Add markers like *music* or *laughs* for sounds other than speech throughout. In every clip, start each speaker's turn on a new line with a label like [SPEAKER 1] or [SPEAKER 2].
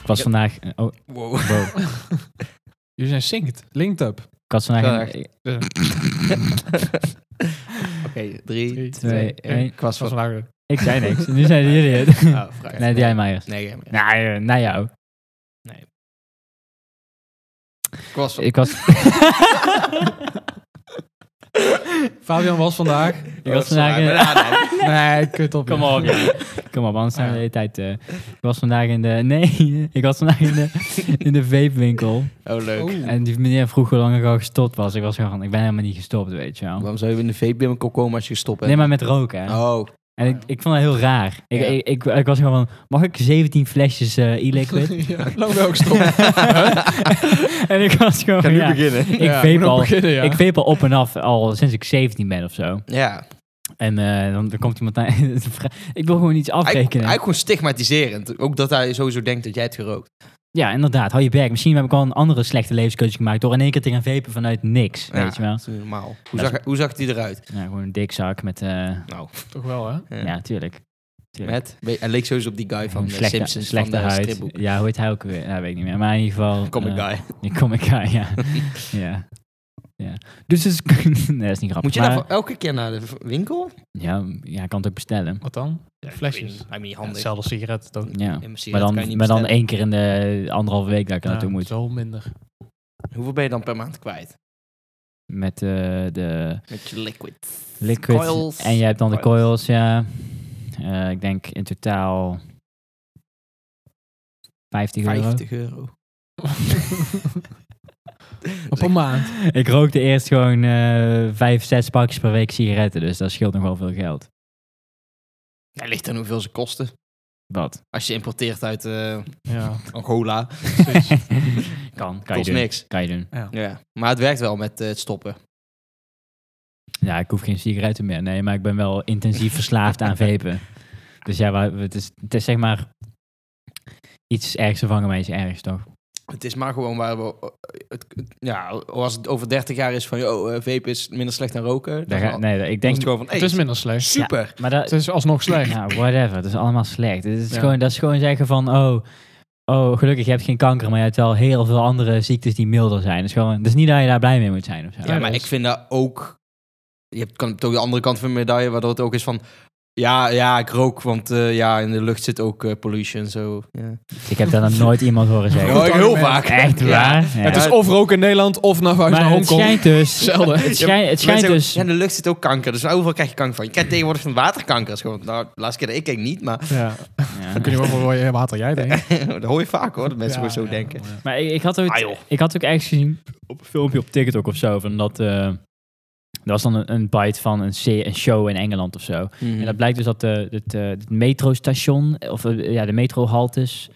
[SPEAKER 1] Ik was
[SPEAKER 2] Ja.
[SPEAKER 1] vandaag... Oh,
[SPEAKER 2] Wow.
[SPEAKER 3] *laughs*
[SPEAKER 1] wow.
[SPEAKER 3] Jullie zijn synced. Linked up.
[SPEAKER 1] Ik had vandaag...
[SPEAKER 2] Vandaag.
[SPEAKER 1] een-
[SPEAKER 2] Oké, 3,
[SPEAKER 3] Drie,
[SPEAKER 2] 2,
[SPEAKER 3] twee,
[SPEAKER 2] 1.
[SPEAKER 1] één.
[SPEAKER 2] Ik
[SPEAKER 3] Dat was
[SPEAKER 2] was van...
[SPEAKER 3] vandaag weer.
[SPEAKER 1] Ik zei niks. Nu zijn jullie
[SPEAKER 2] *laughs*
[SPEAKER 1] het.
[SPEAKER 2] Oh, vraag.
[SPEAKER 1] *laughs* Nee, jij maar eerst.
[SPEAKER 2] Nee, jij maar.
[SPEAKER 1] Nou, eh, nou jou.
[SPEAKER 2] Ik was van...
[SPEAKER 1] Ik was...
[SPEAKER 2] *laughs*
[SPEAKER 3] Fabian was
[SPEAKER 2] *laughs*
[SPEAKER 3] vandaag.
[SPEAKER 2] Oh,
[SPEAKER 1] ik was vandaag... in- *laughs*
[SPEAKER 3] Nee, kut op.
[SPEAKER 1] Kom
[SPEAKER 3] joh.
[SPEAKER 1] *laughs* op, ja. Kom op, anders zijn we de hele tijd... eh, ik was vandaag in de... Nee, *laughs* ik was vandaag in
[SPEAKER 2] *laughs*
[SPEAKER 1] de, in de vape-winkel.
[SPEAKER 2] Oh, leuk.
[SPEAKER 3] Oeh.
[SPEAKER 1] En die meneer vroeg hoe lang ik al gestopt was. Ik was gewoon van, ik ben helemaal niet gestopt, weet je wel.
[SPEAKER 2] Waarom zou je in de vape-winkel komen als je gestopt bent?
[SPEAKER 1] Nee, maar met roken. hè.
[SPEAKER 2] *laughs* Oh,
[SPEAKER 1] En ik, ik vond dat heel raar. Ik,
[SPEAKER 2] Ja.
[SPEAKER 1] ik, ik, ik was gewoon van, mag ik 17 flesjes eh, e-liquid?
[SPEAKER 2] *laughs*
[SPEAKER 3] Ja, loop ook stom.
[SPEAKER 1] *laughs* en ik was gewoon
[SPEAKER 2] ga
[SPEAKER 1] van,
[SPEAKER 2] nu
[SPEAKER 1] ja,
[SPEAKER 2] beginnen.
[SPEAKER 1] ik
[SPEAKER 3] Ja,
[SPEAKER 1] vape
[SPEAKER 3] moet ook
[SPEAKER 1] al.
[SPEAKER 3] beginnen, ja.
[SPEAKER 1] Ik vape al op en af al sinds ik 17 ben of zo.
[SPEAKER 2] Ja,
[SPEAKER 1] En eh, dan, dan komt *laughs* iemand naar... ik wil gewoon iets
[SPEAKER 2] eigenlijk,
[SPEAKER 1] afrekenen.
[SPEAKER 2] eigenlijk gewoon stigmatiserend. Ook dat hij sowieso denkt dat jij het gerookt.
[SPEAKER 1] Ja, inderdaad. Hou je bek. Misschien heb ik al een andere slechte levenskeus gemaakt door in één keer te gaan vapen vanuit niks.
[SPEAKER 2] Ja,
[SPEAKER 1] Weet je wel?
[SPEAKER 2] Dat is niet normaal. Hoe
[SPEAKER 1] Dat
[SPEAKER 2] zag, hoe zag het die eruit?
[SPEAKER 1] Ja, gewoon een dikzak met... eh,
[SPEAKER 2] Nou,
[SPEAKER 3] Toch wel, hè?
[SPEAKER 2] ja.
[SPEAKER 1] ja, tuurlijk. tuurlijk.
[SPEAKER 2] Met, Be- hij leek sowieso op die guy van
[SPEAKER 1] Een
[SPEAKER 2] de
[SPEAKER 1] slechte,
[SPEAKER 2] Simpsons,
[SPEAKER 1] slechte
[SPEAKER 2] van de
[SPEAKER 1] huid.
[SPEAKER 2] stripboek.
[SPEAKER 1] Ja, hoe heet hij ook weer? Ja, weet ik niet meer. Maar in ieder geval...
[SPEAKER 2] Comic
[SPEAKER 1] eh,
[SPEAKER 2] guy.
[SPEAKER 1] Die comic guy,
[SPEAKER 2] *laughs*
[SPEAKER 1] ja. ja. ja. Dus het is... *laughs* nee, dat is niet grappig.
[SPEAKER 2] Moet je
[SPEAKER 1] maar-
[SPEAKER 2] daarvoor elke keer naar de v- winkel?
[SPEAKER 1] Ja, ja, ik kan het ook bestellen.
[SPEAKER 3] Wat dan? Flesjes.
[SPEAKER 2] Ik mean,
[SPEAKER 3] Ja,
[SPEAKER 2] handig.
[SPEAKER 3] Hetzelfde als sigaretten toch?
[SPEAKER 1] Ja.
[SPEAKER 2] In principe
[SPEAKER 1] Maar
[SPEAKER 2] dat kan je
[SPEAKER 1] dan,
[SPEAKER 2] niet
[SPEAKER 1] maar dan
[SPEAKER 2] bestellen.
[SPEAKER 1] één keer in de anderhalve week dat ik er
[SPEAKER 3] Ja,
[SPEAKER 1] naartoe moet.
[SPEAKER 3] Zo minder.
[SPEAKER 1] e-
[SPEAKER 2] Hoeveel ben je dan per maand kwijt?
[SPEAKER 1] Met eh, de
[SPEAKER 2] Met je liquid.
[SPEAKER 1] liquid.
[SPEAKER 2] Coils.
[SPEAKER 1] En jij hebt dan de
[SPEAKER 2] Coils.
[SPEAKER 1] coils, ja. Eh, ik denk in totaal... 50 euro.
[SPEAKER 2] 50 *laughs* euro.
[SPEAKER 3] Op een maand.
[SPEAKER 1] Ik rookte eerst gewoon eh vijf, zes pakjes per week sigaretten. Dus dat scheelt nog wel veel geld.
[SPEAKER 2] Hij ligt aan hoeveel ze kosten.
[SPEAKER 1] Wat?
[SPEAKER 2] Als je importeert uit eh,
[SPEAKER 1] *laughs*
[SPEAKER 3] Ja,
[SPEAKER 2] Angola,
[SPEAKER 3] precies.
[SPEAKER 1] kan, kan je
[SPEAKER 2] kost
[SPEAKER 1] doen.
[SPEAKER 2] niks.
[SPEAKER 1] Kan je doen.
[SPEAKER 2] Ja. Maar het werkt wel met eh, het stoppen.
[SPEAKER 1] Ja, ik hoef geen sigaretten meer. Nee, maar ik ben wel intensief verslaafd aan vapen. Dus ja, wa- het is, het is zeg maar iets ergs vervangen met iets ergs, toch?
[SPEAKER 2] Het is maar gewoon waar we... eh, het, het- ja, als het over 30 jaar is van... Yo, eh, vape is minder slecht dan roken.
[SPEAKER 1] Daar
[SPEAKER 2] Dan,
[SPEAKER 1] ga-
[SPEAKER 2] dan
[SPEAKER 1] nee, ik
[SPEAKER 2] is
[SPEAKER 1] denk...
[SPEAKER 2] het gewoon van...
[SPEAKER 3] Het
[SPEAKER 2] hey,
[SPEAKER 3] is minder slecht.
[SPEAKER 2] super.
[SPEAKER 1] Maar
[SPEAKER 3] Het
[SPEAKER 1] dat...
[SPEAKER 3] is alsnog slecht.
[SPEAKER 1] Ja, whatever. Het is allemaal slecht. Het is
[SPEAKER 3] Ja.
[SPEAKER 1] gewoon, dat is gewoon zeggen van, oh, oh, gelukkig, je hebt geen kanker, maar je hebt wel heel veel andere ziektes die milder zijn. Het is, gewoon, het is niet dat je daar blij mee moet zijn of zo.
[SPEAKER 2] Ja, maar
[SPEAKER 3] dat
[SPEAKER 2] ik
[SPEAKER 3] is-
[SPEAKER 2] vind dat ook... Je hebt kan ook de andere kant van de medaille... waardoor het ook is van... Ja, ja, ik rook, want eh, ja, in de lucht zit ook eh, pollution. Zo. Ja.
[SPEAKER 1] Ik heb daar nog nooit
[SPEAKER 3] *laughs*
[SPEAKER 1] iemand horen zeggen.
[SPEAKER 2] Ja, ik heel
[SPEAKER 3] argument.
[SPEAKER 2] vaak.
[SPEAKER 1] Echt
[SPEAKER 2] *laughs* Ja.
[SPEAKER 1] waar? Ja.
[SPEAKER 3] Het is of roken in Nederland of naar huis naar
[SPEAKER 1] Maar het
[SPEAKER 3] Hongkong.
[SPEAKER 1] schijnt dus...
[SPEAKER 3] Zelden.
[SPEAKER 1] Het schijnt, het
[SPEAKER 2] Ja, maar
[SPEAKER 1] schijnt
[SPEAKER 2] mensen
[SPEAKER 1] dus...
[SPEAKER 2] zeggen, Ja, in de lucht zit ook kanker. Dus overal krijg je kanker van. Je krijgt tegenwoordig van waterkanker. Is gewoon, nou, de laatste keer dat ik keek niet, maar *laughs*
[SPEAKER 3] Ja.
[SPEAKER 1] Ja.
[SPEAKER 3] Dan kun je wel voor je water jij
[SPEAKER 1] *laughs*
[SPEAKER 3] denkt.
[SPEAKER 2] dat hoor je vaak hoor, dat mensen
[SPEAKER 3] Ja,
[SPEAKER 2] gewoon zo
[SPEAKER 3] ja,
[SPEAKER 2] denken.
[SPEAKER 3] ja.
[SPEAKER 1] Maar ik, ik had ook,
[SPEAKER 2] Ah, joh.
[SPEAKER 1] ik had ook ergens gezien op een filmpje op TikTok of zo van dat. eh dat was dan een, een bite van een, se- een show in Engeland of zo.
[SPEAKER 3] Mm.
[SPEAKER 1] En dat blijkt dus dat de, het, eh, het metrostation, of eh, ja, de metrohaltes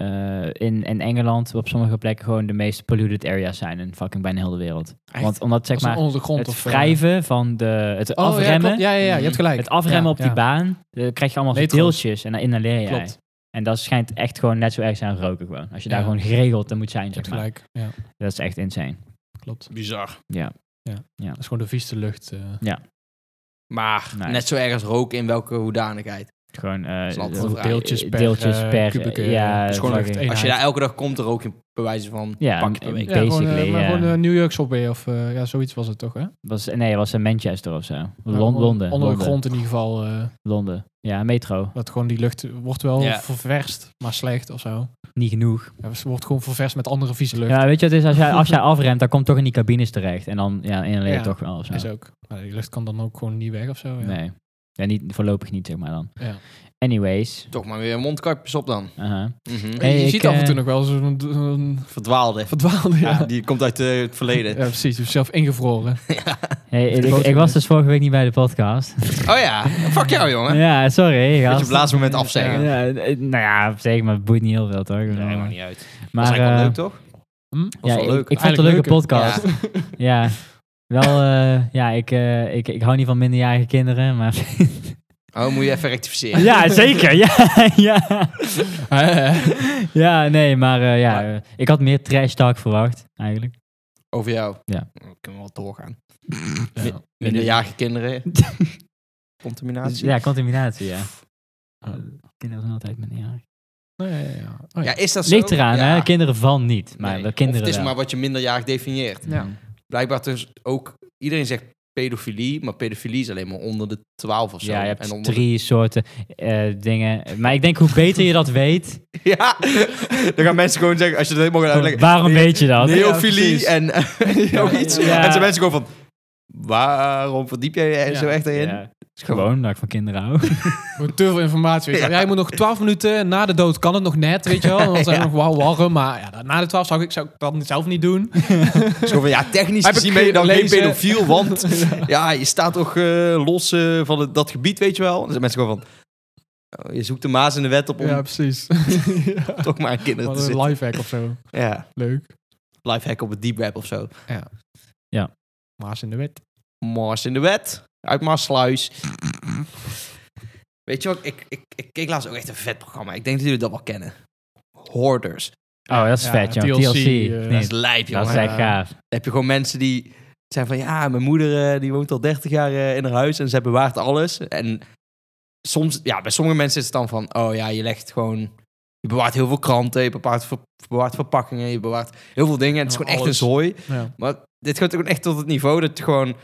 [SPEAKER 1] eh, in, in Engeland op sommige plekken gewoon de meest polluted areas zijn in fucking bijna heel de wereld.
[SPEAKER 2] Echt?
[SPEAKER 1] Want omdat zeg
[SPEAKER 3] Als een
[SPEAKER 1] maar
[SPEAKER 3] onder de grond
[SPEAKER 1] het
[SPEAKER 3] of, eh,
[SPEAKER 1] wrijven van de, het
[SPEAKER 3] Oh, Ja,
[SPEAKER 1] afremmen,
[SPEAKER 3] klopt. ja, ja, ja, je hebt gelijk.
[SPEAKER 1] het afremmen
[SPEAKER 3] Ja,
[SPEAKER 1] op die
[SPEAKER 3] ja.
[SPEAKER 1] baan, dan krijg je allemaal
[SPEAKER 3] Metro's.
[SPEAKER 1] deeltjes en dan inhaleer jij.
[SPEAKER 3] Klopt,
[SPEAKER 1] En dat schijnt echt gewoon net zo erg zijn als roken gewoon. Als je daar
[SPEAKER 3] Ja.
[SPEAKER 1] gewoon geregeld aan moet zijn,
[SPEAKER 3] je hebt
[SPEAKER 1] zeg maar.
[SPEAKER 3] gelijk. Ja,
[SPEAKER 1] Dat is echt insane.
[SPEAKER 3] klopt.
[SPEAKER 2] Bizar.
[SPEAKER 3] Dat is gewoon de vieste lucht. eh.
[SPEAKER 2] Maar
[SPEAKER 1] Nice.
[SPEAKER 2] net zo erg als roken in welke hoedanigheid.
[SPEAKER 1] Gewoon eh,
[SPEAKER 2] is altijd
[SPEAKER 1] eh,
[SPEAKER 2] een vraag.
[SPEAKER 3] Deeltjes per,
[SPEAKER 1] deeltjes
[SPEAKER 3] eh,
[SPEAKER 1] per,
[SPEAKER 3] kubieke,
[SPEAKER 1] eh, ja,
[SPEAKER 3] het
[SPEAKER 2] is gewoon
[SPEAKER 1] fucking-
[SPEAKER 3] echt één.
[SPEAKER 2] Als je daar elke dag komt, dan rook je bij wijze van
[SPEAKER 1] Ja,
[SPEAKER 2] pak je per
[SPEAKER 1] en-
[SPEAKER 2] week.
[SPEAKER 1] en-
[SPEAKER 3] ja, gewoon, eh,
[SPEAKER 1] Basically,
[SPEAKER 3] maar
[SPEAKER 1] ja.
[SPEAKER 3] gewoon eh, New York Subway of eh, ja, zoiets was het toch, hè?
[SPEAKER 1] was, nee, was in Manchester of zo. Lon-
[SPEAKER 3] Nou,
[SPEAKER 1] Londen.
[SPEAKER 3] Onder
[SPEAKER 1] Londen.
[SPEAKER 3] de
[SPEAKER 1] Londen.
[SPEAKER 3] grond in ieder geval. eh,
[SPEAKER 1] Ja, metro.
[SPEAKER 3] dat gewoon die lucht wordt wel
[SPEAKER 2] Ja.
[SPEAKER 3] ververst, maar slecht of zo.
[SPEAKER 1] Niet genoeg.
[SPEAKER 3] Ja, ze wordt gewoon ververst met andere vieze lucht.
[SPEAKER 1] Ja, weet je wat het is? Als jij, als jij afremt, dan komt toch in die cabines terecht. En dan ja, inhaleer je
[SPEAKER 3] Ja.
[SPEAKER 1] toch wel of zo.
[SPEAKER 3] Is ook. Maar die lucht kan dan ook gewoon niet weg of zo. Ja.
[SPEAKER 1] Nee. Ja, niet, voorlopig niet, zeg maar dan.
[SPEAKER 3] Ja.
[SPEAKER 1] Anyways. Uh-huh.
[SPEAKER 2] Toch maar weer mondkapjes op dan.
[SPEAKER 1] aha.
[SPEAKER 2] Mhm.
[SPEAKER 1] Hey,
[SPEAKER 3] je
[SPEAKER 1] ik,
[SPEAKER 3] ziet af en toe
[SPEAKER 1] eh,
[SPEAKER 3] nog wel zo'n zo'n
[SPEAKER 1] *laughs*
[SPEAKER 2] Verdwaalde.
[SPEAKER 3] verdwaalde. Ja,
[SPEAKER 2] Ja,
[SPEAKER 3] ja.
[SPEAKER 2] die komt uit eh, het verleden.
[SPEAKER 3] precies. Je hebt zelf ingevroren.
[SPEAKER 1] Hey, ik,
[SPEAKER 3] boot
[SPEAKER 1] ik
[SPEAKER 3] in
[SPEAKER 1] was
[SPEAKER 3] de-
[SPEAKER 1] dus vorige week niet bij de podcast.
[SPEAKER 2] Oh ja, fuck jou
[SPEAKER 1] *laughs*
[SPEAKER 2] jongen.
[SPEAKER 1] ja, sorry.
[SPEAKER 2] Moet je
[SPEAKER 1] gast.
[SPEAKER 2] blaasmoment afzeggen.
[SPEAKER 1] Ja, eh, nou ja, zeg maar, het boeit niet heel veel, toch? Ik bedoel,
[SPEAKER 2] Nee, maakt niet uit.
[SPEAKER 1] Maar,
[SPEAKER 2] was eigenlijk wel
[SPEAKER 1] eh,
[SPEAKER 2] leuk toch?
[SPEAKER 3] Hm?
[SPEAKER 2] Was
[SPEAKER 1] ja,
[SPEAKER 2] wel
[SPEAKER 1] ik-
[SPEAKER 2] leuk.
[SPEAKER 1] Ik, vond het een
[SPEAKER 3] Eigenlijk
[SPEAKER 1] leuke podcast. Ja. Wel, eh, ja, ik, eh, ik, ik hou niet van minderjarige kinderen, maar...
[SPEAKER 2] Oh, moet je even rectificeren.
[SPEAKER 1] ja, zeker. Ja, *laughs* ja.
[SPEAKER 3] Eh,
[SPEAKER 1] ja nee, maar eh, ja,
[SPEAKER 2] Maar-
[SPEAKER 1] eh, ik had meer trash talk verwacht, eigenlijk.
[SPEAKER 2] Over jou.
[SPEAKER 1] Ja.
[SPEAKER 2] Dan kunnen we wel doorgaan.
[SPEAKER 3] ja.
[SPEAKER 2] Minderjarige kinderen.
[SPEAKER 1] *laughs*
[SPEAKER 2] Contaminatie.
[SPEAKER 1] Dus, ja, contaminatie, ja.
[SPEAKER 3] Ja.
[SPEAKER 1] Kinderen zijn altijd minderjarig.
[SPEAKER 3] Nee, ja, ja. Oh, ja.
[SPEAKER 2] Ja, is dat zo?
[SPEAKER 1] Ligt eraan,
[SPEAKER 2] Ja.
[SPEAKER 1] hè? Kinderen van niet. Maar
[SPEAKER 2] Nee.
[SPEAKER 1] de kinderen
[SPEAKER 2] Of het is
[SPEAKER 1] wel.
[SPEAKER 2] maar wat je minderjarig definieert.
[SPEAKER 3] Ja.
[SPEAKER 2] Blijkbaar dus ook... Iedereen zegt pedofilie, maar pedofilie is alleen maar onder de 12 of zo.
[SPEAKER 1] Ja, je hebt
[SPEAKER 2] en onder de-
[SPEAKER 1] drie soorten eh, dingen. Maar ik denk hoe beter je dat
[SPEAKER 2] *laughs*
[SPEAKER 1] weet,
[SPEAKER 2] Ja, dan gaan mensen gewoon zeggen, als je dat helemaal gaat uitleggen.
[SPEAKER 1] waarom weet je dat?
[SPEAKER 2] Neofilie
[SPEAKER 3] precies.
[SPEAKER 2] en *laughs* nog iets.
[SPEAKER 1] ja.
[SPEAKER 2] En zijn mensen gewoon van, waarom verdiep jij je
[SPEAKER 3] Ja.
[SPEAKER 2] zo echt in?
[SPEAKER 1] Ja, gewoon dat ik van kinderen
[SPEAKER 2] *laughs*
[SPEAKER 1] hou.
[SPEAKER 3] Gewoon Te veel informatie. Weet je. wel. Ja, je moet nog 12 minuten na de dood kan het nog net, weet je wel. Dan zijn we nog wel warm, maar ja, na de 12 zou ik, zou ik dat zelf niet doen.
[SPEAKER 2] Dus gewoon van, ja, technisch
[SPEAKER 3] Heb
[SPEAKER 2] gezien
[SPEAKER 3] ik
[SPEAKER 2] ben je dan geen
[SPEAKER 3] gelezen.
[SPEAKER 2] pedofiel, want ja, je staat toch eh, los eh, van het- dat gebied, weet je wel. En dan zijn mensen gewoon van, oh, je zoekt de maas in de wet op om
[SPEAKER 3] Ja, precies.
[SPEAKER 2] *laughs* toch maar aan kinderen
[SPEAKER 3] Wat
[SPEAKER 2] te
[SPEAKER 3] een
[SPEAKER 2] zitten.
[SPEAKER 3] lifehack of zo.
[SPEAKER 2] Ja,
[SPEAKER 3] Leuk.
[SPEAKER 2] lifehack op het deep web of zo.
[SPEAKER 3] Maas in de wet.
[SPEAKER 2] Mars in de wet, uit Maassluis. weet je wat, ik, ik, ik keek laatst ook echt een vet programma. Ik denk dat jullie dat wel kennen. Hoarders.
[SPEAKER 1] Oh, dat is
[SPEAKER 3] Ja,
[SPEAKER 1] vet, joh.
[SPEAKER 3] TLC,
[SPEAKER 1] TLC.
[SPEAKER 3] eh,
[SPEAKER 1] of
[SPEAKER 2] Dat is
[SPEAKER 1] niet?
[SPEAKER 2] lijp, jongen.
[SPEAKER 1] dat is echt gaaf.
[SPEAKER 2] Dan heb je gewoon mensen die zijn van ja, mijn moeder eh, die woont al 30 jaar eh, in haar huis en ze bewaart alles. En soms, ja, bij sommige mensen is het dan van oh ja, je legt gewoon, je bewaart heel veel kranten, je bewaart, ver- bewaart verpakkingen, je bewaart heel veel dingen. En het is
[SPEAKER 3] Ja,
[SPEAKER 2] gewoon echt een
[SPEAKER 3] alles.
[SPEAKER 2] zooi.
[SPEAKER 3] Ja.
[SPEAKER 2] Maar dit gaat gewoon echt tot het niveau dat je gewoon.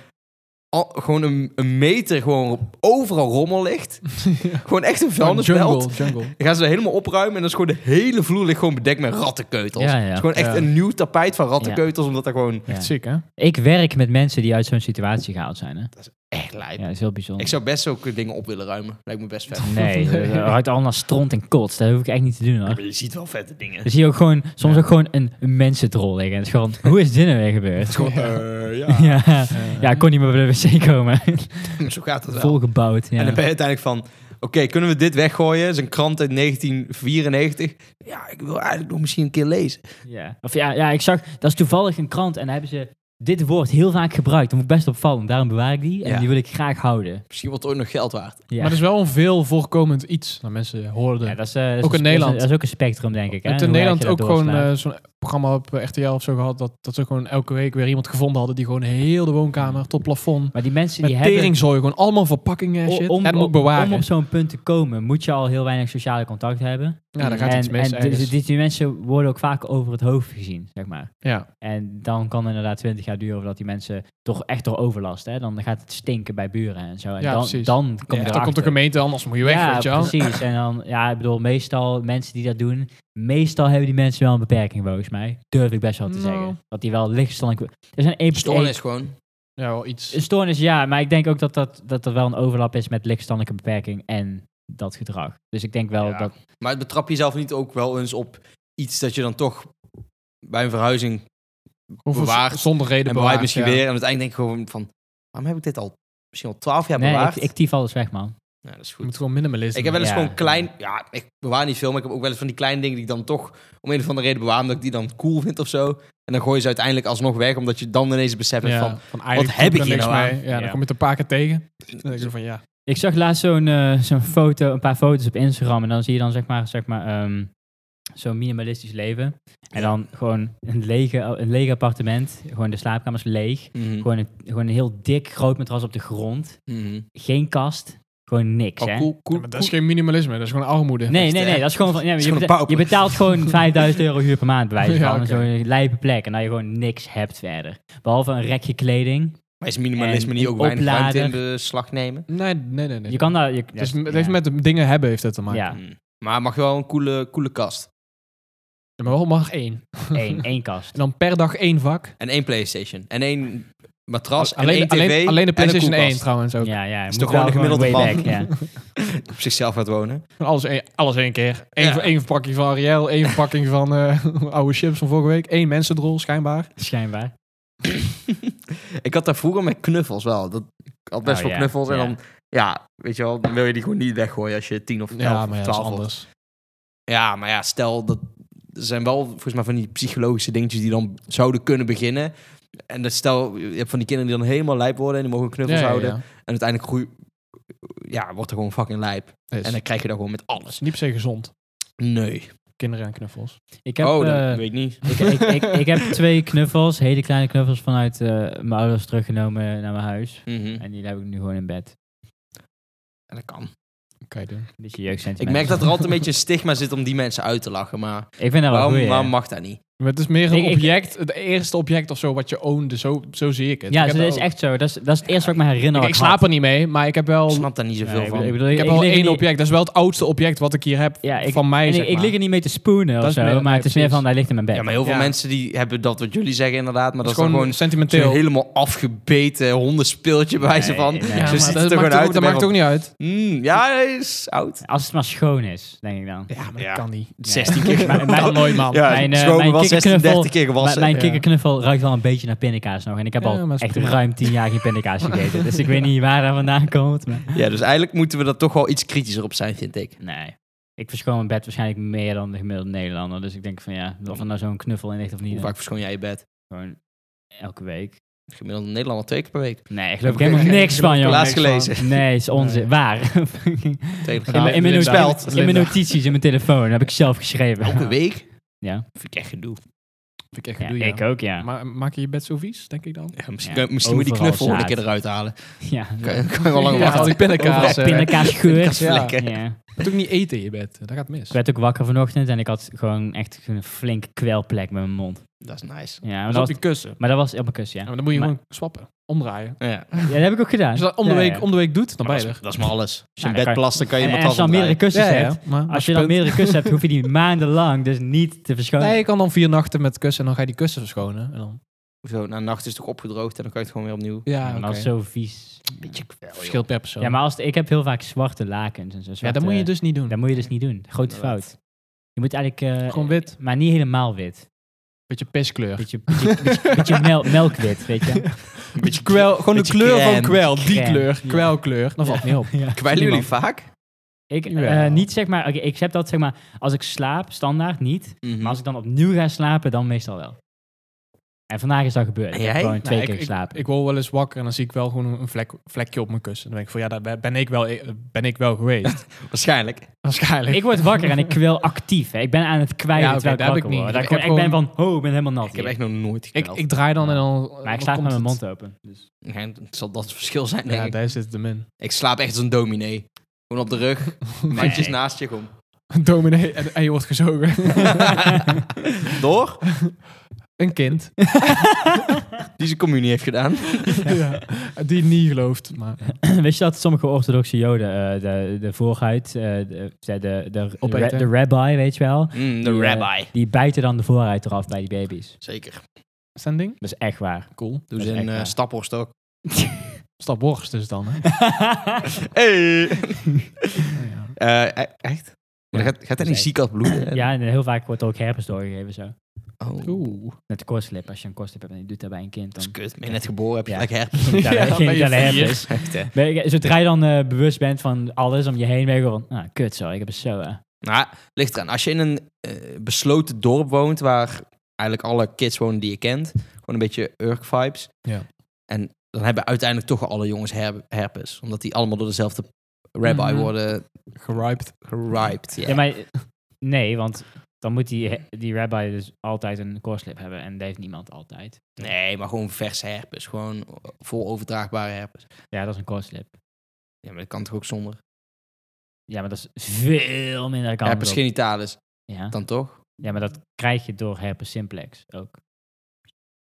[SPEAKER 2] al- gewoon een, een meter gewoon overal rommel ligt. Gewoon echt een vuilnisbelt.
[SPEAKER 3] jungle, jungle.
[SPEAKER 2] Dan gaan ze er helemaal opruimen en dan is gewoon de hele vloer ligt gewoon bedekt met rattenkeutels.
[SPEAKER 1] Ja, ja.
[SPEAKER 2] Het is gewoon echt
[SPEAKER 3] Ja.
[SPEAKER 2] een nieuw tapijt van rattenkeutels, omdat er gewoon
[SPEAKER 1] Ja.
[SPEAKER 3] Echt ziek, hè?
[SPEAKER 1] Ik werk met mensen die uit zo'n situatie gehaald zijn. Hè?
[SPEAKER 2] echt lijp.
[SPEAKER 1] Ja, dat is heel bijzonder.
[SPEAKER 2] Ik zou best ook eh, dingen op willen ruimen. Lijkt me best vet.
[SPEAKER 3] *laughs*
[SPEAKER 1] Nee,
[SPEAKER 3] Nee.
[SPEAKER 1] eh, eruit allemaal stront en kots. Dat hoef ik echt niet te doen, hoor.
[SPEAKER 2] je ziet wel vette dingen.
[SPEAKER 1] Dan zie je ook gewoon, soms ook gewoon een, een mensendrol liggen. Het
[SPEAKER 3] *laughs*
[SPEAKER 1] is gewoon, hoe is dit nou weer gebeurd?
[SPEAKER 2] Gewoon,
[SPEAKER 3] Ja.
[SPEAKER 2] eh, *laughs* ja.
[SPEAKER 1] *laughs* Ja, ja, ik kon niet meer bij de wc komen.
[SPEAKER 2] zo gaat het wel.
[SPEAKER 1] *laughs* Volgebouwd, ja.
[SPEAKER 2] En dan ben je uiteindelijk van... Oké, kunnen we dit weggooien? Het is een krant uit 1994. Ja, ik wil eigenlijk nog misschien een keer lezen.
[SPEAKER 1] Ja. Of ja, ja, ik zag, dat is toevallig een krant en daar hebben ze dit woord heel vaak gebruikt. Dat moet best opvallen, daarom bewaar ik die en
[SPEAKER 2] Ja.
[SPEAKER 1] die wil ik graag houden.
[SPEAKER 2] Misschien wordt het ooit nog geld waard.
[SPEAKER 1] Ja.
[SPEAKER 3] Maar het is wel een veel voorkomend iets dat mensen hoorden.
[SPEAKER 1] Ja, dat is, eh, dat is
[SPEAKER 3] Ook
[SPEAKER 1] een-
[SPEAKER 3] in Nederland.
[SPEAKER 1] Dat is ook een spectrum, denk ik.
[SPEAKER 3] Je
[SPEAKER 1] Hè?
[SPEAKER 3] hebt
[SPEAKER 1] hoe
[SPEAKER 3] in
[SPEAKER 1] laat
[SPEAKER 3] Nederland
[SPEAKER 1] je dat
[SPEAKER 3] ook gewoon
[SPEAKER 1] doorslaat.
[SPEAKER 3] eh, zo'n programma op eh, RTL of zo gehad. Dat, dat ze gewoon elke week weer iemand gevonden hadden. die gewoon heel de woonkamer tot plafond.
[SPEAKER 1] maar die mensen
[SPEAKER 3] met
[SPEAKER 1] die hebben...
[SPEAKER 3] teringzooi. Gewoon allemaal verpakkingen en shit.
[SPEAKER 1] om,
[SPEAKER 3] en ook
[SPEAKER 1] om-
[SPEAKER 3] bewaren.
[SPEAKER 1] om op zo'n punt te komen, moet je al heel weinig sociale contact hebben.
[SPEAKER 3] ja, daar gaat
[SPEAKER 1] en,
[SPEAKER 3] iets mis.
[SPEAKER 1] En dus-
[SPEAKER 3] ergens.
[SPEAKER 1] die, die mensen worden ook vaak over het hoofd gezien, zeg maar.
[SPEAKER 3] ja.
[SPEAKER 1] En dan kan het inderdaad 20 jaar duren voordat die mensen toch echt door overlast. Hè? Dan gaat het stinken bij buren en zo. En
[SPEAKER 3] Ja,
[SPEAKER 1] dan,
[SPEAKER 3] precies.
[SPEAKER 1] dan kom je
[SPEAKER 3] Ja, dan komt de
[SPEAKER 1] erachter.
[SPEAKER 3] gemeente, anders moet je weg.
[SPEAKER 1] ja,
[SPEAKER 3] weet je wel.
[SPEAKER 1] precies. En dan, ja, ik bedoel, meestal mensen die dat doen, meestal hebben die mensen wel een beperking volgens mij. Durf ik best wel te
[SPEAKER 3] Nou.
[SPEAKER 1] zeggen. Dat die wel lichtstand. Er zijn één
[SPEAKER 2] Stoornis gewoon.
[SPEAKER 3] Ja, wel iets.
[SPEAKER 1] Een stoornis, ja. Maar ik denk ook dat dat, dat er wel een overlap is met lichtstandelijke beperking en dat gedrag. Dus ik denk wel
[SPEAKER 2] Ja.
[SPEAKER 1] dat...
[SPEAKER 2] Maar betrap jezelf niet ook wel eens op iets dat je dan toch bij een verhuizing...
[SPEAKER 3] Of voor-
[SPEAKER 2] bewaard.
[SPEAKER 3] Zonder reden
[SPEAKER 2] en bewaart
[SPEAKER 3] bewaard,
[SPEAKER 2] misschien
[SPEAKER 3] ja.
[SPEAKER 2] weer. En uiteindelijk denk je gewoon van... Waarom heb ik dit al misschien al twaalf jaar
[SPEAKER 1] nee, ik,
[SPEAKER 2] bewaard?
[SPEAKER 1] ik tief alles weg, man.
[SPEAKER 2] Ja, dat is
[SPEAKER 3] Je
[SPEAKER 2] goed.
[SPEAKER 3] moet gewoon minimalist.
[SPEAKER 2] Ik heb wel eens
[SPEAKER 1] Ja.
[SPEAKER 2] gewoon klein... Ja, ik bewaar niet veel, maar ik heb ook wel eens van die kleine dingen... die ik dan toch om een of andere reden bewaar... omdat ik die dan cool vind of zo. En dan gooi je ze uiteindelijk alsnog weg... omdat je dan ineens beseft hebt van...
[SPEAKER 3] eigenlijk
[SPEAKER 2] heb
[SPEAKER 3] doe
[SPEAKER 2] ik
[SPEAKER 3] er
[SPEAKER 2] hier
[SPEAKER 3] niks
[SPEAKER 2] nou
[SPEAKER 3] mee. Ja,
[SPEAKER 1] Ja.
[SPEAKER 3] dan kom je het een paar keer tegen. Dan denk je zo van ja.
[SPEAKER 1] Ik zag laatst zo'n eh, zo'n foto, een paar foto's op Instagram. En dan zie je dan zeg maar, zeg maar ehm, zo'n minimalistisch leven. En dan gewoon een lege, een leeg appartement. Gewoon de slaapkamers leeg.
[SPEAKER 2] Hm.
[SPEAKER 1] Gewoon een, gewoon een heel dik groot matras op de grond.
[SPEAKER 2] Mhm.
[SPEAKER 1] Geen kast. Gewoon niks,
[SPEAKER 2] Oh,
[SPEAKER 1] hè?
[SPEAKER 2] cool,
[SPEAKER 3] Ja,
[SPEAKER 2] cool,
[SPEAKER 3] maar dat is geen minimalisme, dat is gewoon armoede.
[SPEAKER 1] Nee,
[SPEAKER 2] Echt,
[SPEAKER 1] nee,
[SPEAKER 2] hè?
[SPEAKER 1] nee. Dat is gewoon van, ja,
[SPEAKER 2] is
[SPEAKER 1] je,
[SPEAKER 2] gewoon een
[SPEAKER 1] betaalt,
[SPEAKER 2] pauper.
[SPEAKER 1] je betaalt
[SPEAKER 2] *laughs*
[SPEAKER 1] gewoon 5000 euro huur per maand bij wijze
[SPEAKER 3] Ja,
[SPEAKER 1] van.
[SPEAKER 3] oké.
[SPEAKER 1] Zo'n lijpe plek. En dat je gewoon niks hebt verder. Behalve een rekje kleding.
[SPEAKER 2] Maar is minimalisme
[SPEAKER 1] En
[SPEAKER 2] niet
[SPEAKER 1] een
[SPEAKER 2] ook weinig ruimte in
[SPEAKER 1] oplader.
[SPEAKER 2] beslag nemen?
[SPEAKER 3] Nee, nee, nee. nee.
[SPEAKER 1] Je kan daar... Je,
[SPEAKER 3] Dus
[SPEAKER 1] ja,
[SPEAKER 3] het heeft met de dingen hebben heeft het te maken.
[SPEAKER 2] *laughs*
[SPEAKER 1] Ja,
[SPEAKER 2] Mm. Maar mag je wel een coole, coole kast.
[SPEAKER 3] Ja, Maar wel mag één.
[SPEAKER 1] één, één kast.
[SPEAKER 3] En dan per dag één vak.
[SPEAKER 2] En één Playstation. En één matras.
[SPEAKER 3] alleen,
[SPEAKER 2] en één tv.
[SPEAKER 3] alleen, alleen de
[SPEAKER 2] en een
[SPEAKER 3] PlayStation 1
[SPEAKER 2] koelkast.
[SPEAKER 3] trouwens ook.
[SPEAKER 1] Ja, ja. Is
[SPEAKER 2] toch gewoon een gemiddelde
[SPEAKER 1] way
[SPEAKER 2] man?
[SPEAKER 1] back,
[SPEAKER 2] *laughs*
[SPEAKER 1] ja.
[SPEAKER 2] Op zichzelf gaat wonen.
[SPEAKER 3] Alles, één, alles één keer. Eén,
[SPEAKER 2] Ja.
[SPEAKER 3] voor- één verpakking van Ariel,
[SPEAKER 2] *laughs*
[SPEAKER 3] één verpakking van eh, *laughs* oude chips van vorige week. Eén mensendrol schijnbaar.
[SPEAKER 1] Schijnbaar.
[SPEAKER 2] Ik had daar vroeger met knuffels wel. Dat, ik had best
[SPEAKER 1] Oh,
[SPEAKER 2] veel
[SPEAKER 1] ja.
[SPEAKER 2] knuffels. En
[SPEAKER 1] Ja.
[SPEAKER 2] dan, ja, weet je wel, dan wil je die gewoon niet weggooien als je tien of elf
[SPEAKER 3] Ja,
[SPEAKER 2] of
[SPEAKER 3] maar ja, dat is
[SPEAKER 2] twaalf wordt.
[SPEAKER 3] anders.
[SPEAKER 2] Ja, maar ja, stel dat er zijn wel volgens mij van die psychologische dingetjes die dan zouden kunnen beginnen. En dat stel, je hebt van die kinderen die dan helemaal lijp worden en die mogen knuffels
[SPEAKER 3] Ja, ja, ja.
[SPEAKER 2] houden. En uiteindelijk groei, ja, wordt er gewoon fucking lijp.
[SPEAKER 3] Nee,
[SPEAKER 2] En
[SPEAKER 3] het
[SPEAKER 2] dan krijg je dat gewoon met alles.
[SPEAKER 3] is niet per se gezond.
[SPEAKER 2] Nee.
[SPEAKER 3] Kinderen aan knuffels.
[SPEAKER 1] Ik heb,
[SPEAKER 2] oh, dat
[SPEAKER 1] eh,
[SPEAKER 2] weet ik niet.
[SPEAKER 1] ik, ik, ik, ik heb twee knuffels, hele kleine knuffels vanuit eh, mijn ouders teruggenomen naar mijn huis.
[SPEAKER 2] *laughs* Mhm.
[SPEAKER 1] En die heb ik nu gewoon in bed.
[SPEAKER 2] En dat kan.
[SPEAKER 3] kan je doen.
[SPEAKER 1] Een beetje jeugdsentiment.
[SPEAKER 2] Ik merk dat er altijd een beetje een stigma zit om die mensen uit te lachen. Maar
[SPEAKER 1] Ik vind dat wel
[SPEAKER 2] waarom,
[SPEAKER 1] goed.
[SPEAKER 2] waarom mag dat niet?
[SPEAKER 3] Maar het is meer
[SPEAKER 1] Ik-
[SPEAKER 3] een
[SPEAKER 1] ik-
[SPEAKER 3] object, het eerste object of zo wat je ownde. Zo, zo zie ik het.
[SPEAKER 1] Ja,
[SPEAKER 3] Ik heb
[SPEAKER 1] zo, dat
[SPEAKER 3] dat
[SPEAKER 1] is
[SPEAKER 3] ook.
[SPEAKER 1] echt zo. Dat is, dat is het eerste wat ik me herinner.
[SPEAKER 3] Ik,
[SPEAKER 1] wat
[SPEAKER 3] ik
[SPEAKER 1] had.
[SPEAKER 3] slaap er niet mee, maar ik heb wel,
[SPEAKER 2] Ik snap daar niet zoveel
[SPEAKER 1] Nee, ik
[SPEAKER 2] van.
[SPEAKER 1] bedoel- ik bedoel,
[SPEAKER 3] ik heb
[SPEAKER 1] ik
[SPEAKER 3] wel
[SPEAKER 1] lig er
[SPEAKER 3] één
[SPEAKER 1] niet-
[SPEAKER 3] object. Dat is wel het oudste object wat ik hier heb
[SPEAKER 1] Ja, ik,
[SPEAKER 3] van mij.
[SPEAKER 1] en
[SPEAKER 3] zeg
[SPEAKER 1] ik, ik
[SPEAKER 3] maar.
[SPEAKER 1] lig er niet mee te spoenen
[SPEAKER 3] Dat
[SPEAKER 1] of
[SPEAKER 3] is
[SPEAKER 1] zo,
[SPEAKER 3] meer-
[SPEAKER 1] maar
[SPEAKER 3] nee,
[SPEAKER 1] het is meer
[SPEAKER 3] precies.
[SPEAKER 1] van, hij ligt in mijn bed.
[SPEAKER 2] ja, maar heel veel
[SPEAKER 3] Ja.
[SPEAKER 2] mensen die hebben dat wat jullie zeggen inderdaad. Maar
[SPEAKER 3] Het
[SPEAKER 2] dat
[SPEAKER 3] is gewoon,
[SPEAKER 2] gewoon
[SPEAKER 3] sentimenteel.
[SPEAKER 2] zo'n helemaal afgebeten hondenspultje bij wijze
[SPEAKER 1] Nee,
[SPEAKER 2] van.
[SPEAKER 1] nee.
[SPEAKER 2] Zo
[SPEAKER 1] Ja,
[SPEAKER 3] Ja,
[SPEAKER 1] maar
[SPEAKER 2] ziet
[SPEAKER 3] maar
[SPEAKER 2] het
[SPEAKER 3] dat
[SPEAKER 2] er
[SPEAKER 3] maakt
[SPEAKER 2] gewoon
[SPEAKER 3] ook-
[SPEAKER 2] uit.
[SPEAKER 3] dat
[SPEAKER 2] Ik ben
[SPEAKER 3] maakt ook niet uit.
[SPEAKER 2] van, "Hmm, ja, hij is oud.
[SPEAKER 1] Als het maar schoon is, denk ik
[SPEAKER 3] *laughs*
[SPEAKER 1] dan.
[SPEAKER 3] Ja, maar
[SPEAKER 2] Ja.
[SPEAKER 3] dat kan niet. *laughs*
[SPEAKER 1] *laughs*
[SPEAKER 2] 16 keer
[SPEAKER 1] Mijn-
[SPEAKER 3] Dat
[SPEAKER 1] mijn-
[SPEAKER 3] kan nooit, man.
[SPEAKER 2] Ja,
[SPEAKER 1] Mijn, eh,
[SPEAKER 2] schoon
[SPEAKER 1] mijn
[SPEAKER 2] was 16,
[SPEAKER 1] kikkerknuffel-
[SPEAKER 2] 30 keer
[SPEAKER 1] Mijn,
[SPEAKER 2] gewassen.
[SPEAKER 1] mijn
[SPEAKER 3] Ja.
[SPEAKER 1] kikkerknuffel ruikt wel een beetje naar pindakaas nog. En ik heb
[SPEAKER 3] Ja,
[SPEAKER 1] al
[SPEAKER 3] maar is
[SPEAKER 1] echt
[SPEAKER 3] prima.
[SPEAKER 1] ruim tien jaar geen pindakaas gegeten. Dus ik weet niet waar dat vandaan komt. Maar...
[SPEAKER 2] Ja, dus eigenlijk moeten we daar toch wel iets kritischer op zijn, vind ik.
[SPEAKER 1] Nee. Ik verschoon mijn bed waarschijnlijk meer dan de gemiddelde Nederlander. Dus ik denk van ja, of er nou zo'n knuffel in ligt of niet.
[SPEAKER 2] Hoe
[SPEAKER 1] dat-
[SPEAKER 2] vaak verschoon jij je bed?
[SPEAKER 1] Gewoon elke week.
[SPEAKER 2] Gemiddeld in Nederland al twee keer per week.
[SPEAKER 1] Nee, ik geloof ik
[SPEAKER 3] Oké,
[SPEAKER 1] helemaal
[SPEAKER 3] geen-
[SPEAKER 1] niks
[SPEAKER 3] geen-
[SPEAKER 1] van,
[SPEAKER 3] Ja,
[SPEAKER 1] joh.
[SPEAKER 2] Laatst
[SPEAKER 3] niks van.
[SPEAKER 2] gelezen.
[SPEAKER 1] Nee, is onzin.
[SPEAKER 3] Nee.
[SPEAKER 1] Waar? In
[SPEAKER 2] Telegraaf.
[SPEAKER 1] mijn- in mijn
[SPEAKER 3] Linda.
[SPEAKER 1] notities-
[SPEAKER 2] Speld.
[SPEAKER 1] in mijn
[SPEAKER 3] Linda.
[SPEAKER 1] notities, in mijn telefoon, heb ik zelf geschreven.
[SPEAKER 2] Elke week?
[SPEAKER 1] Ja.
[SPEAKER 2] Vind ik echt gedoe.
[SPEAKER 3] Vind ik echt
[SPEAKER 1] Ja,
[SPEAKER 3] gedoe, ja.
[SPEAKER 1] ik ook, ja.
[SPEAKER 3] Maar maak je je bed zo vies, denk ik dan?
[SPEAKER 2] Ja, misschien
[SPEAKER 1] Ja,
[SPEAKER 2] kan- misschien moet je die
[SPEAKER 1] overal
[SPEAKER 2] knuffel een
[SPEAKER 1] zaad.
[SPEAKER 2] keer eruit halen.
[SPEAKER 1] ja.
[SPEAKER 2] Kan *laughs* je, kan je wel lang
[SPEAKER 3] Ja, al
[SPEAKER 2] wachten.
[SPEAKER 3] die pindakaas.
[SPEAKER 1] Overal pindakaas geurt.
[SPEAKER 2] Pindakaasvlekken.
[SPEAKER 1] Ja.
[SPEAKER 3] Je moet ook niet eten in je bed. Daar gaat het mis.
[SPEAKER 1] Ik werd ook wakker vanochtend en ik had gewoon echt een flinke kwelplek met mijn mond.
[SPEAKER 2] Dat is nice.
[SPEAKER 1] Ja, maar
[SPEAKER 3] Dus
[SPEAKER 1] dat
[SPEAKER 3] op
[SPEAKER 1] was,
[SPEAKER 3] je kussen.
[SPEAKER 1] maar dat was op mijn kus,
[SPEAKER 3] Ja,
[SPEAKER 1] ja.
[SPEAKER 3] maar dan moet je
[SPEAKER 1] Maar-
[SPEAKER 3] gewoon swappen. Omdraaien.
[SPEAKER 2] Ja.
[SPEAKER 1] Ja, Dus dat heb ik ook gedaan.
[SPEAKER 3] Als je dat om de,
[SPEAKER 1] Ja,
[SPEAKER 3] week,
[SPEAKER 1] ja.
[SPEAKER 3] om de week doet, dan
[SPEAKER 2] Maar
[SPEAKER 3] ben
[SPEAKER 2] dat,
[SPEAKER 3] je
[SPEAKER 2] is,
[SPEAKER 3] er.
[SPEAKER 2] dat is maar alles. Als je
[SPEAKER 1] Ja,
[SPEAKER 2] in bed
[SPEAKER 1] dan kan-
[SPEAKER 2] plast, dan kan je
[SPEAKER 1] En-
[SPEAKER 2] met
[SPEAKER 1] en als
[SPEAKER 2] tas
[SPEAKER 1] je dan meerdere
[SPEAKER 2] omdraaien.
[SPEAKER 1] kussens
[SPEAKER 3] Ja, ja,
[SPEAKER 1] hebt,
[SPEAKER 3] maar-
[SPEAKER 1] als je dan meerdere kussens hebt,
[SPEAKER 3] *laughs*
[SPEAKER 1] hoef je die maandenlang dus niet te verschonen.
[SPEAKER 3] Nee, je kan dan vier nachten met kussen en dan ga je die kussen verschonen. En dan...
[SPEAKER 2] Zo, na een Nou, nacht is het toch opgedroogd en dan kan je het gewoon weer opnieuw.
[SPEAKER 1] Ja,
[SPEAKER 3] Ja,
[SPEAKER 1] maar
[SPEAKER 3] oké.
[SPEAKER 1] dat is zo vies.
[SPEAKER 2] Beetje kwel,
[SPEAKER 3] Verschilt per persoon.
[SPEAKER 1] Ah, Ja, maar als, ik heb heel vaak zwarte lakens en zo.
[SPEAKER 3] Ja,
[SPEAKER 1] zwarte-
[SPEAKER 3] dat moet je dus niet doen.
[SPEAKER 1] dat moet je dus niet doen. Grote
[SPEAKER 2] Inderdaad.
[SPEAKER 1] fout. Je moet eigenlijk... eh,
[SPEAKER 3] Gewoon wit.
[SPEAKER 1] Maar niet helemaal wit.
[SPEAKER 3] Beetje piskleur.
[SPEAKER 1] Beetje, beetje, *laughs* beetje, beetje mel- melkwit, weet *laughs* je.
[SPEAKER 2] Een beetje
[SPEAKER 3] Kwel, gewoon de
[SPEAKER 2] Beetje
[SPEAKER 3] kleur
[SPEAKER 2] crème.
[SPEAKER 3] van kwel. Die
[SPEAKER 1] Crème,
[SPEAKER 3] kleur.
[SPEAKER 1] ja.
[SPEAKER 3] Kwelkleur. Dan valt het niet op.
[SPEAKER 1] Ja.
[SPEAKER 2] Kwijlen jullie
[SPEAKER 3] Niemand.
[SPEAKER 2] vaak?
[SPEAKER 1] Ik, eh,
[SPEAKER 3] Jawel.
[SPEAKER 1] niet zeg maar... Oké, ik heb dat zeg maar... Als ik slaap, standaard niet. Maar als ik dan opnieuw ga slapen, dan meestal wel. En vandaag is dat gebeurd.
[SPEAKER 2] En
[SPEAKER 1] Ik heb
[SPEAKER 2] jij?
[SPEAKER 1] gewoon twee
[SPEAKER 3] Nou,
[SPEAKER 1] keer
[SPEAKER 3] ik, ik,
[SPEAKER 1] geslapen.
[SPEAKER 3] ik word wel eens wakker en dan zie ik wel gewoon een vlek, vlekje op mijn kussen. Dan denk ik van ja, daar ben- ben ik wel, e- ben ik wel *laughs* geweest.
[SPEAKER 2] Waarschijnlijk.
[SPEAKER 3] Waarschijnlijk.
[SPEAKER 1] Ik, word wakker en ik kwel actief. Hè. Ik ben aan het kwijlen
[SPEAKER 3] Ja, oké,
[SPEAKER 1] terwijl ik
[SPEAKER 3] dat heb ik
[SPEAKER 1] wakker
[SPEAKER 3] niet.
[SPEAKER 1] word. Dat
[SPEAKER 3] Ik
[SPEAKER 1] ik, gewoon-
[SPEAKER 3] heb
[SPEAKER 1] ik ben van, oh, ik ben helemaal nat
[SPEAKER 2] Ik heb
[SPEAKER 1] hier.
[SPEAKER 2] echt nog nooit
[SPEAKER 3] ik,
[SPEAKER 2] gekweld.
[SPEAKER 3] ik draai dan en dan.
[SPEAKER 1] Maar ik
[SPEAKER 3] dan
[SPEAKER 1] slaap
[SPEAKER 3] komt
[SPEAKER 1] met mijn
[SPEAKER 3] het.
[SPEAKER 1] mond open. *laughs* Dus.
[SPEAKER 2] Ja, het zal dat het verschil zijn, denk
[SPEAKER 3] Ja,
[SPEAKER 2] ik.
[SPEAKER 3] daar zit het hem in.
[SPEAKER 2] Ik slaap echt als een dominee. Gewoon op de
[SPEAKER 1] *laughs*
[SPEAKER 2] rug, handjes naast je, kom.
[SPEAKER 3] *laughs* Dominee en, en je wordt gezogen.
[SPEAKER 2] *laughs* Door?
[SPEAKER 3] *laughs* een kind
[SPEAKER 2] Die zijn communie heeft gedaan.
[SPEAKER 3] *laughs* ja, die niet gelooft. Maar
[SPEAKER 1] Wist je dat sommige orthodoxe joden eh, de, de voorhuid, eh, de, de, de, de,
[SPEAKER 3] Opeten.
[SPEAKER 1] de rabbi, weet je wel,
[SPEAKER 2] Mm, de
[SPEAKER 1] Die, eh,
[SPEAKER 2] rabbi.
[SPEAKER 1] die bijten dan de voorhuid eraf bij die baby's.
[SPEAKER 2] Zeker.
[SPEAKER 3] is dat een ding?
[SPEAKER 1] Dat is echt waar.
[SPEAKER 3] *laughs*
[SPEAKER 1] *laughs*
[SPEAKER 3] Cool. Dus
[SPEAKER 2] Doe
[SPEAKER 1] Dat
[SPEAKER 2] ze
[SPEAKER 1] is
[SPEAKER 2] een
[SPEAKER 1] echt
[SPEAKER 2] eh,
[SPEAKER 1] waar.
[SPEAKER 2] staphorst ook.
[SPEAKER 3] Stap worst dus dan. Hè?
[SPEAKER 2] *laughs* Hey.
[SPEAKER 3] Oh, ja.
[SPEAKER 2] Eh, e- echt? Maar
[SPEAKER 1] Ja.
[SPEAKER 2] gaat, gaat dat niet
[SPEAKER 1] Zeker.
[SPEAKER 2] ziek als bloeden?
[SPEAKER 1] ja, en heel vaak wordt er ook herpes doorgegeven zo.
[SPEAKER 2] Oh, dat
[SPEAKER 3] Oeh.
[SPEAKER 1] Met de kortslip. Als je een kortslip hebt en je doet dat bij een kind, dan
[SPEAKER 2] is kut. Ben je net geboren, heb je
[SPEAKER 1] Ja. *laughs*
[SPEAKER 2] lekker
[SPEAKER 1] Ja,
[SPEAKER 2] *laughs* herpes.
[SPEAKER 1] dat
[SPEAKER 3] Ja,
[SPEAKER 1] geen
[SPEAKER 3] ben je
[SPEAKER 1] tellen
[SPEAKER 3] vier?
[SPEAKER 1] herpes.
[SPEAKER 2] Echt, hè?
[SPEAKER 1] Ben je- Zodra je dan eh, bewust bent van alles om je heen, ben je gewoon van, ah, kut zo, ik heb een zo. hè.
[SPEAKER 2] Nou, ligt eraan. Als je in een eh, besloten dorp woont, waar eigenlijk alle kids wonen die je kent, gewoon een beetje Urk vibes.
[SPEAKER 3] Ja.
[SPEAKER 2] En dan hebben uiteindelijk toch alle jongens her- herpes, omdat die allemaal door dezelfde rabbi
[SPEAKER 1] Mhm.
[SPEAKER 2] worden
[SPEAKER 3] Geriped.
[SPEAKER 2] geriped. Ja.
[SPEAKER 1] Ja, maar
[SPEAKER 2] *laughs*
[SPEAKER 1] eh, nee, want dan moet die, die rabbi dus altijd een kortslip hebben en dat heeft niemand altijd.
[SPEAKER 2] Nee, maar gewoon verse herpes, gewoon vol overdraagbare herpes.
[SPEAKER 1] Ja, dat is een kortslip.
[SPEAKER 2] Ja, maar dat kan toch ook zonder.
[SPEAKER 1] Ja, maar dat is veel minder kans.
[SPEAKER 2] herpes genitalis,
[SPEAKER 1] Ja.
[SPEAKER 2] dan toch?
[SPEAKER 1] ja, maar dat krijg je door herpes simplex ook.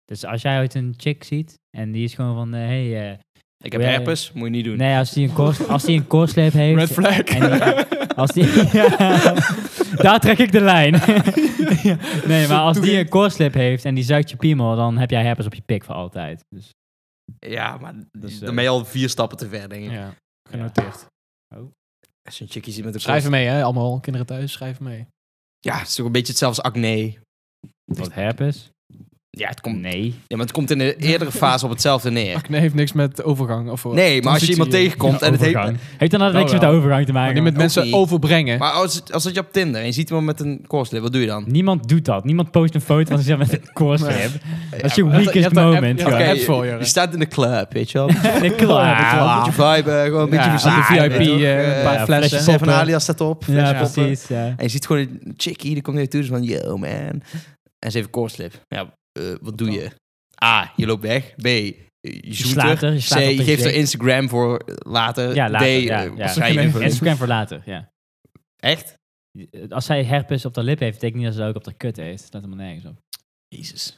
[SPEAKER 1] Dus als jij ooit een chick ziet en die is gewoon van, eh, hey, eh,
[SPEAKER 2] Ik heb
[SPEAKER 1] Ja, ja.
[SPEAKER 2] herpes, moet je niet doen.
[SPEAKER 1] nee, als die een, kors, als die een kortslip heeft...
[SPEAKER 3] Red flag.
[SPEAKER 1] En die- als die, *laughs* Ja, daar trek ik de lijn. *laughs* Ja, nee, maar als die een korslip heeft en die zuigt je piemel, dan heb jij herpes op je pik voor altijd. Dus,
[SPEAKER 2] Ja, maar
[SPEAKER 1] Dus, eh,
[SPEAKER 2] dan ben je al vier stappen te ver, denk ik.
[SPEAKER 3] *laughs* Ja, genoteerd.
[SPEAKER 2] Als je een chickie ziet met een
[SPEAKER 3] Schrijven
[SPEAKER 2] korst-
[SPEAKER 3] mee, hè? Allemaal kinderen thuis, schrijven mee.
[SPEAKER 2] Ja, het is toch een beetje hetzelfde als acne. Dus
[SPEAKER 1] wat herpes?
[SPEAKER 2] Ja, het komt
[SPEAKER 1] Nee.
[SPEAKER 2] Ja, maar het komt in de eerdere fase op hetzelfde neer.
[SPEAKER 3] Acne heeft niks met overgang. Of, eh,
[SPEAKER 2] Nee, maar als je iemand tegenkomt en het heeft...
[SPEAKER 1] Overgang. Heeft dan dat
[SPEAKER 3] Nou
[SPEAKER 1] niks met de
[SPEAKER 3] wel.
[SPEAKER 1] overgang te
[SPEAKER 3] Maar
[SPEAKER 1] maken?
[SPEAKER 3] niet met
[SPEAKER 2] ook
[SPEAKER 3] mensen
[SPEAKER 2] niet.
[SPEAKER 3] overbrengen.
[SPEAKER 2] Maar als, het- als dat je op Tinder en je ziet iemand met een korslip, wat doe je dan?
[SPEAKER 1] Niemand doet dat. Niemand post een foto van zichzelf met een korslip. Dat is je
[SPEAKER 2] Ja,
[SPEAKER 1] weakest
[SPEAKER 3] je hebt een app-
[SPEAKER 1] moment.
[SPEAKER 3] je hebt
[SPEAKER 1] gewoon.
[SPEAKER 3] een app voor je,
[SPEAKER 2] je,
[SPEAKER 3] hè?
[SPEAKER 2] staat in de club, weet je wel. Een
[SPEAKER 1] Nee, klaar.
[SPEAKER 2] beetje viben, eh, gewoon een beetje
[SPEAKER 3] Ja,
[SPEAKER 2] verzamelen.
[SPEAKER 3] aan de
[SPEAKER 2] weet je
[SPEAKER 3] VIP,
[SPEAKER 2] wel.
[SPEAKER 3] eh, een paar
[SPEAKER 2] Eh,
[SPEAKER 1] flessen.
[SPEAKER 2] flesje
[SPEAKER 1] poppen.
[SPEAKER 2] Seven Alias staat op.
[SPEAKER 1] Ja,
[SPEAKER 2] flesje poppen.
[SPEAKER 1] precies. ja.
[SPEAKER 2] En je ziet gewoon een chickie, die komt naar je toe, dus van, yo man. En ze heeft een korslip. Ja, eh, wat doe je? A, je loopt weg. B, je
[SPEAKER 1] Je
[SPEAKER 2] zoet
[SPEAKER 1] slaat
[SPEAKER 2] er.
[SPEAKER 1] er, je slaat
[SPEAKER 2] C,
[SPEAKER 1] op
[SPEAKER 2] je
[SPEAKER 1] de
[SPEAKER 2] geeft
[SPEAKER 1] zee.
[SPEAKER 2] er Instagram voor later.
[SPEAKER 1] Ja, later,
[SPEAKER 2] D,
[SPEAKER 1] ja,
[SPEAKER 2] eh,
[SPEAKER 1] ja.
[SPEAKER 2] waarschijnlijk
[SPEAKER 1] *laughs*
[SPEAKER 2] voor-
[SPEAKER 1] Instagram voor later, ja.
[SPEAKER 2] Echt?
[SPEAKER 1] Als zij herpes op haar lip heeft, betekent niet dat ze dat ook op haar kut heeft. Dat staat helemaal nergens op.
[SPEAKER 2] Jezus.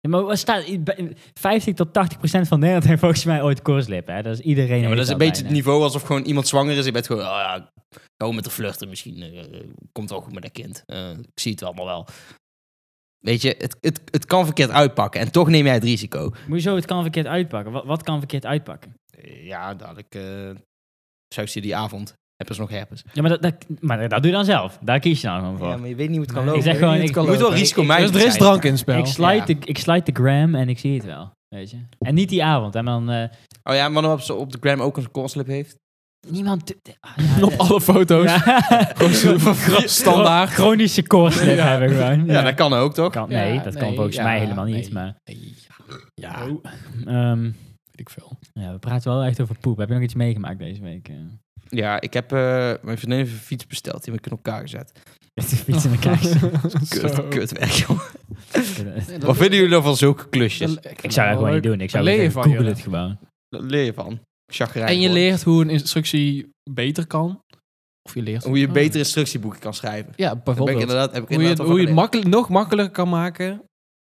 [SPEAKER 1] Ja, maar wat staat, bij- 50 tot 80 procent van Nederland heeft volgens mij ooit koortslip. Hè? Dat is iedereen.
[SPEAKER 2] Ja, maar dat
[SPEAKER 1] heeft
[SPEAKER 2] is een beetje het
[SPEAKER 1] bijna.
[SPEAKER 2] niveau alsof gewoon iemand zwanger is. Je bent gewoon, oh ja, gewoon met de flirten misschien. eh, eh, komt wel goed met dat kind. Eh, ik zie het allemaal wel. Weet je, het, het, het kan verkeerd uitpakken. En toch neem jij het risico.
[SPEAKER 1] Hoezo, het kan verkeerd uitpakken. Wat, wat kan verkeerd uitpakken?
[SPEAKER 2] Eh, Ja, dadelijk eh zuigt ze die avond. Hebben ze nog herpes.
[SPEAKER 1] Ja, maar dat, dat, maar dat doe je dan zelf. Daar kies je dan gewoon voor.
[SPEAKER 2] Ja, maar je weet niet hoe het kan
[SPEAKER 3] Nee,
[SPEAKER 2] lopen.
[SPEAKER 1] ik zeg
[SPEAKER 3] weet
[SPEAKER 1] gewoon,
[SPEAKER 3] niet,
[SPEAKER 1] ik,
[SPEAKER 3] het kan
[SPEAKER 2] Je moet wel
[SPEAKER 3] lopen.
[SPEAKER 2] risico
[SPEAKER 3] Er is,
[SPEAKER 2] mijden.
[SPEAKER 3] er is
[SPEAKER 2] zijn.
[SPEAKER 3] drank in het spel.
[SPEAKER 1] ik, slide
[SPEAKER 2] Ja.
[SPEAKER 1] de, ik slide de gram en ik zie het wel. Weet je. En niet die avond. Hè, maar dan, eh,
[SPEAKER 2] Oh ja, maar dan op, ze op de gram ook een koolslip heeft.
[SPEAKER 1] niemand... ah,
[SPEAKER 2] *laughs*
[SPEAKER 1] ja,
[SPEAKER 3] Op
[SPEAKER 1] dat-
[SPEAKER 3] alle foto's.
[SPEAKER 1] Ja.
[SPEAKER 3] Gewoon Standaard.
[SPEAKER 1] Chronische koortslip
[SPEAKER 3] Ja.
[SPEAKER 1] hebben gewoon.
[SPEAKER 2] Ja, dat kan ook, toch?
[SPEAKER 1] Kan- nee,
[SPEAKER 3] Ja,
[SPEAKER 1] dat kan
[SPEAKER 3] nee,
[SPEAKER 1] volgens
[SPEAKER 3] ja,
[SPEAKER 1] mij helemaal
[SPEAKER 3] nee.
[SPEAKER 1] niet. Maar,
[SPEAKER 3] Ja,
[SPEAKER 1] Oh. ehm,
[SPEAKER 3] weet ik veel.
[SPEAKER 1] ja, we praten wel echt over poep. Heb je nog iets meegemaakt deze *laughs* week? eh?
[SPEAKER 2] Ja, ik heb... eh, mijn vriendin heeft een fiets besteld. Die heb ik in elkaar gezet.
[SPEAKER 1] Met de fiets in
[SPEAKER 3] *laughs*
[SPEAKER 1] elkaar. *laughs*
[SPEAKER 2] Kut,
[SPEAKER 3] Zo.
[SPEAKER 2] kut *laughs* werk, joh.
[SPEAKER 3] Nee, dat-
[SPEAKER 2] Wat vinden jullie dan van zulke klusjes?
[SPEAKER 3] dat-
[SPEAKER 1] ik zou dat gewoon niet doen. Ik zou
[SPEAKER 3] Dan leer je
[SPEAKER 1] zeggen,
[SPEAKER 3] van
[SPEAKER 1] Google
[SPEAKER 3] je.
[SPEAKER 1] het
[SPEAKER 3] *laughs*
[SPEAKER 1] gewoon.
[SPEAKER 2] Dat leer je van. Chagrijn.
[SPEAKER 3] En je
[SPEAKER 2] hoor.
[SPEAKER 3] leert hoe een instructie beter kan. Of je leert...
[SPEAKER 2] Hoe je beter instructieboeken kan schrijven.
[SPEAKER 3] Ja,
[SPEAKER 2] Dat ben ik
[SPEAKER 3] Ah. bijvoorbeeld.
[SPEAKER 2] inderdaad, heb ik
[SPEAKER 3] Hoe je het,
[SPEAKER 2] inderdaad wel
[SPEAKER 3] hoe je het
[SPEAKER 2] geleerd.
[SPEAKER 3] makkelijk, nog makkelijker kan maken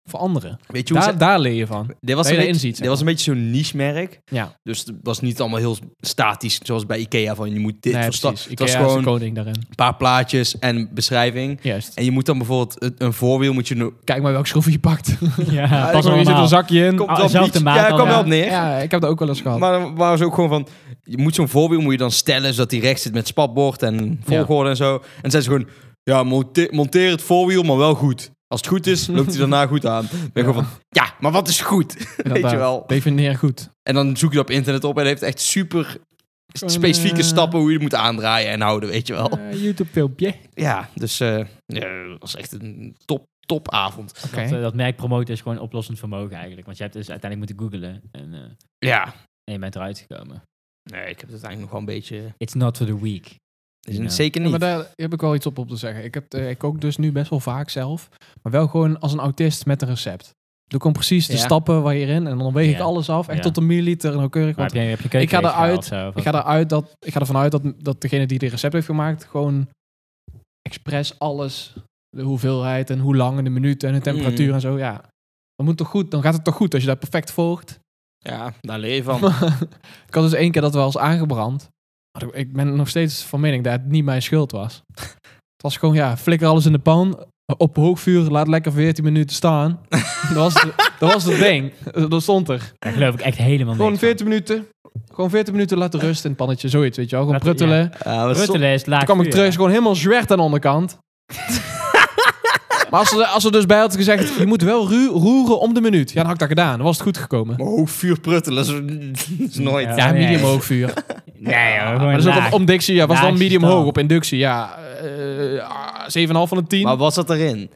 [SPEAKER 3] voor anderen.
[SPEAKER 2] Weet je hoe
[SPEAKER 3] Daar,
[SPEAKER 2] ze-
[SPEAKER 3] daar leer je van. dat
[SPEAKER 2] dit was, een
[SPEAKER 3] je
[SPEAKER 2] beetje,
[SPEAKER 3] erin ziet,
[SPEAKER 2] dit
[SPEAKER 3] zeg
[SPEAKER 2] was een beetje zo'n niche-merk.
[SPEAKER 3] Ja.
[SPEAKER 2] Dus het was niet allemaal heel statisch, zoals bij Ikea, van je moet dit
[SPEAKER 3] nee,
[SPEAKER 2] verstaan.
[SPEAKER 3] precies.
[SPEAKER 2] Het
[SPEAKER 3] Ikea
[SPEAKER 2] was
[SPEAKER 3] is de
[SPEAKER 2] gewoon
[SPEAKER 3] koning daarin.
[SPEAKER 2] een paar plaatjes en beschrijving.
[SPEAKER 3] Juist.
[SPEAKER 2] En je moet dan bijvoorbeeld een, een voorwiel moet je... no-
[SPEAKER 3] Kijk maar welk schroefje je pakt. *laughs*
[SPEAKER 1] Ja,
[SPEAKER 3] Pas
[SPEAKER 1] pas
[SPEAKER 3] maar, je zit
[SPEAKER 1] allemaal.
[SPEAKER 3] een zakje in.
[SPEAKER 1] Ah,
[SPEAKER 2] op
[SPEAKER 1] zelfde
[SPEAKER 2] iets-
[SPEAKER 1] maat
[SPEAKER 2] Ja,
[SPEAKER 1] dan,
[SPEAKER 2] kwam
[SPEAKER 1] ja.
[SPEAKER 2] wel op neer.
[SPEAKER 3] Ja, ik heb dat ook wel eens gehad.
[SPEAKER 2] Maar dan waren ze ook gewoon van... Je moet zo'n voorwiel moet je dan stellen... zodat die recht zit met spatbord en volgorde en zo. En dan zijn ze gewoon... Ja, monte- monteer het voorwiel, maar wel goed. Als het goed is, loopt hij daarna goed aan. Dan ben ik gewoon van... Ja, maar wat is goed? Weet
[SPEAKER 3] Inderdaad.
[SPEAKER 2] je wel.
[SPEAKER 3] Defineer goed.
[SPEAKER 2] En dan zoek je dat op internet op... en het heeft echt super specifieke
[SPEAKER 3] Eh,
[SPEAKER 2] stappen... hoe je het moet aandraaien en houden, weet je wel.
[SPEAKER 3] eh, YouTube filmpje.
[SPEAKER 2] *laughs* Ja, dus... eh ja, dat was echt een top, topavond.
[SPEAKER 3] Oké.
[SPEAKER 1] Dat, eh, dat merk promoten is gewoon oplossend vermogen eigenlijk. Want je hebt dus uiteindelijk moeten googlen en, eh,
[SPEAKER 2] Ja.
[SPEAKER 1] en je bent eruit gekomen.
[SPEAKER 2] Nee, ik heb het eigenlijk nog wel een beetje...
[SPEAKER 1] It's not for the weak.
[SPEAKER 2] Is
[SPEAKER 1] Ja.
[SPEAKER 2] het Zeker
[SPEAKER 3] Ja,
[SPEAKER 2] niet.
[SPEAKER 3] maar daar heb ik wel iets op, op te zeggen. Ik, heb, eh, ik kook dus nu best wel vaak zelf. Maar wel gewoon als een autist met een recept. Doe ik gewoon precies de
[SPEAKER 2] Ja.
[SPEAKER 3] stappen waar je in. En dan weeg ik
[SPEAKER 1] Ja.
[SPEAKER 3] alles af. Echt
[SPEAKER 1] Ja.
[SPEAKER 3] tot een milliliter nauwkeurig.
[SPEAKER 1] Maar
[SPEAKER 3] Want
[SPEAKER 1] heb je, heb je keuken
[SPEAKER 3] ik ga
[SPEAKER 1] leeg gehaald
[SPEAKER 3] eruit.
[SPEAKER 1] zo, of
[SPEAKER 3] ik ga,
[SPEAKER 1] wat?
[SPEAKER 3] eruit dat, ik ga ervan uit dat, dat degene die dit recept heeft gemaakt... gewoon expres alles. De hoeveelheid en hoe lang en de minuten en de temperatuur
[SPEAKER 2] Mm.
[SPEAKER 3] en zo. Ja, dan, moet het toch goed, dan gaat het toch goed als je dat perfect volgt.
[SPEAKER 2] Ja, daar leer je
[SPEAKER 3] *laughs*
[SPEAKER 2] van.
[SPEAKER 3] ik had dus één keer dat wel eens aangebrand. Maar ik ben nog steeds van mening dat het niet mijn schuld was. het was gewoon, ja, flikker alles in de pan. Op hoog vuur, laat lekker 14 minuten
[SPEAKER 1] *laughs*
[SPEAKER 3] staan. dat, was de- dat was het ding. Dat stond er.
[SPEAKER 1] Daar geloof ik echt helemaal
[SPEAKER 3] Gewoon
[SPEAKER 1] niks van.
[SPEAKER 3] 14 minuten. Gewoon 14 minuten laten rusten in het pannetje. Zoiets, weet je wel. Gewoon
[SPEAKER 1] Laten-
[SPEAKER 3] pruttelen.
[SPEAKER 2] Ja, maar soms-
[SPEAKER 1] Ruttelen is laag
[SPEAKER 3] Toen kwam ik
[SPEAKER 1] vuur.
[SPEAKER 3] terug, is gewoon helemaal zwert aan de
[SPEAKER 1] *laughs*
[SPEAKER 3] onderkant. maar als ze, als ze dus bij had gezegd, je moet wel ru- roeren om de minuut. Ja, dan had ik dat gedaan. Dan was het goed gekomen.
[SPEAKER 2] Maar hoog vuur pruttelen is, is nooit.
[SPEAKER 1] Ja.
[SPEAKER 3] Ja, medium
[SPEAKER 1] nee.
[SPEAKER 3] hoog vuur.
[SPEAKER 1] Nee, hoor, gewoon
[SPEAKER 3] Maar dat is
[SPEAKER 1] laag.
[SPEAKER 3] op, op dictie, ja, was dan
[SPEAKER 1] Laagste
[SPEAKER 3] medium
[SPEAKER 1] stand.
[SPEAKER 3] hoog. Op inductie, ja. eh, ah, 7,5 van de 10.
[SPEAKER 2] Maar wat zat erin?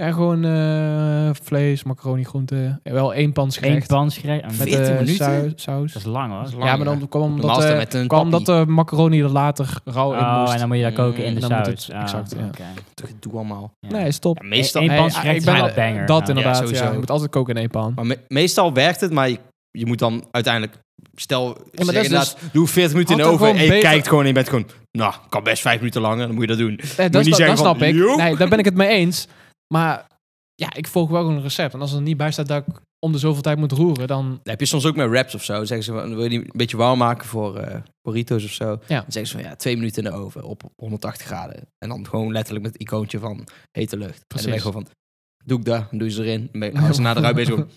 [SPEAKER 3] En gewoon eh, vlees, macaroni, groenten. En wel één
[SPEAKER 1] Eén
[SPEAKER 3] pansgerecht.
[SPEAKER 1] pansgerecht.
[SPEAKER 3] met
[SPEAKER 2] 14
[SPEAKER 3] eh,
[SPEAKER 2] minuten?
[SPEAKER 3] sau-
[SPEAKER 1] Dat
[SPEAKER 3] saus.
[SPEAKER 1] is lang hoor.
[SPEAKER 2] Dat is lang,
[SPEAKER 3] Ja, maar dan kwam
[SPEAKER 2] Normaal
[SPEAKER 3] omdat,
[SPEAKER 2] is dat
[SPEAKER 3] eh,
[SPEAKER 2] met een
[SPEAKER 3] kwam dat
[SPEAKER 2] pappie.
[SPEAKER 3] de macaroni er later rauw in
[SPEAKER 1] Oh,
[SPEAKER 3] moest.
[SPEAKER 1] en dan moet je dat koken in de
[SPEAKER 3] En dan moet
[SPEAKER 1] saus. Ah,
[SPEAKER 3] het- exact, ja.
[SPEAKER 1] oké.
[SPEAKER 2] Toch, het doe allemaal. Eh,
[SPEAKER 1] Ja.
[SPEAKER 3] Nee, stop.
[SPEAKER 2] Ja, meestal,
[SPEAKER 1] Eén
[SPEAKER 3] Nee,
[SPEAKER 1] pansgerecht
[SPEAKER 3] ik
[SPEAKER 1] is
[SPEAKER 3] ben-
[SPEAKER 1] wel een banger.
[SPEAKER 3] Dat
[SPEAKER 1] Ja.
[SPEAKER 3] inderdaad, ja,
[SPEAKER 2] sowieso.
[SPEAKER 3] Je moet altijd koken in één pan.
[SPEAKER 2] maar me- meestal werkt het, maar je, je moet dan uiteindelijk... Stel,
[SPEAKER 3] dat
[SPEAKER 2] ze
[SPEAKER 3] is dus-
[SPEAKER 2] zeggen inderdaad, doe 40 minuten in de
[SPEAKER 3] Had er
[SPEAKER 2] oven en
[SPEAKER 3] gewoon
[SPEAKER 2] je
[SPEAKER 3] beter-
[SPEAKER 2] kijkt gewoon en je bent gewoon... Nou, kan best 5 minuten langer, dan moet je dat doen.
[SPEAKER 3] Eh, dat
[SPEAKER 2] Moet je niet
[SPEAKER 3] sta-
[SPEAKER 2] zeggen
[SPEAKER 3] dat
[SPEAKER 2] van,
[SPEAKER 3] snap ik.
[SPEAKER 2] "Joep."
[SPEAKER 3] Nee, daar ben ik het mee eens. Maar ja, ik volg wel gewoon een recept. En als er niet bij staat dat ik om de zoveel tijd moet roeren, dan...
[SPEAKER 2] Dat heb je soms ook met wraps of zo. Dan zeggen ze, van, wil je die een beetje warm maken voor eh burritos of zo?
[SPEAKER 3] Ja.
[SPEAKER 2] Dan zeggen ze van, ja, twee minuten in de oven op 180 graden. En dan gewoon letterlijk met het icoontje van hete lucht. En
[SPEAKER 3] Precies.
[SPEAKER 2] dan ben je gewoon van, doe ik dat, dan doe je ze erin. Dan ben
[SPEAKER 3] *laughs*
[SPEAKER 2] je, als ze na de ruimte bezig gewoon,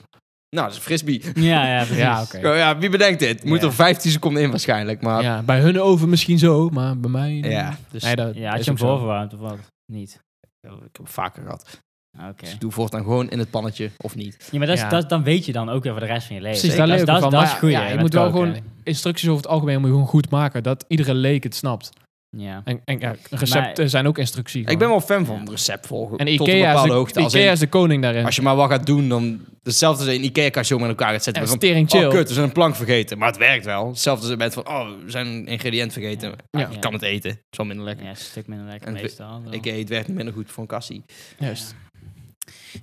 [SPEAKER 2] nou, dat is een frisbee.
[SPEAKER 1] Ja, ja, precies.
[SPEAKER 3] Ja, oké.
[SPEAKER 2] Ja, Oh, ja, wie bedenkt dit? Moet
[SPEAKER 1] Ja.
[SPEAKER 2] er 15 seconden in waarschijnlijk, maar...
[SPEAKER 3] Ja, bij hun oven misschien zo, maar bij mij...
[SPEAKER 2] Ja, dus
[SPEAKER 3] Nee, dat
[SPEAKER 1] Ja, had
[SPEAKER 3] is
[SPEAKER 1] je hem
[SPEAKER 3] ook zo.
[SPEAKER 1] voorverwarmd of wat? Niet.
[SPEAKER 2] Ja, ik heb het vaker gehad.
[SPEAKER 1] Ah, Oké.
[SPEAKER 2] Dus ik doe voortaan gewoon in het pannetje of niet.
[SPEAKER 1] Ja, maar dat is,
[SPEAKER 3] Ja.
[SPEAKER 1] dat, dan weet je dan ook weer voor de rest van je leven.
[SPEAKER 3] Precies,
[SPEAKER 2] daar
[SPEAKER 1] dat,
[SPEAKER 3] leer ik
[SPEAKER 1] dat,
[SPEAKER 3] van.
[SPEAKER 1] dat is
[SPEAKER 3] Maar
[SPEAKER 1] goed.
[SPEAKER 3] ja, je moet wel gewoon- Instructies over het algemeen moet je gewoon goed maken. Dat iedere leek het snapt.
[SPEAKER 1] Ja.
[SPEAKER 3] En, en ja, recepten zijn ook instructies.
[SPEAKER 2] Ik ben wel fan
[SPEAKER 1] Ja.
[SPEAKER 2] van het recept volgen.
[SPEAKER 3] en
[SPEAKER 2] tot
[SPEAKER 3] Ikea,
[SPEAKER 2] een
[SPEAKER 3] is,
[SPEAKER 2] bepaalde
[SPEAKER 3] de,
[SPEAKER 2] hoogte. Als,
[SPEAKER 3] Ikea
[SPEAKER 2] in-
[SPEAKER 3] is de koning daarin.
[SPEAKER 2] als je maar wat gaat doen, dan hetzelfde als in Ikea kan je zo met elkaar gaat zetten.
[SPEAKER 3] Ja,
[SPEAKER 2] Maar van,
[SPEAKER 3] stering chill.
[SPEAKER 2] Oh, kut, we zijn een plank vergeten. Maar het werkt wel. Hetzelfde als met van, oh, we zijn een ingrediënt vergeten.
[SPEAKER 3] Ja.
[SPEAKER 2] Ja, ik kan het eten. Het is wel minder lekker.
[SPEAKER 1] Ja, is een stuk minder lekker
[SPEAKER 2] En het-
[SPEAKER 1] meestal. dan-
[SPEAKER 2] Ikea, het werkt minder goed voor een kassie.
[SPEAKER 3] Juist.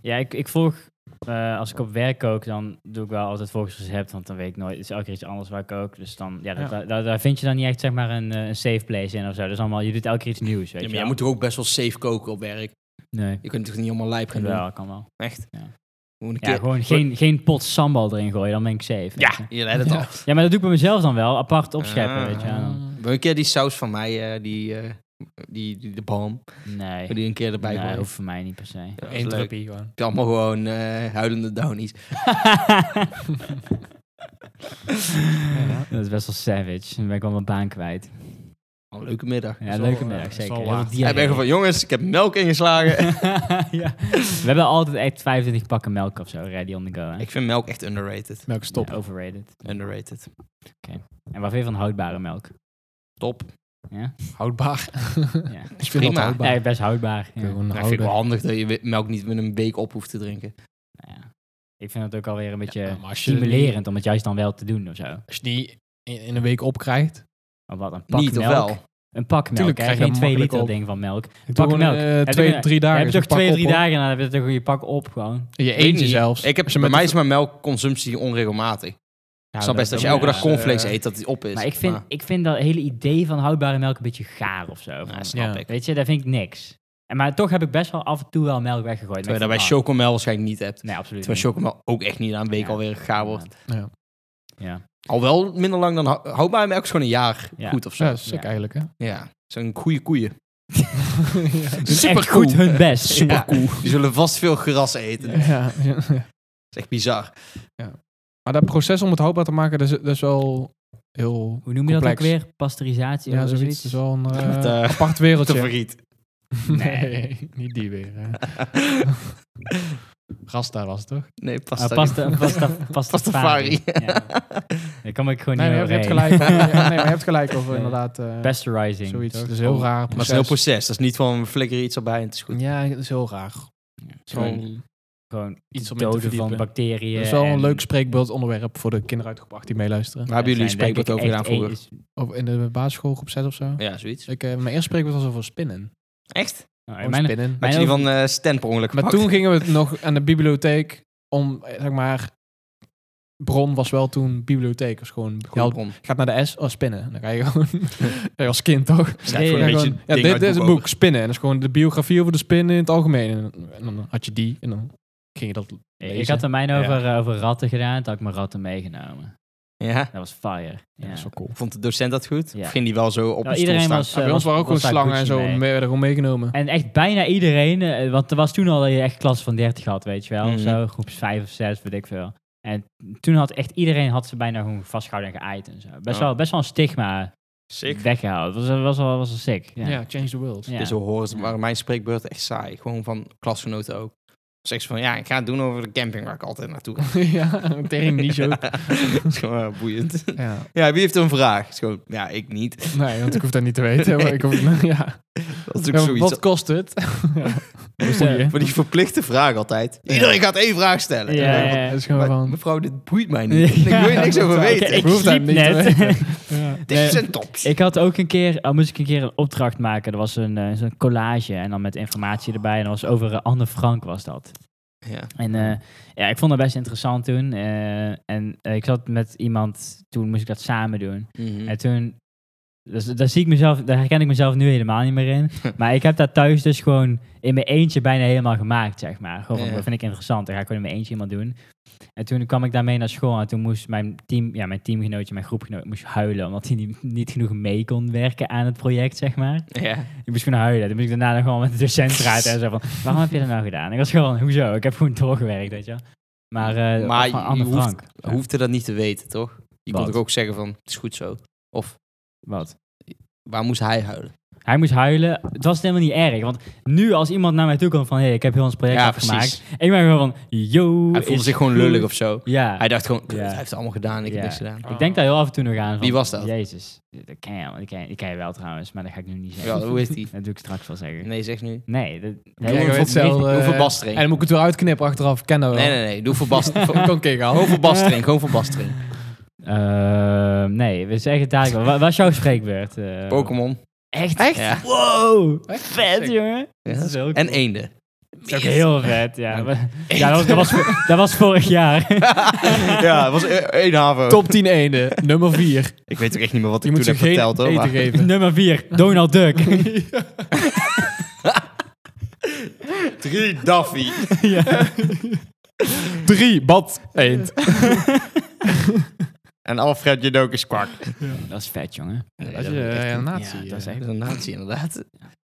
[SPEAKER 1] Ja, ik, ik volg eh, als ik op werk kook, dan doe ik wel altijd volgens recept, want dan weet ik nooit, het is elke keer iets anders waar ik kook. Dus dan, ja, dat-
[SPEAKER 3] Ja.
[SPEAKER 1] Daar, daar- daar vind je dan niet echt, zeg maar, een, eh, een safe place in of zo. Dat is allemaal, je doet elke keer iets nieuws, weet
[SPEAKER 2] Ja,
[SPEAKER 1] je
[SPEAKER 2] maar jij
[SPEAKER 1] wel.
[SPEAKER 2] moet toch ook best wel safe koken op werk.
[SPEAKER 1] Nee,
[SPEAKER 2] Je kunt toch niet allemaal lijp gaan doen?
[SPEAKER 1] wel, kan wel.
[SPEAKER 2] Echt.
[SPEAKER 1] Ja.
[SPEAKER 2] Gewoon een
[SPEAKER 1] Ja,
[SPEAKER 2] keer...
[SPEAKER 1] gewoon geen, geen pot sambal erin gooien, dan ben ik safe. weet je.
[SPEAKER 2] Ja, je leidt het
[SPEAKER 3] Ja.
[SPEAKER 2] al.
[SPEAKER 1] ja, maar dat doe ik bij mezelf dan wel, apart opscheppen,
[SPEAKER 2] Ah.
[SPEAKER 1] weet je wel. Dan-
[SPEAKER 2] Wil je een keer die saus van mij, eh, die, eh, die, die, de balm,
[SPEAKER 1] Nee,
[SPEAKER 2] wil die een keer erbij
[SPEAKER 1] nee
[SPEAKER 2] gooien?
[SPEAKER 1] hoeft voor mij niet per se.
[SPEAKER 2] Ja, dat is
[SPEAKER 3] Eén
[SPEAKER 2] leuk.
[SPEAKER 3] druppie gewoon.
[SPEAKER 1] *laughs*
[SPEAKER 2] Het is Allemaal gewoon eh, huilende downies.
[SPEAKER 1] *laughs* Dat is best wel savage. Dan ben ik wel mijn baan kwijt.
[SPEAKER 2] Oh, leuke middag.
[SPEAKER 1] Ja,
[SPEAKER 3] Zal,
[SPEAKER 1] leuke
[SPEAKER 3] eh,
[SPEAKER 1] middag,
[SPEAKER 3] zal
[SPEAKER 1] zeker.
[SPEAKER 3] laat.
[SPEAKER 1] Heel
[SPEAKER 2] Hij
[SPEAKER 1] veel
[SPEAKER 2] ben gewoon van, jongens, ik heb melk
[SPEAKER 1] *laughs*
[SPEAKER 2] ingeslagen.
[SPEAKER 1] diarree. ja. We hebben altijd echt 25 pakken melk of zo, ready on the go. Hè?
[SPEAKER 2] ik vind melk echt underrated.
[SPEAKER 3] Melk stop.
[SPEAKER 1] Ja, overrated.
[SPEAKER 2] Underrated.
[SPEAKER 1] En wat vind je van houdbare melk?
[SPEAKER 2] Top.
[SPEAKER 1] Ja,
[SPEAKER 3] Houdbaar.
[SPEAKER 1] ja.
[SPEAKER 3] Ik vind dat
[SPEAKER 2] prima.
[SPEAKER 3] houdbaar.
[SPEAKER 1] Nee, best houdbaar. Ja.
[SPEAKER 3] Kun je gewoon
[SPEAKER 2] Nou, ik vind
[SPEAKER 3] houden.
[SPEAKER 2] het wel handig dat je we- melk niet met een week op hoeft te drinken.
[SPEAKER 1] Nou ja. Ik vind het ook alweer een beetje
[SPEAKER 3] maar als je er
[SPEAKER 1] stimulerend om het juist dan wel te doen of zo.
[SPEAKER 3] Als je die in, in een week opkrijgt.
[SPEAKER 1] Of wat, een pak
[SPEAKER 2] niet,
[SPEAKER 1] melk?
[SPEAKER 2] of wel?
[SPEAKER 1] Een pak melk,
[SPEAKER 3] Tuurlijk
[SPEAKER 1] hè?
[SPEAKER 3] krijg je
[SPEAKER 1] Geen
[SPEAKER 3] hem
[SPEAKER 1] twee
[SPEAKER 3] makkelijk
[SPEAKER 1] liter
[SPEAKER 3] op.
[SPEAKER 1] ding van melk.
[SPEAKER 3] Ik
[SPEAKER 1] Pak
[SPEAKER 3] doe
[SPEAKER 1] melk.
[SPEAKER 3] gewoon eh,
[SPEAKER 1] Heb
[SPEAKER 3] twee,
[SPEAKER 1] je-
[SPEAKER 3] drie
[SPEAKER 1] Dan
[SPEAKER 3] dagen.
[SPEAKER 1] heb je
[SPEAKER 3] zo'n
[SPEAKER 1] toch
[SPEAKER 3] pak
[SPEAKER 1] twee,
[SPEAKER 3] op,
[SPEAKER 1] drie
[SPEAKER 3] hoor.
[SPEAKER 1] dagen en dan heb je toch een goede pak op gewoon.
[SPEAKER 3] In je
[SPEAKER 2] Weet
[SPEAKER 3] eentje
[SPEAKER 2] niet.
[SPEAKER 3] zelfs.
[SPEAKER 2] Ik heb,
[SPEAKER 3] Als je
[SPEAKER 2] bij
[SPEAKER 3] met
[SPEAKER 2] mij
[SPEAKER 3] de-
[SPEAKER 2] is mijn melkconsumptie onregelmatig. Ik
[SPEAKER 1] Ja,
[SPEAKER 2] snap
[SPEAKER 1] dat is
[SPEAKER 2] best als je
[SPEAKER 1] ook-
[SPEAKER 2] elke
[SPEAKER 1] ja.
[SPEAKER 2] dag cornflakes
[SPEAKER 3] eh,
[SPEAKER 2] eet dat die op is.
[SPEAKER 1] Maar ik vind, ik vind dat hele idee van houdbare melk een beetje gaar of zo.
[SPEAKER 2] Nou,
[SPEAKER 1] Van,
[SPEAKER 2] snap
[SPEAKER 3] Ja.
[SPEAKER 2] ik.
[SPEAKER 1] Weet je, daar vind ik niks. En, maar toch heb ik best wel af en toe wel melk weggegooid.
[SPEAKER 2] Terwijl
[SPEAKER 1] Dan
[SPEAKER 2] je dat bij
[SPEAKER 1] denk ik van,
[SPEAKER 2] chocomel waarschijnlijk niet hebt.
[SPEAKER 1] ah, Nee, absoluut
[SPEAKER 2] Terwijl chocomel ook echt niet na een week
[SPEAKER 1] Ja.
[SPEAKER 2] alweer gaar wordt.
[SPEAKER 3] Ja.
[SPEAKER 1] Ja.
[SPEAKER 2] Al wel minder lang dan... hou- Houdbaar melk is gewoon een jaar
[SPEAKER 1] Ja.
[SPEAKER 2] goed of zo.
[SPEAKER 3] Ja,
[SPEAKER 2] Ja.
[SPEAKER 3] dat is ook
[SPEAKER 1] Ja.
[SPEAKER 3] eigenlijk, hè?
[SPEAKER 2] Zo'n goede koeien. *laughs*
[SPEAKER 3] ja.
[SPEAKER 1] Doen
[SPEAKER 2] Super
[SPEAKER 1] echt goed
[SPEAKER 2] cool.
[SPEAKER 1] hun
[SPEAKER 2] *laughs*
[SPEAKER 1] best.
[SPEAKER 2] Super cool. Die zullen vast veel gras eten. Dat
[SPEAKER 3] Ja, ja.
[SPEAKER 2] is echt bizar.
[SPEAKER 3] Maar dat proces om het houdbaar te maken, dat is, dat is wel heel...
[SPEAKER 1] Hoe noem je dat ook
[SPEAKER 3] Complex.
[SPEAKER 1] weer? Pasteurisatie
[SPEAKER 3] Ja,
[SPEAKER 1] of
[SPEAKER 3] zoiets. *laughs* Dat is wel een eh,
[SPEAKER 2] Met, eh,
[SPEAKER 3] apart
[SPEAKER 2] Te
[SPEAKER 3] wereldje.
[SPEAKER 2] verriet.
[SPEAKER 3] *laughs*
[SPEAKER 1] *laughs*
[SPEAKER 3] Nee, niet die weer. Hè. Rasta was het, toch?
[SPEAKER 2] Nee, pasta.
[SPEAKER 1] Ah, pasta,
[SPEAKER 2] *laughs*
[SPEAKER 1] pasta, pastafari. Ja. Dat kan ik gewoon
[SPEAKER 3] Nee, maar
[SPEAKER 1] niet
[SPEAKER 3] je hebt
[SPEAKER 1] overheen.
[SPEAKER 3] gelijk. *laughs* over- ja, nee, maar je hebt gelijk over
[SPEAKER 1] Nee.
[SPEAKER 3] inderdaad eh,
[SPEAKER 1] *laughs* Pasteurizing.
[SPEAKER 3] zoiets.
[SPEAKER 1] toch?
[SPEAKER 3] Dat is heel raar
[SPEAKER 2] Maar het is een heel proces. Dat is niet van we flikkeren iets erbij en het is goed.
[SPEAKER 3] Ja, dat is heel raar.
[SPEAKER 1] Gewoon,
[SPEAKER 3] Zo,
[SPEAKER 1] gewoon
[SPEAKER 3] Iets om in te
[SPEAKER 1] doden van
[SPEAKER 3] verdiepen.
[SPEAKER 1] bacteriën.
[SPEAKER 3] dat is wel
[SPEAKER 1] en-
[SPEAKER 3] een leuk spreekbeeld onderwerp voor de kinderen uitgebracht die meeluisteren.
[SPEAKER 2] Waar hebben
[SPEAKER 1] dat
[SPEAKER 2] jullie
[SPEAKER 1] zijn denk
[SPEAKER 2] spreekwoord
[SPEAKER 1] ik
[SPEAKER 2] over gedaan
[SPEAKER 1] echt één-
[SPEAKER 2] vroeger?
[SPEAKER 3] Of in de basisschool groep 6 of zo.
[SPEAKER 2] Ja, zoiets.
[SPEAKER 3] Ik, eh, mijn eerste spreekwoord was over spinnen.
[SPEAKER 2] Echt?
[SPEAKER 1] Nou, in
[SPEAKER 3] Gewoon
[SPEAKER 1] mijn-
[SPEAKER 3] spinnen.
[SPEAKER 2] Had
[SPEAKER 1] Mijn
[SPEAKER 2] je die van eh Stan per ongeluk
[SPEAKER 3] Maar
[SPEAKER 2] gepakt?
[SPEAKER 3] toen gingen we nog aan de bibliotheek om, eh, zeg maar, bron was wel toen bibliotheek. Dus gewoon, je
[SPEAKER 2] Gewoon
[SPEAKER 3] haalt-
[SPEAKER 2] bron.
[SPEAKER 3] gaat naar de S, oh, spinnen. Dan ga je gewoon, Ja, als kind toch?
[SPEAKER 2] Schrijf gewoon
[SPEAKER 1] Ja,
[SPEAKER 2] een
[SPEAKER 3] Ja,
[SPEAKER 2] beetje
[SPEAKER 3] gewoon, ja,
[SPEAKER 2] ding
[SPEAKER 3] dit,
[SPEAKER 2] uit
[SPEAKER 3] dit is een
[SPEAKER 2] over.
[SPEAKER 3] boek, Spinnen. En dat is gewoon de biografie over de spinnen in het algemeen. En, en dan had je die en dan ging je dat lezen.
[SPEAKER 1] Ik had er mijn over, eh, over ratten gedaan. Toen had ik mijn ratten meegenomen.
[SPEAKER 2] Ja.
[SPEAKER 1] Dat was fire.
[SPEAKER 3] Ja, dat is wel cool.
[SPEAKER 2] Vond de docent dat goed?
[SPEAKER 1] Ja.
[SPEAKER 2] Of ging die wel zo op
[SPEAKER 1] Nou,
[SPEAKER 2] een stoel
[SPEAKER 1] iedereen
[SPEAKER 2] staan?
[SPEAKER 1] was, eh,
[SPEAKER 3] Ja, bij ons
[SPEAKER 1] was-
[SPEAKER 3] waren ook gewoon
[SPEAKER 1] was daar
[SPEAKER 3] slangen en zo,
[SPEAKER 1] Gucci
[SPEAKER 3] en
[SPEAKER 1] mee.
[SPEAKER 3] werden gewoon meegenomen.
[SPEAKER 1] En echt bijna iedereen, eh, want er was toen al dat je echt klas van 30 had, weet je wel.
[SPEAKER 2] Mhm.
[SPEAKER 1] Of zo, groep 5 of 6, weet ik veel. En toen had echt iedereen had ze bijna gewoon vastgehouden en geaaid en zo. Best,
[SPEAKER 2] Oh.
[SPEAKER 1] wel, best wel een stigma
[SPEAKER 2] Sick.
[SPEAKER 1] weggehaald. Dat was, eh, was, wel, was wel sick.
[SPEAKER 3] Ja,
[SPEAKER 1] Ja. Ja.
[SPEAKER 3] change the world.
[SPEAKER 2] Dus zo horen ze, waren mijn spreekbeurten echt saai. Gewoon van klasgenoten ook. Zeg ze van, ja, ik ga het doen over de camping waar ik altijd naartoe
[SPEAKER 1] *laughs*
[SPEAKER 2] ga.
[SPEAKER 3] *laughs*
[SPEAKER 2] *laughs*
[SPEAKER 3] ja, tegen die zo.
[SPEAKER 2] Dat is gewoon eh, boeiend.
[SPEAKER 3] Ja,
[SPEAKER 2] Ja, wie heeft een vraag? Is gewoon, ja, ik niet.
[SPEAKER 3] nee, want ik hoef dat niet te weten. Maar ik hoef, *laughs* ja.
[SPEAKER 2] Dat is ook
[SPEAKER 3] Ja,
[SPEAKER 2] zoiets.
[SPEAKER 3] wat kost het? *laughs*
[SPEAKER 1] Dus, eh,
[SPEAKER 3] Boeien.
[SPEAKER 2] Maar die verplichte vraag altijd. Iedereen gaat één vraag stellen.
[SPEAKER 1] Ja, ja, ja.
[SPEAKER 3] Dat is gewoon
[SPEAKER 2] Maar,
[SPEAKER 3] van...
[SPEAKER 2] mevrouw, dit boeit mij niet. Ik wil je niks over
[SPEAKER 1] Ik-
[SPEAKER 2] weten.
[SPEAKER 1] Ik,
[SPEAKER 3] Ik hoef dat
[SPEAKER 1] sliep
[SPEAKER 3] niet te
[SPEAKER 1] net.
[SPEAKER 3] *laughs* weten. Ja.
[SPEAKER 2] Dit
[SPEAKER 1] Nee.
[SPEAKER 2] zijn tops.
[SPEAKER 1] Ik had ook een keer, al moest ik een keer een opdracht maken. Er was een eh, zo'n collage en dan met informatie erbij. En dat was over eh, Anne Frank was dat.
[SPEAKER 2] Ja.
[SPEAKER 1] En eh, ja, ik vond dat best interessant toen. eh, en eh, ik zat met iemand, toen moest ik dat samen doen.
[SPEAKER 2] Mhm. Mm.
[SPEAKER 1] En toen, dus, daar zie ik mezelf, daar herken ik mezelf nu helemaal niet meer
[SPEAKER 2] *laughs*
[SPEAKER 1] in. maar ik heb dat thuis dus gewoon in mijn eentje bijna helemaal gemaakt, zeg maar. Gewoon, van,
[SPEAKER 2] Ja.
[SPEAKER 1] dat vind ik interessant, dan ga ik gewoon in mijn eentje iemand doen. En toen kwam ik daarmee naar school en toen moest mijn, team, ja, mijn teamgenootje, mijn groepgenoot, moest huilen. Omdat hij niet, niet genoeg mee kon werken aan het project, zeg maar.
[SPEAKER 2] Ja.
[SPEAKER 1] Je moest gewoon huilen. Dan moest ik daarna nog gewoon met de docent praten en zo van... Waarom heb je dat nou gedaan? Ik was gewoon, hoezo? Ik heb gewoon doorgewerkt, weet je wel. Maar, eh
[SPEAKER 2] Maar
[SPEAKER 1] of van
[SPEAKER 2] je
[SPEAKER 1] Anne
[SPEAKER 2] hoeft-
[SPEAKER 1] Frank. Ja.
[SPEAKER 2] Hoefde dat niet te weten, toch? Je
[SPEAKER 1] Wat?
[SPEAKER 2] kon toch ook zeggen van, het is goed zo. Of,
[SPEAKER 1] Wat?
[SPEAKER 2] waar moest hij huilen?
[SPEAKER 1] Hij moest huilen. Het was helemaal niet erg. Want nu als iemand naar mij toe komt van... Hé, hey, ik heb heel ons project
[SPEAKER 2] Ja,
[SPEAKER 1] afgemaakt.
[SPEAKER 2] precies.
[SPEAKER 1] En ik ben gewoon van... Yo,
[SPEAKER 2] Hij voelde
[SPEAKER 1] is
[SPEAKER 2] zich gewoon
[SPEAKER 1] goed.
[SPEAKER 2] lullig of zo.
[SPEAKER 1] Ja.
[SPEAKER 2] Hij dacht gewoon, kut,
[SPEAKER 1] Ja.
[SPEAKER 2] hij heeft het allemaal gedaan, ik
[SPEAKER 1] Ja.
[SPEAKER 2] heb niks gedaan.
[SPEAKER 1] Ik denk daar heel af en toe nog aan. Van,
[SPEAKER 2] Wie was dat?
[SPEAKER 1] Jezus. Dat ken je, die ken je, die ken je wel trouwens. Maar dat ga ik nu niet zeggen.
[SPEAKER 2] Ja, hoe is die? Oh.
[SPEAKER 1] Dat doe ik straks wel zeggen.
[SPEAKER 2] *laughs* Nee, zeg nu.
[SPEAKER 1] Nee. dat,
[SPEAKER 3] Ja, ik
[SPEAKER 1] dat-
[SPEAKER 3] weet hetzelfde.
[SPEAKER 2] Doe voor
[SPEAKER 3] eh, En
[SPEAKER 2] bastering.
[SPEAKER 3] dan moet ik het weer uitknippen achteraf. Ik Ken dat wel.
[SPEAKER 2] Nee, nee, nee. Doe voor
[SPEAKER 3] *laughs*
[SPEAKER 2] bastering.
[SPEAKER 3] Ook een keer gehaald.
[SPEAKER 2] gewoon voor bastering. Gewoon voor bastering.
[SPEAKER 1] Ehm, nee, we zeggen het dadelijk wel. Wa- Wat is jouw spreekbeurt? eh,
[SPEAKER 2] Pokémon.
[SPEAKER 1] Echt?
[SPEAKER 2] Ja.
[SPEAKER 1] Wow!
[SPEAKER 3] Echt?
[SPEAKER 1] *laughs* Vet,
[SPEAKER 3] Sick.
[SPEAKER 1] jongen.
[SPEAKER 2] Ja.
[SPEAKER 1] Dat is heel
[SPEAKER 2] En
[SPEAKER 1] cool.
[SPEAKER 2] eenden.
[SPEAKER 1] Dat is ook heel vet, ja. *laughs* ja dat, was, dat, was, dat was vorig jaar. *laughs*
[SPEAKER 2] ja, het was e- één haven.
[SPEAKER 3] Top 10 eenden, nummer 4.
[SPEAKER 2] Ik weet ook echt niet meer wat
[SPEAKER 3] Je
[SPEAKER 2] ik
[SPEAKER 3] moet
[SPEAKER 2] toen
[SPEAKER 3] ze
[SPEAKER 2] heb
[SPEAKER 3] geen
[SPEAKER 2] verteld. Hoor,
[SPEAKER 3] eten
[SPEAKER 2] maar-
[SPEAKER 3] geven.
[SPEAKER 1] Nummer 4, Donald
[SPEAKER 3] *laughs*
[SPEAKER 1] Duck.
[SPEAKER 2] *laughs* Drie Daffy.
[SPEAKER 1] ja.
[SPEAKER 3] 3, bad
[SPEAKER 1] *laughs*
[SPEAKER 3] eend.
[SPEAKER 2] en Alfred Janook is kwak.
[SPEAKER 1] Dat is vet, jongen.
[SPEAKER 3] dat is eh, een nazi.
[SPEAKER 1] Ja, dat is
[SPEAKER 3] eh,
[SPEAKER 1] echt
[SPEAKER 2] een nazi inderdaad.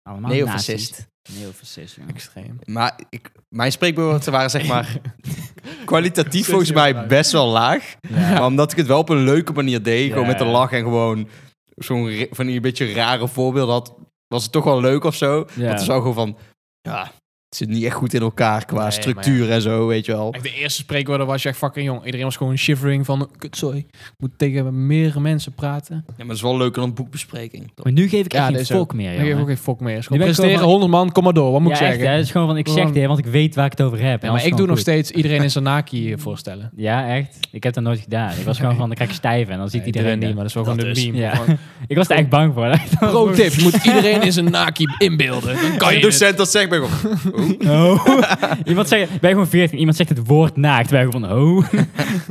[SPEAKER 1] allemaal
[SPEAKER 2] Neofascist.
[SPEAKER 1] nazi's. Neofascist, jongen.
[SPEAKER 3] extreem.
[SPEAKER 2] Maar ik, mijn spreekwoorden waren zeg maar
[SPEAKER 3] *laughs*
[SPEAKER 2] kwalitatief
[SPEAKER 3] Zes
[SPEAKER 2] volgens
[SPEAKER 3] jaar
[SPEAKER 2] mij
[SPEAKER 3] laag.
[SPEAKER 2] best wel laag. Maar omdat ik het wel op een leuke manier deed, gewoon
[SPEAKER 1] Ja,
[SPEAKER 2] met de
[SPEAKER 1] ja.
[SPEAKER 2] lach en gewoon zo'n ra- van die een beetje rare voorbeelden had, was het toch wel leuk of zo.
[SPEAKER 1] Ja.
[SPEAKER 2] Want het is ook gewoon van, ja, het zit niet echt goed in elkaar qua
[SPEAKER 3] Nee, maar
[SPEAKER 2] structuur en zo, weet je wel.
[SPEAKER 3] Echt de eerste spreekwoorden was je echt fucking jong. Iedereen was gewoon shivering van, kutzooi. Ik moet tegen meerdere mensen praten.
[SPEAKER 2] Ja, maar het is wel leuker dan een boekbespreking.
[SPEAKER 1] Maar nu geef ik
[SPEAKER 3] Ja,
[SPEAKER 1] echt
[SPEAKER 3] dat
[SPEAKER 1] geen
[SPEAKER 3] is ook-
[SPEAKER 1] fok meer,
[SPEAKER 3] Ik geef
[SPEAKER 1] jongen.
[SPEAKER 3] ook geen fok meer. Is
[SPEAKER 1] Nu
[SPEAKER 3] Gewoon
[SPEAKER 1] ben ik
[SPEAKER 3] presteren,
[SPEAKER 1] gewoon
[SPEAKER 3] 100 man, kom maar door. Wat moet
[SPEAKER 1] ja,
[SPEAKER 3] ik
[SPEAKER 1] echt,
[SPEAKER 3] zeggen?
[SPEAKER 1] hè. Het is gewoon van, ik zeg
[SPEAKER 3] Gewoon-
[SPEAKER 1] dit, want ik weet waar ik het over heb. En
[SPEAKER 3] Ja, maar
[SPEAKER 1] dat is
[SPEAKER 3] ik doe
[SPEAKER 1] gewoon
[SPEAKER 3] nog
[SPEAKER 1] goed. *laughs*
[SPEAKER 3] steeds iedereen in zijn naki voorstellen.
[SPEAKER 1] Ja, echt. Ik heb dat nooit gedaan. Ik was
[SPEAKER 3] *laughs*
[SPEAKER 1] gewoon van, dan krijg ik stijven en dan ziet
[SPEAKER 3] Nee,
[SPEAKER 1] iedereen
[SPEAKER 3] niet,
[SPEAKER 1] die.
[SPEAKER 3] maar dat is wel gewoon
[SPEAKER 2] Dat
[SPEAKER 3] de
[SPEAKER 2] is-
[SPEAKER 3] meme.
[SPEAKER 1] ja.
[SPEAKER 3] Gewoon,
[SPEAKER 1] Ik was er echt bang voor.
[SPEAKER 3] *laughs*
[SPEAKER 1] *laughs*
[SPEAKER 3] Pro tip, je moet iedereen in zijn naki inbeelden. Dan kan
[SPEAKER 2] Kan je
[SPEAKER 3] je het.
[SPEAKER 2] docent dat zegt, ben ik gewoon,
[SPEAKER 1] Oh. iemand zegt, ben je gewoon 14, iemand zegt het woord naakt. Ben je gewoon van, oh.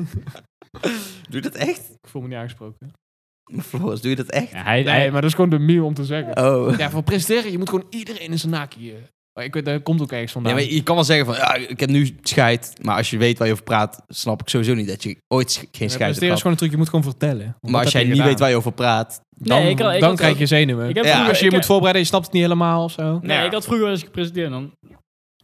[SPEAKER 2] doe je dat echt?
[SPEAKER 3] Ik voel me niet aangesproken.
[SPEAKER 2] Floris, doe je dat echt?
[SPEAKER 1] Ja, hij, hij-
[SPEAKER 3] Nee, maar dat is gewoon de meme om te zeggen.
[SPEAKER 2] Oh.
[SPEAKER 3] Ja, voor presteren, je moet gewoon iedereen in zijn naki. eh. Maar ik weet, dat komt ook ergens vandaan.
[SPEAKER 2] Ja, maar je kan wel zeggen van, ja, ik heb nu scheid, maar als je weet waar je over praat, snap ik sowieso niet dat je ooit sch- geen
[SPEAKER 3] Ja,
[SPEAKER 2] scheid hebt
[SPEAKER 3] presteren is
[SPEAKER 2] gehad.
[SPEAKER 3] gewoon een truc, je moet gewoon vertellen. Want dat
[SPEAKER 2] Maar als
[SPEAKER 3] heb
[SPEAKER 2] jij
[SPEAKER 3] je
[SPEAKER 2] niet
[SPEAKER 3] gedaan.
[SPEAKER 2] weet waar je over praat,
[SPEAKER 3] dan,
[SPEAKER 1] Nee, ik had- ik
[SPEAKER 3] dan
[SPEAKER 1] had
[SPEAKER 3] krijg
[SPEAKER 1] ook-
[SPEAKER 3] je zenuwen.
[SPEAKER 1] ik heb
[SPEAKER 2] Ja,
[SPEAKER 1] vroeger,
[SPEAKER 3] als je je
[SPEAKER 1] ik
[SPEAKER 3] moet
[SPEAKER 1] heb-
[SPEAKER 3] voorbereiden, je snapt het niet helemaal of zo.
[SPEAKER 1] Nee,
[SPEAKER 2] Ja.
[SPEAKER 1] ik had vroeger als ik presenteerde dan...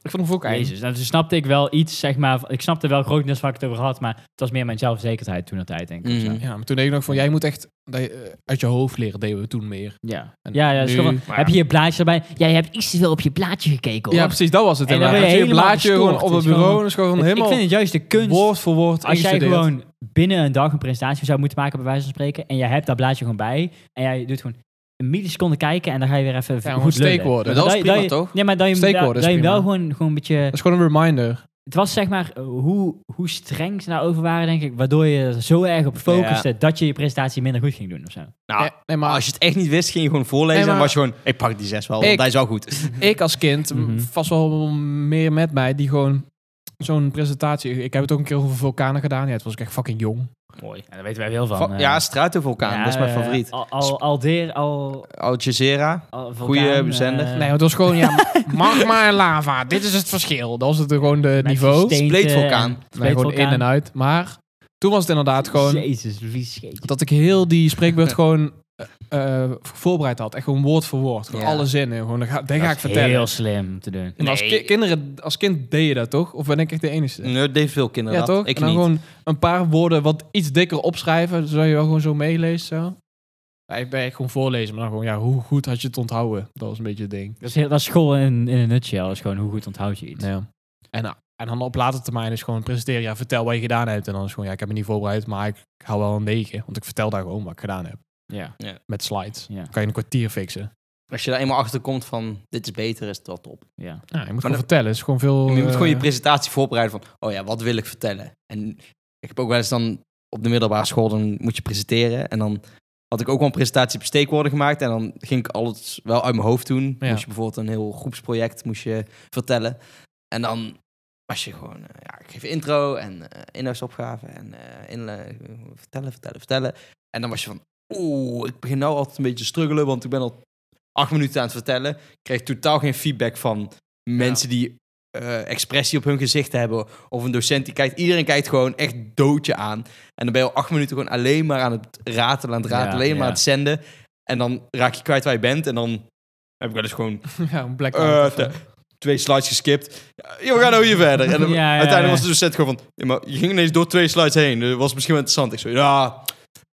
[SPEAKER 3] Ik vond hem ook eigenlijk.
[SPEAKER 1] Jezus, nou, toen snapte ik wel iets, zeg maar... Ik snapte wel grotendeels waar ik het over had, maar het was meer mijn zelfverzekerdheid toen dat tijd, denk ik. of zo.
[SPEAKER 2] Mhm.
[SPEAKER 3] Ja, maar toen deed ik nog van, jij moet echt dat je, eh, uit je hoofd leren, deden we toen meer.
[SPEAKER 1] Ja,
[SPEAKER 3] En
[SPEAKER 1] ja, ja, dat is
[SPEAKER 3] nu-
[SPEAKER 1] gewoon-
[SPEAKER 2] maar
[SPEAKER 1] heb
[SPEAKER 2] ja.
[SPEAKER 1] je je blaadje erbij? Ja, je hebt iets te veel op je blaadje gekeken, hoor.
[SPEAKER 3] Ja, precies, dat was het.
[SPEAKER 1] En dan
[SPEAKER 3] inderdaad.
[SPEAKER 1] ben je
[SPEAKER 3] Als je
[SPEAKER 1] helemaal
[SPEAKER 3] blaadje gewoon
[SPEAKER 1] verstoord.
[SPEAKER 3] op het
[SPEAKER 1] Het is
[SPEAKER 3] bureau
[SPEAKER 1] gewoon-
[SPEAKER 3] en is gewoon
[SPEAKER 1] Het-
[SPEAKER 3] helemaal
[SPEAKER 1] Ik vind het juist de kunst.
[SPEAKER 3] woord voor woord
[SPEAKER 1] Als jij
[SPEAKER 3] ingestudeerd.
[SPEAKER 1] gewoon binnen een dag een presentatie zou moeten maken, bij wijze van spreken, en jij hebt dat blaadje gewoon bij, en jij doet gewoon een milliseconde kijken, en dan ga je weer even
[SPEAKER 3] Ja, gewoon
[SPEAKER 1] goed
[SPEAKER 3] steekwoorden.
[SPEAKER 1] lullen.
[SPEAKER 2] Maar dat is
[SPEAKER 1] je-
[SPEAKER 2] prima,
[SPEAKER 1] je-
[SPEAKER 2] toch?
[SPEAKER 1] Ja, maar dat je,
[SPEAKER 3] Steekwoorden
[SPEAKER 1] dat,
[SPEAKER 3] is
[SPEAKER 1] dat je
[SPEAKER 3] prima.
[SPEAKER 1] wel gewoon, gewoon een beetje...
[SPEAKER 3] Dat is gewoon een reminder.
[SPEAKER 1] Het was zeg maar eh, hoe, hoe streng ze nou over waren, denk ik, waardoor je er zo erg op focuste dat je je presentatie minder goed ging doen of zo.
[SPEAKER 2] nou,
[SPEAKER 3] Nee, nee, Eh, maar
[SPEAKER 2] Maar als je het echt niet wist, ging je gewoon voorlezen
[SPEAKER 3] Nee, maar-
[SPEAKER 2] en was je gewoon... Ik pak die zes wel, want
[SPEAKER 3] Ik-
[SPEAKER 2] hij is wel goed.
[SPEAKER 3] ik als kind m,
[SPEAKER 1] Mhm.
[SPEAKER 3] vast wel meer met mij die gewoon zo'n presentatie. Ik heb het ook een keer over vulkanen gedaan. Ja, het was ik echt fucking jong.
[SPEAKER 1] Mooi. Ja, daar weten wij heel van.
[SPEAKER 2] Va-
[SPEAKER 1] eh.
[SPEAKER 2] ja, Struitenvulkaan,
[SPEAKER 1] Ja,
[SPEAKER 2] dat is mijn
[SPEAKER 1] eh,
[SPEAKER 2] favoriet.
[SPEAKER 1] Al, al, Aldeer, al,
[SPEAKER 2] Al Jazeera.
[SPEAKER 1] al vulkaan,
[SPEAKER 2] Goeie bezender.
[SPEAKER 1] eh,
[SPEAKER 3] Nee, het was gewoon ja, magma en lava. Dit is het verschil. Dat was het gewoon de
[SPEAKER 1] met
[SPEAKER 3] niveau.
[SPEAKER 1] gesteente
[SPEAKER 2] Spleetvulkaan.
[SPEAKER 1] en-
[SPEAKER 2] Nee,
[SPEAKER 3] Nee, gewoon in en uit. Maar toen was het inderdaad gewoon
[SPEAKER 1] Jezus, wie scheet.
[SPEAKER 3] dat ik heel die spreekbeurt gewoon eh, eh, voorbereid had. Echt gewoon woord voor woord. Gewoon
[SPEAKER 2] Ja.
[SPEAKER 3] alle zinnen. Gewoon, dat ga, dat ga ik vertellen.
[SPEAKER 1] Heel slim te doen.
[SPEAKER 3] En als,
[SPEAKER 2] Nee.
[SPEAKER 3] ki- kinderen, als kind deed je dat toch? Of ben ik echt de enige?
[SPEAKER 2] Nee, dat deed veel kinderen
[SPEAKER 3] eh, Ja,
[SPEAKER 2] dat.
[SPEAKER 3] toch?
[SPEAKER 2] Ik
[SPEAKER 3] en dan
[SPEAKER 2] niet.
[SPEAKER 3] gewoon een paar woorden wat iets dikker opschrijven, zodat je wel gewoon zo meeleest. Zo. Ja, ik ben echt gewoon voorlezen, maar dan gewoon, ja, hoe goed had je het onthouden? Dat was een beetje het ding.
[SPEAKER 1] Dat is, heel, dat is school in, in een nutshell. Dat is gewoon hoe goed onthoud je iets.
[SPEAKER 3] Ja. En, eh, en dan op later termijn is gewoon presenteren, ja, vertel wat je gedaan hebt. En dan is gewoon, ja, ik heb me niet voorbereid, maar ik hou wel een 9, want ik vertel daar gewoon wat ik gedaan heb.
[SPEAKER 1] Ja.
[SPEAKER 3] Met slides.
[SPEAKER 1] Ja.
[SPEAKER 3] Kan je in een kwartier fixen.
[SPEAKER 2] Als je daar eenmaal achter komt van, dit is beter, is het wel top.
[SPEAKER 1] ja.
[SPEAKER 3] Ja, je moet
[SPEAKER 2] dat-
[SPEAKER 3] gewoon vertellen. Het is gewoon veel...
[SPEAKER 2] je moet gewoon je
[SPEAKER 3] eh,
[SPEAKER 2] presentatie voorbereiden van, oh ja, wat wil ik vertellen? En ik heb ook wel eens dan op de middelbare school, dan moet je presenteren. En dan had ik ook wel een presentatie op steekwoorden gemaakt. En dan ging ik alles wel uit mijn hoofd doen.
[SPEAKER 3] Ja.
[SPEAKER 2] Moest je bijvoorbeeld een heel groepsproject moest je vertellen. En dan was je gewoon, eh, ja, ik geef intro en eh, inhoudsopgave en eh, inle- vertellen, vertellen, vertellen. En dan was je van, oeh, ik begin nou altijd een beetje te struggelen, want ik ben al acht minuten aan het vertellen. Ik kreeg totaal geen feedback van mensen die eh, expressie op hun gezicht hebben. Of een docent die kijkt, iedereen kijkt gewoon echt doodje aan. En dan ben je al acht minuten gewoon alleen maar aan het ratelen, aan het ratelen,
[SPEAKER 1] Ja,
[SPEAKER 2] alleen maar
[SPEAKER 1] ja.
[SPEAKER 2] aan het zenden. En dan raak je kwijt waar je bent en dan heb ik wel eens gewoon
[SPEAKER 3] *laughs* ja, een black
[SPEAKER 2] eh, te- *laughs* twee slides geskipt. Ja, we gaan nou hier verder. En
[SPEAKER 1] *laughs*
[SPEAKER 2] dan-
[SPEAKER 1] Ja, ja,
[SPEAKER 2] uiteindelijk
[SPEAKER 1] ja.
[SPEAKER 2] was de docent gewoon van... "Ja, maar je ging ineens door twee slides heen. Dat was misschien wel interessant. Ik zo, ja,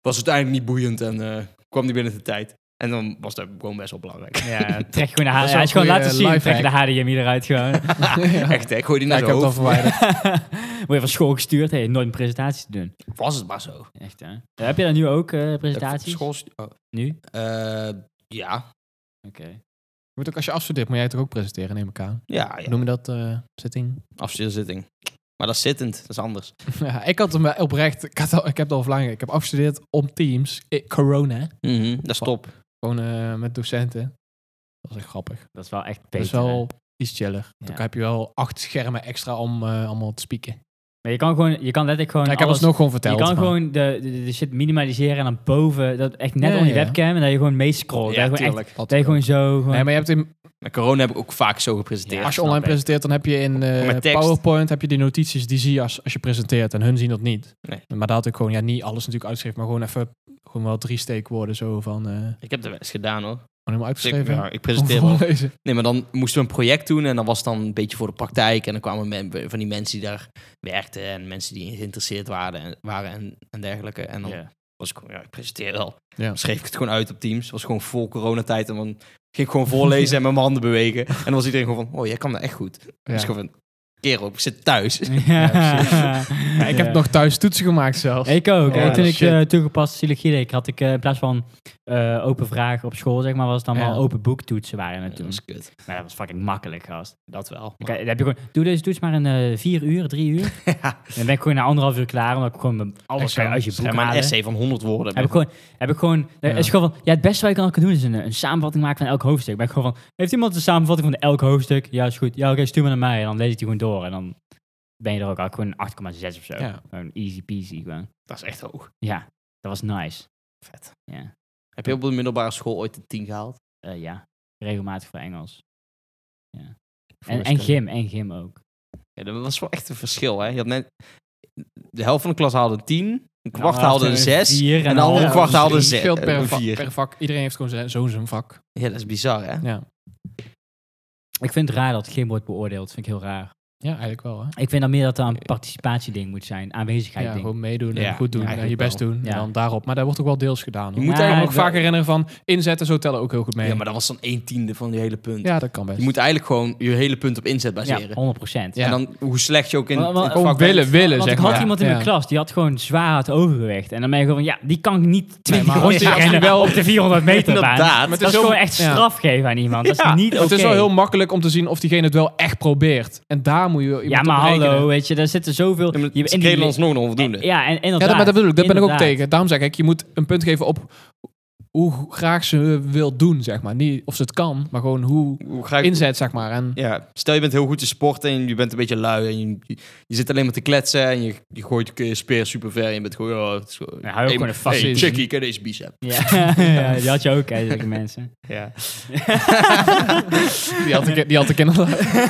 [SPEAKER 2] was uiteindelijk niet boeiend en eh, kwam niet binnen de tijd. En dan was dat gewoon best wel belangrijk. *laughs*
[SPEAKER 1] Ja, trek gewoon de
[SPEAKER 3] Dat is
[SPEAKER 1] HDMI. Hij is
[SPEAKER 3] wel een
[SPEAKER 1] gewoon laten zien.
[SPEAKER 3] goeie eh,
[SPEAKER 1] Trek je de HDMI
[SPEAKER 3] *laughs*
[SPEAKER 1] eruit gewoon.
[SPEAKER 2] *laughs*
[SPEAKER 3] ja,
[SPEAKER 2] Echt, hè? Ik gooi die
[SPEAKER 3] Ja, ik
[SPEAKER 2] naar zijn
[SPEAKER 3] heb het al
[SPEAKER 2] hoofd. *laughs*
[SPEAKER 3] verwijderd.
[SPEAKER 1] Word je van school gestuurd. Hey, nooit een presentatie te doen.
[SPEAKER 2] Was het maar zo.
[SPEAKER 1] Echt hè. Ja, heb je dat nu ook, eh, presentaties?
[SPEAKER 2] School... oh,
[SPEAKER 1] Nu?
[SPEAKER 2] eh, ja.
[SPEAKER 1] Oké.
[SPEAKER 3] Je moet ook als je afstudeert, moet jij het ook presenteren, neem ik aan.
[SPEAKER 2] Ja, ja.
[SPEAKER 3] Noem je dat eh, zitting?
[SPEAKER 2] Afstudeerzitting. Maar dat is zittend. Dat is anders.
[SPEAKER 3] *laughs* Ja, ik had hem wel oprecht. Ik, had al, ik heb het al verlangen. Ik heb afgestudeerd om Teams. eh, corona.
[SPEAKER 2] Mhm, Dat is top.
[SPEAKER 3] Oh, Gewoon eh, met docenten. Dat is echt grappig.
[SPEAKER 1] Dat is wel echt beter.
[SPEAKER 3] dat is
[SPEAKER 1] hè?
[SPEAKER 3] wel iets chiller. Want
[SPEAKER 1] Ja.
[SPEAKER 3] Dan heb je wel acht schermen extra om eh, allemaal te spieken.
[SPEAKER 1] Maar je kan gewoon, je kan letterlijk gewoon.
[SPEAKER 3] Ja, ik heb
[SPEAKER 1] alles-
[SPEAKER 3] het nog gewoon verteld.
[SPEAKER 1] je kan
[SPEAKER 3] maar-
[SPEAKER 1] gewoon de, de, de shit minimaliseren en dan boven, dat echt net
[SPEAKER 3] Ja,
[SPEAKER 1] onder je
[SPEAKER 3] ja.
[SPEAKER 1] webcam en dat je gewoon meescrollt.
[SPEAKER 2] Ja,
[SPEAKER 1] dat, je gewoon echt-
[SPEAKER 2] tuurlijk.
[SPEAKER 1] dat je gewoon zo. Gewoon,
[SPEAKER 3] Nee, maar je hebt in,
[SPEAKER 2] Met corona heb ik ook vaak zo gepresenteerd.
[SPEAKER 3] als je online
[SPEAKER 2] presenteert.
[SPEAKER 3] presenteert, dan heb je in eh,
[SPEAKER 2] Met tekst.
[SPEAKER 3] PowerPoint heb je die notities die zie je als, als je presenteert en hun zien dat niet.
[SPEAKER 2] Nee.
[SPEAKER 3] Maar daar had ik gewoon ja, niet alles natuurlijk uitgeschreven, maar gewoon even gewoon wel drie steekwoorden zo van eh gewoon
[SPEAKER 2] Ik heb dat wel eens gedaan hoor. Dus
[SPEAKER 3] helemaal
[SPEAKER 2] Ik,
[SPEAKER 3] uitgeschreven.
[SPEAKER 2] ja, ik
[SPEAKER 3] Gewoon
[SPEAKER 2] presenteer wel.
[SPEAKER 3] voorlezen.
[SPEAKER 2] Nee, maar dan moesten we een project doen en dan was het dan een beetje voor de praktijk. En dan kwamen men- van die mensen die daar werkten en mensen die geïnteresseerd waren en, waren en, en dergelijke. En dan
[SPEAKER 1] Ja.
[SPEAKER 2] was ik gewoon, ja, ik presenteer wel.
[SPEAKER 3] Ja.
[SPEAKER 2] Dan schreef ik het gewoon uit op Teams. was gewoon vol coronatijd en dan ging ik gewoon voorlezen en met mijn handen bewegen. En dan was iedereen gewoon van, oh, jij kan dat echt goed.
[SPEAKER 3] Ja.
[SPEAKER 2] Dus ik gewoon van, kerel, ik zit thuis.
[SPEAKER 1] *laughs* ja,
[SPEAKER 3] Ja, ik heb nog thuis toetsen gemaakt zelfs.
[SPEAKER 1] Ik ook.
[SPEAKER 2] Ja,
[SPEAKER 1] Eh, toen ik
[SPEAKER 2] shit.
[SPEAKER 1] eh, toegepaste psychologie deed, had ik eh, in plaats van eh, open vragen op school, zeg maar, was het dan
[SPEAKER 3] Ja.
[SPEAKER 1] wel open boektoetsen waren het
[SPEAKER 2] Dat
[SPEAKER 1] toen.
[SPEAKER 2] was kut.
[SPEAKER 1] Maar dat was fucking makkelijk, gast.
[SPEAKER 2] Dat wel.
[SPEAKER 1] Dan, kan- dan heb je gewoon, doe deze toets maar in eh, vier uur, drie uur. Dan ben ik gewoon na anderhalf uur klaar, omdat ik gewoon mijn- alles
[SPEAKER 3] Exact.
[SPEAKER 1] kan uit je boek
[SPEAKER 2] Schrijf maar een
[SPEAKER 1] halen.
[SPEAKER 2] essay van 100 woorden.
[SPEAKER 1] Heb ik gewoon, heb ik gewoon,
[SPEAKER 3] Ja.
[SPEAKER 1] er is gewoon van, ja, het beste wat je dan kan doen is een, een samenvatting maken van elk hoofdstuk. Ben ik gewoon van, heeft iemand een samenvatting van elk hoofdstuk? Ja, is goed. Ja, oké, stuur maar naar mij. En dan lees ik die gewoon door. En dan ben je er ook al gewoon een 8,6 of zo.
[SPEAKER 3] Ja.
[SPEAKER 1] Gewoon easy peasy gewoon.
[SPEAKER 2] Dat is echt hoog.
[SPEAKER 1] Ja, dat was nice.
[SPEAKER 2] Vet.
[SPEAKER 1] Ja,
[SPEAKER 2] Heb je op de middelbare school ooit de 10 gehaald?
[SPEAKER 1] Eh, ja. regelmatig voor Engels. Ja. En,
[SPEAKER 3] Volgens
[SPEAKER 1] en
[SPEAKER 3] mij.
[SPEAKER 1] gym, en gym ook.
[SPEAKER 2] Ja, dat was wel echt een verschil, hè? Je had net... De helft van de klas haalde een 10, een kwart
[SPEAKER 1] Nou,
[SPEAKER 2] haalde een 6
[SPEAKER 1] vier
[SPEAKER 2] en de andere
[SPEAKER 1] half.
[SPEAKER 2] kwart haalde een
[SPEAKER 3] Het verschilt
[SPEAKER 2] 6.
[SPEAKER 3] dus per,
[SPEAKER 2] Per
[SPEAKER 3] vak,
[SPEAKER 2] 4.
[SPEAKER 3] per vak. Iedereen heeft gewoon zijn- zo zijn vak.
[SPEAKER 2] Ja, dat is bizar, hè?
[SPEAKER 3] Ja,
[SPEAKER 1] Ik vind het raar dat gym wordt beoordeeld. vind ik heel raar.
[SPEAKER 3] ja eigenlijk wel. Hè?
[SPEAKER 1] Ik vind dat meer dat er een participatieding moet zijn. Aanwezigheid
[SPEAKER 3] Ja,
[SPEAKER 1] ding.
[SPEAKER 3] gewoon meedoen en
[SPEAKER 2] Ja,
[SPEAKER 3] goed doen en je
[SPEAKER 2] eigenlijk
[SPEAKER 3] best
[SPEAKER 2] wel.
[SPEAKER 3] doen.
[SPEAKER 1] Ja.
[SPEAKER 3] En dan daarop. Maar daar wordt ook wel deels gedaan.
[SPEAKER 2] Je
[SPEAKER 3] Hoor.
[SPEAKER 2] moet
[SPEAKER 1] Ja,
[SPEAKER 2] eigenlijk...
[SPEAKER 3] ook vaak herinneren van inzetten, zo tellen ook heel goed mee.
[SPEAKER 2] Ja, maar dat was dan 1 tiende van je hele punt.
[SPEAKER 3] Ja, dat kan best.
[SPEAKER 2] Je moet eigenlijk gewoon je hele punt op inzet baseren.
[SPEAKER 1] Ja, 100 procent.
[SPEAKER 3] Ja.
[SPEAKER 2] En dan hoe slecht je ook in
[SPEAKER 1] Maar- maar-
[SPEAKER 2] het
[SPEAKER 1] Gewoon
[SPEAKER 2] vak bent.
[SPEAKER 3] willen, willen,
[SPEAKER 1] Want
[SPEAKER 3] zeg
[SPEAKER 1] ik had
[SPEAKER 3] maar.
[SPEAKER 1] iemand in
[SPEAKER 3] Ja.
[SPEAKER 1] mijn klas, die had gewoon zwaar het overgewicht. En dan ben je gewoon van, ja, die kan ik niet 20
[SPEAKER 3] maar als
[SPEAKER 1] rondjes
[SPEAKER 3] die- als die
[SPEAKER 1] *laughs* rennen
[SPEAKER 3] wel-
[SPEAKER 1] op de 400 meter baan. Dat
[SPEAKER 2] Inderdaad.
[SPEAKER 3] Maar het
[SPEAKER 1] is
[SPEAKER 3] zo-
[SPEAKER 1] gewoon echt
[SPEAKER 3] ja.
[SPEAKER 1] straf geven aan iemand. Dat is
[SPEAKER 2] Ja,
[SPEAKER 1] niet oké.
[SPEAKER 3] Het is wel heel makkelijk om te zien of diegene het wel echt probeert. En daar moet je wel
[SPEAKER 1] Ja,
[SPEAKER 3] iemand
[SPEAKER 1] maar
[SPEAKER 3] op rekenen.
[SPEAKER 1] hallo, weet je, daar zitten zoveel...
[SPEAKER 2] Ja, maar
[SPEAKER 1] je,
[SPEAKER 2] Ze
[SPEAKER 1] in die-
[SPEAKER 2] kregen ons nog een onvoldoende.
[SPEAKER 1] Ja, en,
[SPEAKER 3] Ja,
[SPEAKER 1] inderdaad.
[SPEAKER 3] dat, maar dat bedoel ik. Dat ben ik ook
[SPEAKER 1] inderdaad.
[SPEAKER 3] tegen. Daarom zeg ik, je moet een punt geven op hoe graag ze wil doen, zeg maar. Niet of ze het kan, maar gewoon hoe
[SPEAKER 2] Hoe ga ik...
[SPEAKER 3] inzet, zeg maar. En
[SPEAKER 2] Ja, stel je bent heel goed in sport en je bent een beetje lui en je, je- je zit alleen maar te kletsen en je, je gooit je speer super ver en je bent gewoon... Oh, het is gewoon
[SPEAKER 1] Ja, hou ook gewoon een
[SPEAKER 2] hey,
[SPEAKER 1] vast
[SPEAKER 2] hey,
[SPEAKER 1] in.
[SPEAKER 2] chickie, ken deze bicep.
[SPEAKER 1] Ja, *laughs* ja, die had je
[SPEAKER 3] *laughs*
[SPEAKER 1] ook, hè, zulke mensen.
[SPEAKER 2] Ja.
[SPEAKER 3] die had ik, die had ik inderdaad.
[SPEAKER 2] *laughs*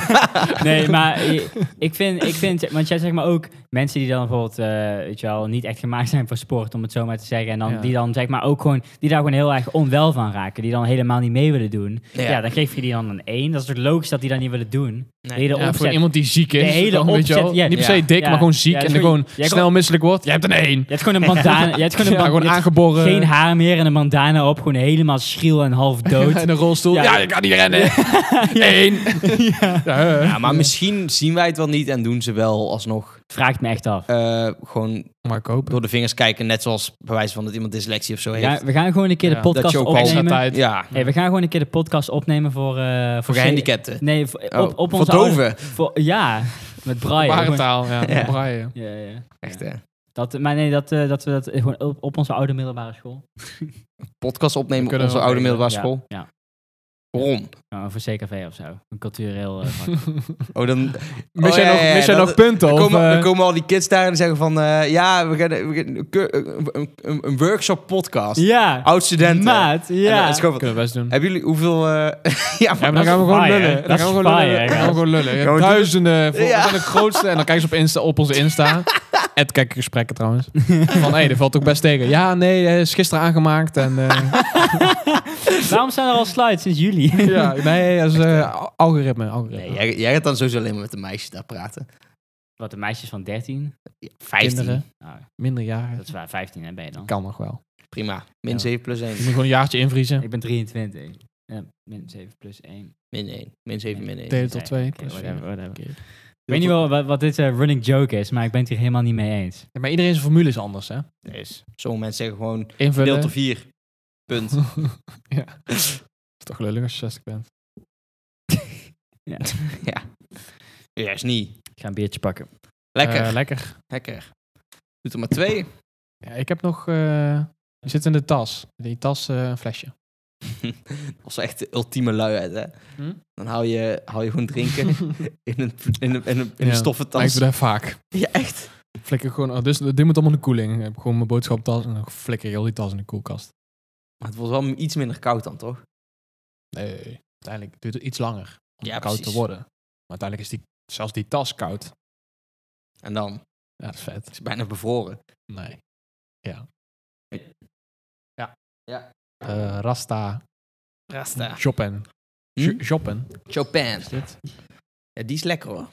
[SPEAKER 1] Nee, maar eh, ik vind, ik vind, want jij zegt maar ook mensen die dan bijvoorbeeld, eh, weet je wel, niet echt gemaakt zijn voor sport, om het zo maar te zeggen. En dan
[SPEAKER 3] Ja.
[SPEAKER 1] die dan zeg maar ook gewoon, die daar gewoon heel erg onwel van raken. Die dan helemaal niet mee willen doen.
[SPEAKER 2] Ja.
[SPEAKER 1] Ja, dan geef je die dan een 1. Dat is toch logisch dat die dat niet willen doen?
[SPEAKER 2] Nee.
[SPEAKER 1] De hele
[SPEAKER 3] *laughs* Ja, voor
[SPEAKER 1] opzet.
[SPEAKER 3] iemand die ziek is.
[SPEAKER 1] De hele
[SPEAKER 3] dan, weet je wel,
[SPEAKER 1] opzet, ja.
[SPEAKER 3] Niet per se
[SPEAKER 2] Ja.
[SPEAKER 3] dik,
[SPEAKER 1] Ja.
[SPEAKER 3] maar gewoon ziek.
[SPEAKER 1] Ja,
[SPEAKER 3] en
[SPEAKER 1] is
[SPEAKER 3] dan
[SPEAKER 1] goed.
[SPEAKER 3] gewoon
[SPEAKER 1] Jij
[SPEAKER 3] snel
[SPEAKER 1] kon-
[SPEAKER 3] misselijk wordt. Je hebt een
[SPEAKER 1] *laughs*
[SPEAKER 3] één.
[SPEAKER 1] Je hebt gewoon een bandana.
[SPEAKER 3] *laughs*
[SPEAKER 1] Je hebt
[SPEAKER 3] Ja,
[SPEAKER 1] gewoon een
[SPEAKER 3] gewoon
[SPEAKER 1] bandana.
[SPEAKER 3] aangeboren.
[SPEAKER 1] geen haar meer en een bandana op. Gewoon helemaal schriel en
[SPEAKER 3] *laughs*
[SPEAKER 1] half dood. *laughs*
[SPEAKER 3] in een rolstoel.
[SPEAKER 1] Ja.
[SPEAKER 3] Ja, ik kan niet rennen. *laughs* Eén. Ja, eh.
[SPEAKER 2] Ja, maar misschien zien wij het wel niet en doen ze wel alsnog
[SPEAKER 1] Vraagt me echt af.
[SPEAKER 2] eh, gewoon
[SPEAKER 3] Maar kopen.
[SPEAKER 2] door de vingers kijken. Net zoals bij wijze van dat iemand dyslexie of zo heeft.
[SPEAKER 1] Ja, we gaan gewoon een keer
[SPEAKER 3] Ja,
[SPEAKER 1] de
[SPEAKER 3] dat
[SPEAKER 1] podcast
[SPEAKER 2] je ook al-
[SPEAKER 3] Extra
[SPEAKER 1] opnemen.
[SPEAKER 3] tijd.
[SPEAKER 2] Ja,
[SPEAKER 1] Hey, we gaan gewoon een keer de podcast opnemen voor... eh,
[SPEAKER 2] voor gehandicapten.
[SPEAKER 1] Nee, voor-
[SPEAKER 2] Oh,
[SPEAKER 1] op, op
[SPEAKER 2] voor
[SPEAKER 1] onze...
[SPEAKER 2] doven.
[SPEAKER 1] oude- voor- ja, met Brian. Gewoon-
[SPEAKER 3] Barentaal, ja.
[SPEAKER 2] Ja.
[SPEAKER 3] Braille.
[SPEAKER 1] Ja, ja.
[SPEAKER 2] Echt, hè.
[SPEAKER 1] Dat, maar nee, dat, eh, dat we dat gewoon op, op onze oude middelbare school.
[SPEAKER 2] Podcast opnemen op
[SPEAKER 3] Kunnen we
[SPEAKER 2] onze oude
[SPEAKER 3] wel
[SPEAKER 2] middelbare
[SPEAKER 1] Ja,
[SPEAKER 2] school.
[SPEAKER 1] Ja,
[SPEAKER 2] Waarom?
[SPEAKER 1] Nou, voor CKV of zo. Een cultureel... eh, vak.
[SPEAKER 2] Oh, dan
[SPEAKER 3] Mis
[SPEAKER 2] Oh,
[SPEAKER 3] jij
[SPEAKER 2] ja,
[SPEAKER 3] nog,
[SPEAKER 2] ja, ja,
[SPEAKER 3] mis jij
[SPEAKER 2] dat-
[SPEAKER 3] nog punten?
[SPEAKER 2] Dan
[SPEAKER 3] of,
[SPEAKER 2] komen,
[SPEAKER 3] eh,
[SPEAKER 2] dan komen al die kids daar en zeggen van... eh, ja, we gaan, we gaan een keur- een, een, een workshop podcast.
[SPEAKER 1] ja,
[SPEAKER 2] Oud-studenten.
[SPEAKER 1] maat.
[SPEAKER 2] En dan
[SPEAKER 1] Ja.
[SPEAKER 2] is het gewoon van,
[SPEAKER 3] Kunnen we best doen.
[SPEAKER 2] hebben jullie hoeveel... eh, *laughs* ja,
[SPEAKER 3] Ja,
[SPEAKER 2] maar,
[SPEAKER 3] maar dan gaan we
[SPEAKER 1] Dat is
[SPEAKER 3] gewoon
[SPEAKER 1] fire,
[SPEAKER 3] lullen.
[SPEAKER 1] hè?
[SPEAKER 3] Dan
[SPEAKER 1] Dat is
[SPEAKER 3] gaan we gewoon
[SPEAKER 1] fire,
[SPEAKER 3] lullen. Dan
[SPEAKER 1] hè,
[SPEAKER 3] gaan we gewoon lullen.
[SPEAKER 2] Ja, we doen-
[SPEAKER 3] Duizenden. Voor,
[SPEAKER 2] Ja.
[SPEAKER 3] We zijn de grootste. En dan kijken ze op, Insta, op onze *laughs* Insta. Het kijkergesprekken *laughs* trouwens. Van, hé, dat valt ook best tegen. Ja, nee, eh, is gisteren aangemaakt. En, *laughs* eh,
[SPEAKER 1] Waarom zijn er al slides sinds juli?
[SPEAKER 3] ja, nee, dat is eh, al- algoritme. algoritme.
[SPEAKER 2] nee, jij, jij gaat dan sowieso alleen maar met de meisjes daar praten.
[SPEAKER 1] Wat, de meisjes van 13?
[SPEAKER 2] Ja, 15.
[SPEAKER 3] Kinderen,
[SPEAKER 1] Nou,
[SPEAKER 3] minderjarigen.
[SPEAKER 1] dat is waar, 15 hè, ben je dan.
[SPEAKER 3] Kan nog wel.
[SPEAKER 2] Prima. Min
[SPEAKER 1] Ja.
[SPEAKER 2] 7 plus
[SPEAKER 3] Je
[SPEAKER 2] 1.
[SPEAKER 3] moet gewoon een jaartje invriezen.
[SPEAKER 1] Ik ben 23. Ja, min 7 plus 1.
[SPEAKER 2] Min 1. Min 7, min 1.
[SPEAKER 3] Deel tot 2.
[SPEAKER 1] whatever, whatever. Ik weet niet wel wat, wat dit eh, running joke is, maar ik ben het hier helemaal niet mee eens.
[SPEAKER 3] Maar iedereen zijn formule is anders, hè?
[SPEAKER 2] Yes. Sommige mensen zeggen gewoon... Deel tot
[SPEAKER 3] Invullen.
[SPEAKER 2] 4. Punt.
[SPEAKER 3] ja. Toch lullig als je 60 bent.
[SPEAKER 2] Ja, is niet.
[SPEAKER 1] Ik ga een biertje pakken.
[SPEAKER 2] Lekker.
[SPEAKER 3] Eh, lekker.
[SPEAKER 2] lekker. Doet er maar twee. *laughs*
[SPEAKER 3] Ja, ik heb nog... eh, die zit in de tas. In die tas eh, een flesje.
[SPEAKER 2] Dat was echt de ultieme luiheid, hè.
[SPEAKER 3] Hm?
[SPEAKER 2] Dan hou je, hou je gewoon
[SPEAKER 3] *laughs*
[SPEAKER 2] drinken in een, in een, in een, in een
[SPEAKER 3] Ja.
[SPEAKER 2] stoffen
[SPEAKER 3] Maar ik
[SPEAKER 2] tas.
[SPEAKER 3] doe dat vaak.
[SPEAKER 2] Ja, echt.
[SPEAKER 3] Flikker gewoon, oh, dus dit moet allemaal in de koeling. Ik heb gewoon mijn boodschappentas en dan flikker heel die tas in de koelkast.
[SPEAKER 2] Maar het wordt wel iets minder koud dan, toch?
[SPEAKER 3] Nee, uiteindelijk duurt het iets langer om
[SPEAKER 2] Ja,
[SPEAKER 3] koud
[SPEAKER 2] precies.
[SPEAKER 3] te worden. Maar uiteindelijk is die, zelfs die tas koud.
[SPEAKER 2] En dan het
[SPEAKER 3] Ja, dat is vet.
[SPEAKER 2] is bijna bevroren.
[SPEAKER 3] Nee.
[SPEAKER 2] Eh,
[SPEAKER 3] Eh, Rasta.
[SPEAKER 2] Rasta.
[SPEAKER 3] Chopin.
[SPEAKER 2] Hm?
[SPEAKER 3] Ch- Chopin.
[SPEAKER 2] Chopin.
[SPEAKER 3] Is dit?
[SPEAKER 2] Ja, die is lekker, hoor.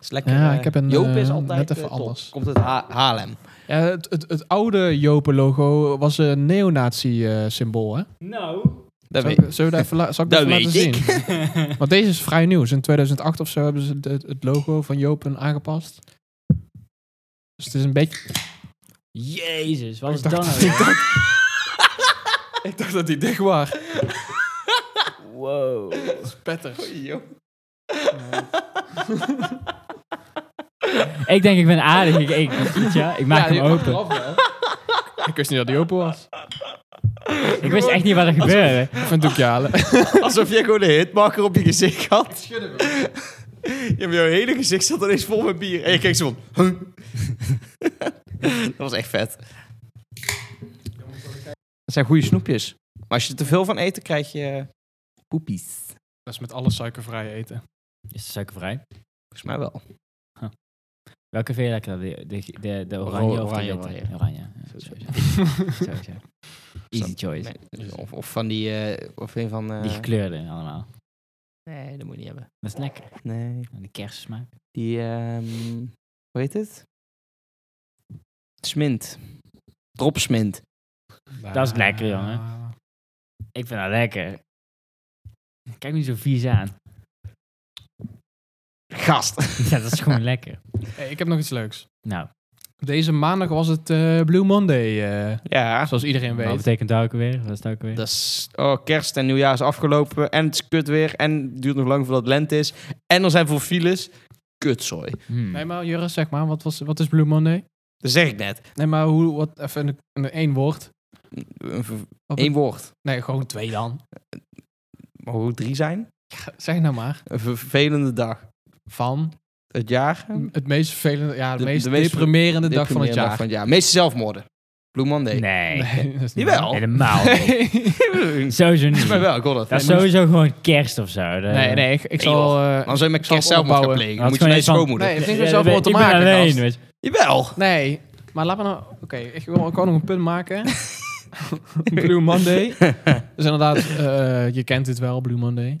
[SPEAKER 2] Is lekker.
[SPEAKER 3] Ja,
[SPEAKER 2] eh,
[SPEAKER 3] ik heb een,
[SPEAKER 2] Joop is
[SPEAKER 3] eh,
[SPEAKER 2] altijd
[SPEAKER 3] net even
[SPEAKER 2] eh, top.
[SPEAKER 3] anders.
[SPEAKER 2] Komt uit Ha- Haarlem.
[SPEAKER 3] Ja, Eh, het, het, het oude Jopen-logo was een neonazi-symbool, hè?
[SPEAKER 1] Nou.
[SPEAKER 2] Dat
[SPEAKER 3] Zal
[SPEAKER 2] weet ik.
[SPEAKER 3] ik, zullen we dat even, la- zal ik dat
[SPEAKER 2] Dat
[SPEAKER 3] even laten
[SPEAKER 2] weet ik.
[SPEAKER 3] zien? Want deze is vrij nieuw. Dus in 2008 of zo hebben ze het, het logo van Jopen aangepast. Dus het is een beetje... *laughs*
[SPEAKER 1] Jezus, wat is
[SPEAKER 3] Ik
[SPEAKER 1] dat
[SPEAKER 3] dacht-
[SPEAKER 2] *laughs*
[SPEAKER 1] nou? weer?
[SPEAKER 3] Ik dacht dat die dicht was.
[SPEAKER 1] Wow.
[SPEAKER 3] Spetters.
[SPEAKER 1] Ik denk, ik ben aardig. Ik, ik, ja, ik maak hem open.
[SPEAKER 3] *laughs* Ik wist niet dat die open was.
[SPEAKER 1] Ik wist echt niet wat er gebeurde.
[SPEAKER 3] Of een doekje halen.
[SPEAKER 2] Alsof jij gewoon een hitmaker op je gezicht had. Ja, maar jouw hele gezicht zat ineens vol met bier. En je keek zo van... huh? dat was echt vet. Dat zijn goede snoepjes. Maar als je er te veel van eet, dan krijg je eh, poepies.
[SPEAKER 3] Dat is met alles suikervrij eten.
[SPEAKER 1] Is het suikervrij?
[SPEAKER 2] Volgens mij wel.
[SPEAKER 1] Welke vind je lekkerder? De, de, de, de oranje of de
[SPEAKER 2] Oranje,
[SPEAKER 1] witte?
[SPEAKER 2] oranje.
[SPEAKER 1] Oranje, ja, sowieso. Sowieso. Easy choice.
[SPEAKER 2] Nee, of, of van die... eh, of een van... eh,
[SPEAKER 1] Die gekleurde allemaal.
[SPEAKER 2] nee, dat moet je niet hebben.
[SPEAKER 1] Dat is lekker.
[SPEAKER 2] Nee.
[SPEAKER 1] En de kerstsmaak.
[SPEAKER 2] Die... ehm hoe heet het? Smint. Dropsmint.
[SPEAKER 1] Dat is lekker, jongen. Ik vind dat lekker. Kijk me niet zo vies aan.
[SPEAKER 2] Gast.
[SPEAKER 1] *laughs*
[SPEAKER 2] *laughs*
[SPEAKER 1] Ja, dat is gewoon lekker.
[SPEAKER 3] Hey, ik heb nog iets leuks.
[SPEAKER 1] Nou,
[SPEAKER 3] Deze maandag was het eh, Blue Monday, eh,
[SPEAKER 2] Ja.
[SPEAKER 3] zoals iedereen
[SPEAKER 1] wat
[SPEAKER 3] weet.
[SPEAKER 1] betekent dat ook weer? Wat is dat ook weer?
[SPEAKER 2] Dat is, oh, kerst en nieuwjaar is afgelopen. En het is kut weer. En het duurt nog lang voordat het lente is. En er zijn veel files. Kutzooi.
[SPEAKER 1] Hmm.
[SPEAKER 3] Nee, maar Jurre, zeg maar, wat, was, wat is Blue Monday?
[SPEAKER 2] Dat zeg ik net.
[SPEAKER 3] Nee, maar hoe, wat, even in, de- in de één woord.
[SPEAKER 2] Een ver-
[SPEAKER 3] Wat
[SPEAKER 2] Eén woord.
[SPEAKER 3] Nee, gewoon twee dan. *laughs*
[SPEAKER 2] Maar hoe drie zijn?
[SPEAKER 3] Zeg nou maar.
[SPEAKER 2] Een vervelende dag.
[SPEAKER 3] Van
[SPEAKER 2] Het jaar.
[SPEAKER 3] het meest vervelende, ja, de,
[SPEAKER 2] De-
[SPEAKER 3] meest
[SPEAKER 2] de meest ver-
[SPEAKER 3] deprimerende dag van het
[SPEAKER 2] Deprimerende
[SPEAKER 3] jaar.
[SPEAKER 2] Dag van het jaar. Meeste zelfmoorden. Blue Monday.
[SPEAKER 1] Nee.
[SPEAKER 3] Nee, dat is niet
[SPEAKER 2] Jawel.
[SPEAKER 3] waar.
[SPEAKER 1] *laughs* Helemaal niet.
[SPEAKER 2] *laughs* Volgens
[SPEAKER 1] Sowieso niet.
[SPEAKER 2] mij wel, ik hoor dat.
[SPEAKER 1] Dat is sowieso gewoon kerst of zo. Dat-
[SPEAKER 3] Nee, nee, ik, ik zal... eh,
[SPEAKER 2] Dan zou je met
[SPEAKER 3] Ik zal
[SPEAKER 2] kerst zelfmoord gaan
[SPEAKER 3] opbouwen.
[SPEAKER 2] plegen. Dan
[SPEAKER 1] Dat
[SPEAKER 2] moet
[SPEAKER 1] is
[SPEAKER 2] je naar je
[SPEAKER 1] gewoon
[SPEAKER 2] schoonmoeder.
[SPEAKER 3] nee, het heeft
[SPEAKER 1] Ja,
[SPEAKER 3] niks zelf
[SPEAKER 1] weet-
[SPEAKER 3] wel te
[SPEAKER 1] ik ben
[SPEAKER 3] maken,
[SPEAKER 1] alleen,
[SPEAKER 3] gast.
[SPEAKER 1] weet je.
[SPEAKER 2] Jawel.
[SPEAKER 3] Nee, maar laat me nou... Oké, ik wil ook nog een punt
[SPEAKER 2] *laughs*
[SPEAKER 3] maken. Blue Monday. Dus inderdaad, eh, je kent dit wel, Blue Monday.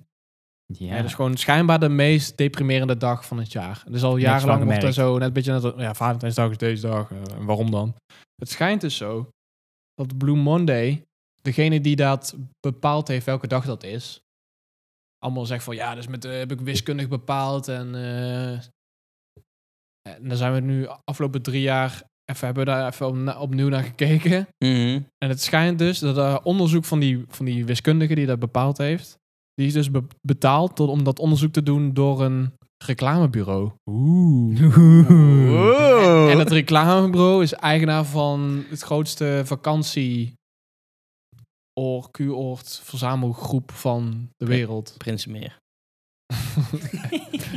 [SPEAKER 1] Ja,
[SPEAKER 3] Ja. dat is gewoon schijnbaar de meest deprimerende dag van het jaar. Dus al
[SPEAKER 1] Niks van
[SPEAKER 3] jarenlang wordt er
[SPEAKER 1] gemerkt.
[SPEAKER 3] zo, net een beetje net als, ja, Valentijnsdag is deze dag, eh, en waarom dan? Het schijnt dus zo dat Blue Monday, degene die dat bepaald heeft welke dag dat is, allemaal zegt van ja, dus met, eh, heb ik wiskundig bepaald en, eh, en daar zijn we nu afgelopen drie jaar even, hebben we daar even op- na- opnieuw naar gekeken.
[SPEAKER 2] Mhm.
[SPEAKER 3] En het schijnt dus dat eh, onderzoek van die, van die wiskundige die dat bepaald heeft, die is dus be- betaald tot, om dat onderzoek te doen door een reclamebureau. Oeh.
[SPEAKER 2] Wow.
[SPEAKER 3] En dat reclamebureau is eigenaar van het grootste vakantie or, Q-oord verzamelgroep van de wereld. *laughs*
[SPEAKER 2] Prinsenmeer.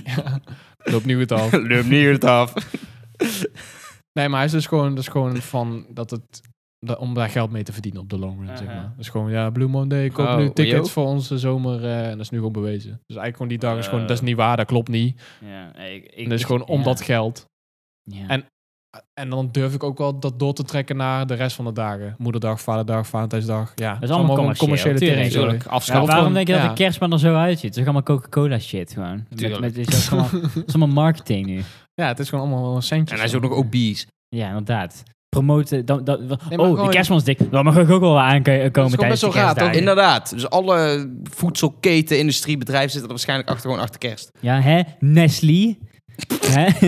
[SPEAKER 3] ja, loopt nu het af.
[SPEAKER 2] *laughs* Lum niet het af.
[SPEAKER 3] Nee, maar hij is dus gewoon, dat is gewoon van dat het. dat- om daar geld mee te verdienen op de long run, zeg
[SPEAKER 1] Aha.
[SPEAKER 3] maar. Dus gewoon, ja, Blue Monday, koop
[SPEAKER 2] Oh,
[SPEAKER 3] nu tickets
[SPEAKER 2] yo.
[SPEAKER 3] voor onze zomer. eh, en dat is nu gewoon bewezen. Dus eigenlijk gewoon die dag is gewoon,
[SPEAKER 1] Eh.
[SPEAKER 3] dat is niet waar, dat klopt niet.
[SPEAKER 1] Ja, nee, ik,
[SPEAKER 3] En
[SPEAKER 1] ik,
[SPEAKER 3] dat is
[SPEAKER 1] ik-
[SPEAKER 3] Dus gewoon om
[SPEAKER 1] ja.
[SPEAKER 3] dat geld.
[SPEAKER 1] Ja.
[SPEAKER 3] En- En dan durf ik ook wel dat door te trekken naar de rest van de dagen. Moederdag, vaderdag, Valentijnsdag. Ja, dat
[SPEAKER 1] is allemaal commercieel, tuurlijk,
[SPEAKER 3] teringzooi.
[SPEAKER 2] Tuurlijk,
[SPEAKER 1] Maar
[SPEAKER 2] afschaffen.
[SPEAKER 1] waarom
[SPEAKER 3] gewoon-
[SPEAKER 1] denk je dat
[SPEAKER 3] ja.
[SPEAKER 1] de kerstman er zo uitziet? Het is allemaal Coca-Cola shit gewoon. Met,
[SPEAKER 2] Tuurlijk.
[SPEAKER 1] met, het is ook
[SPEAKER 3] *laughs*
[SPEAKER 1] allemaal, het is allemaal marketing nu.
[SPEAKER 3] Ja, het is gewoon allemaal wel een centje.
[SPEAKER 2] En hij is ook nog obese.
[SPEAKER 1] Ja, inderdaad. Promoten. Dan, dan,
[SPEAKER 3] maar
[SPEAKER 1] oh,
[SPEAKER 3] gewoon-
[SPEAKER 1] de kerstman is dik. Dan mag ik ook wel wat aankomen
[SPEAKER 3] gewoon
[SPEAKER 1] tijdens
[SPEAKER 3] best
[SPEAKER 1] de
[SPEAKER 3] wel raar, toch?
[SPEAKER 1] kerstdagen.
[SPEAKER 2] Inderdaad. Dus alle voedselketen, industrie, bedrijven zitten er waarschijnlijk achter, gewoon achter kerst.
[SPEAKER 1] Ja, hè?
[SPEAKER 3] *laughs*
[SPEAKER 1] Nestlé. hè?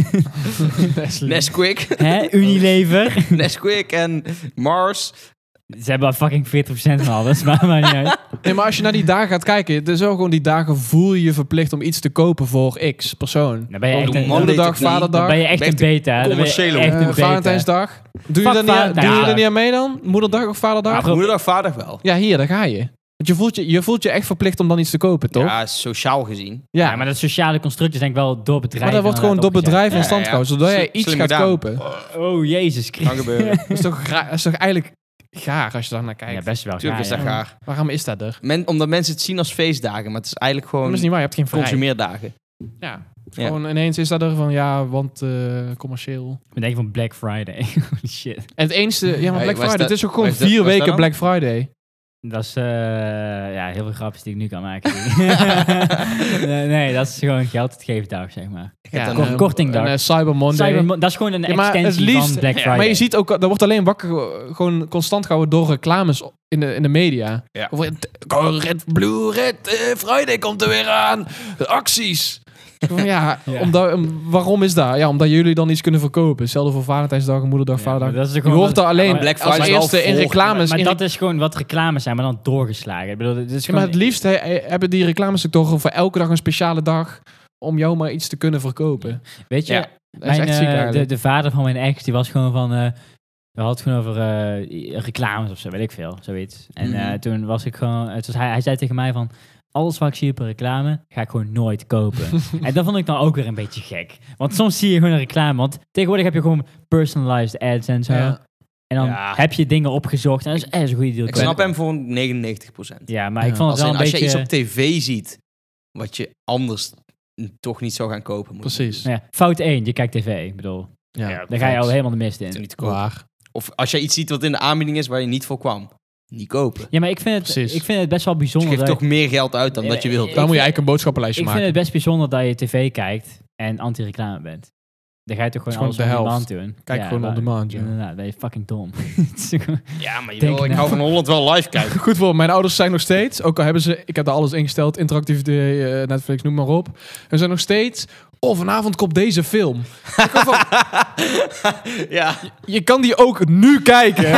[SPEAKER 2] Nesquik. *laughs*
[SPEAKER 1] hè? Unilever.
[SPEAKER 2] Nesquik en Mars.
[SPEAKER 1] Ze hebben al fucking 40% van alles, *laughs* maar maar niet uit.
[SPEAKER 3] Nee, maar als je naar die dagen gaat kijken, het is wel gewoon die dagen voel je je verplicht om iets te kopen voor x persoon.
[SPEAKER 1] Dan ben je
[SPEAKER 2] Oh,
[SPEAKER 1] echt
[SPEAKER 2] doe
[SPEAKER 1] een,
[SPEAKER 2] man.
[SPEAKER 3] Moederdag,
[SPEAKER 2] Monday-techniek.
[SPEAKER 1] dan
[SPEAKER 3] vaderdag.
[SPEAKER 1] ben je echt
[SPEAKER 2] Ben
[SPEAKER 1] een
[SPEAKER 2] je
[SPEAKER 1] beta. Dan ben je
[SPEAKER 2] commerciële
[SPEAKER 1] echt
[SPEAKER 3] Eh,
[SPEAKER 1] een beta.
[SPEAKER 3] Valentijnsdag. Doe je, dat niet, doe
[SPEAKER 1] Fuck
[SPEAKER 3] je
[SPEAKER 1] Valentijnsdag.
[SPEAKER 3] dat niet aan mee dan? Moederdag of vaderdag?
[SPEAKER 1] Ja,
[SPEAKER 2] Moederdag, vaderdag wel.
[SPEAKER 3] Ja, hier, daar ga je. Want je voelt je, je voelt je echt verplicht om dan iets te kopen, toch?
[SPEAKER 2] Ja, sociaal gezien.
[SPEAKER 1] Ja, maar dat sociale construct is denk ik wel door bedrijven.
[SPEAKER 3] Maar dat wordt gewoon door
[SPEAKER 1] inderdaad
[SPEAKER 3] bedrijven in
[SPEAKER 2] Ja,
[SPEAKER 3] stand
[SPEAKER 2] ja.
[SPEAKER 3] gehouden, zodat jij
[SPEAKER 2] Slim-
[SPEAKER 3] iets
[SPEAKER 2] slim
[SPEAKER 3] gaat
[SPEAKER 2] gedaan.
[SPEAKER 3] kopen. Dat
[SPEAKER 1] opgezet. Oh, jezus
[SPEAKER 2] Kan
[SPEAKER 1] Christus.
[SPEAKER 2] gebeuren.
[SPEAKER 1] *laughs*
[SPEAKER 3] is, toch raar- dat is toch eigenlijk gaar als je daar naar kijkt.
[SPEAKER 1] Ja, best wel.
[SPEAKER 2] Natuurlijk is
[SPEAKER 1] ja,
[SPEAKER 2] dat
[SPEAKER 1] ja.
[SPEAKER 2] gaar.
[SPEAKER 3] Waarom is dat er?
[SPEAKER 2] Men, omdat mensen het zien als feestdagen, maar het is eigenlijk
[SPEAKER 3] Dat
[SPEAKER 2] gewoon
[SPEAKER 3] is niet waar, je hebt geen vrij.
[SPEAKER 2] consumeerdagen.
[SPEAKER 3] Ja.
[SPEAKER 2] Ja.
[SPEAKER 3] Gewoon ineens is dat er van, ja, want eh, commercieel.
[SPEAKER 1] Ik ben denk van Black Friday. *laughs* Holy shit.
[SPEAKER 3] En het enige, ja, maar
[SPEAKER 2] Hey,
[SPEAKER 3] Black
[SPEAKER 2] was
[SPEAKER 3] Friday,
[SPEAKER 2] dat-
[SPEAKER 3] het is ook gewoon
[SPEAKER 2] was dat-
[SPEAKER 3] vier
[SPEAKER 2] was dat
[SPEAKER 3] weken
[SPEAKER 2] dan?
[SPEAKER 3] Black Friday.
[SPEAKER 1] Dat is eh, ja, heel veel grapjes die ik nu kan
[SPEAKER 3] *laughs*
[SPEAKER 1] maken. nee, nee, dat is gewoon geld uitgevendag, zeg maar.
[SPEAKER 2] Ik heb
[SPEAKER 3] Ja,
[SPEAKER 2] dan
[SPEAKER 1] kort-
[SPEAKER 2] een-
[SPEAKER 1] korting
[SPEAKER 3] En,
[SPEAKER 1] dag.
[SPEAKER 3] eh, Cyber Monday.
[SPEAKER 1] Cyber Mon- dat is gewoon een
[SPEAKER 3] Ja, maar
[SPEAKER 1] extensie
[SPEAKER 3] het liefst-
[SPEAKER 1] van Black
[SPEAKER 2] Ja,
[SPEAKER 1] Friday.
[SPEAKER 3] maar je ziet ook, dat wordt alleen wakker, eh, gewoon constant gehouden door reclames in de, in de media.
[SPEAKER 2] Ja.
[SPEAKER 3] Of, eh, go Red, Blue Red, eh, Friday komt er weer aan. De acties. Gewoon, ja,
[SPEAKER 1] *laughs* Ja.
[SPEAKER 3] Omdat, om- waarom is dat? Ja, omdat jullie dan iets kunnen verkopen. Hetzelfde voor Valentijnsdag en Moederdag,
[SPEAKER 1] Ja, maar
[SPEAKER 3] Vaderdag.
[SPEAKER 1] dat is
[SPEAKER 3] Je
[SPEAKER 1] gewoon
[SPEAKER 3] hoort
[SPEAKER 1] dat-
[SPEAKER 3] daar alleen
[SPEAKER 1] Ja, maar-
[SPEAKER 2] Black
[SPEAKER 3] als
[SPEAKER 2] Friday is al
[SPEAKER 3] eerste in
[SPEAKER 2] voor-
[SPEAKER 3] reclames.
[SPEAKER 1] Maar
[SPEAKER 3] in
[SPEAKER 1] dat is gewoon wat reclames zijn, maar dan doorgeslagen. Ik bedoel, dit is
[SPEAKER 3] Ja, maar het
[SPEAKER 1] gewoon,
[SPEAKER 3] liefst he- he- hebben die reclames ook toch voor elke dag een speciale dag om jou maar iets te kunnen verkopen.
[SPEAKER 1] weet je,
[SPEAKER 2] Ja,
[SPEAKER 3] Dat is
[SPEAKER 1] mijn,
[SPEAKER 3] echt
[SPEAKER 1] eh,
[SPEAKER 3] ziek
[SPEAKER 1] de,
[SPEAKER 3] eigenlijk.
[SPEAKER 1] de vader van mijn ex, die was gewoon van... eh, we hadden het gewoon over eh, reclames of zo, weet ik veel, zoiets. En
[SPEAKER 2] Mhm.
[SPEAKER 1] eh, toen was ik gewoon... Het was, hij, hij zei tegen mij van... Alles wat ik zie op een reclame, ga ik gewoon nooit
[SPEAKER 2] *laughs*
[SPEAKER 1] kopen. en dat vond ik dan ook weer een beetje gek. Want soms zie je gewoon een reclame. Want tegenwoordig heb je gewoon personalized ads en zo.
[SPEAKER 3] Ja.
[SPEAKER 1] En dan
[SPEAKER 2] Ja.
[SPEAKER 1] heb je dingen opgezocht. En dat is echt een goede deal.
[SPEAKER 2] Ik snap hem voor 99
[SPEAKER 1] Ja, maar
[SPEAKER 3] Ja.
[SPEAKER 1] ik vond het
[SPEAKER 2] Als,
[SPEAKER 1] wel
[SPEAKER 2] in,
[SPEAKER 1] een
[SPEAKER 2] als je
[SPEAKER 1] beetje...
[SPEAKER 2] iets op tv ziet wat je anders toch niet zou gaan kopen, moet je
[SPEAKER 3] Precies.
[SPEAKER 1] Nou ja, fout 1, je kijkt tv. Ik bedoel,
[SPEAKER 3] Ja,
[SPEAKER 1] daar ga je al helemaal de mist
[SPEAKER 2] natuurlijk
[SPEAKER 1] in.
[SPEAKER 2] niet kopen.
[SPEAKER 3] Waar.
[SPEAKER 2] Of als jij iets ziet wat in de aanbieding is waar je niet voor kwam, niet kopen.
[SPEAKER 1] Ja, maar ik vind het,
[SPEAKER 3] Precies.
[SPEAKER 1] ik vind het best wel
[SPEAKER 2] Dus je
[SPEAKER 1] bijzonder.
[SPEAKER 2] geeft
[SPEAKER 1] dat
[SPEAKER 2] toch meer geld uit dan
[SPEAKER 1] Nee,
[SPEAKER 2] dat je
[SPEAKER 1] nee,
[SPEAKER 2] wilt.
[SPEAKER 1] nee.
[SPEAKER 3] Dan moet
[SPEAKER 1] vind-
[SPEAKER 3] je eigenlijk een boodschappenlijstje
[SPEAKER 1] ik vind
[SPEAKER 3] maken.
[SPEAKER 1] het best bijzonder dat je tv kijkt en anti-reclame bent. Dan ga je toch gewoon,
[SPEAKER 3] Het is gewoon
[SPEAKER 1] alles
[SPEAKER 3] de
[SPEAKER 1] on demand doen.
[SPEAKER 3] Kijk
[SPEAKER 1] Ja,
[SPEAKER 3] gewoon
[SPEAKER 1] maar-
[SPEAKER 3] on demand, ja.
[SPEAKER 1] Inderdaad, ben je fucking dom. *laughs* Het is gewoon-
[SPEAKER 2] Ja, maar je
[SPEAKER 1] Denk
[SPEAKER 2] wil, ik
[SPEAKER 1] nou.
[SPEAKER 2] hou van Holland wel live kijken.
[SPEAKER 3] Goed voor, mijn ouders zijn nog steeds, ook al hebben ze, ik heb daar alles ingesteld, interactief eh, Netflix, noem maar op. En zijn nog steeds, oh vanavond komt deze film.
[SPEAKER 2] *laughs* ja.
[SPEAKER 3] Je kan die ook nu kijken.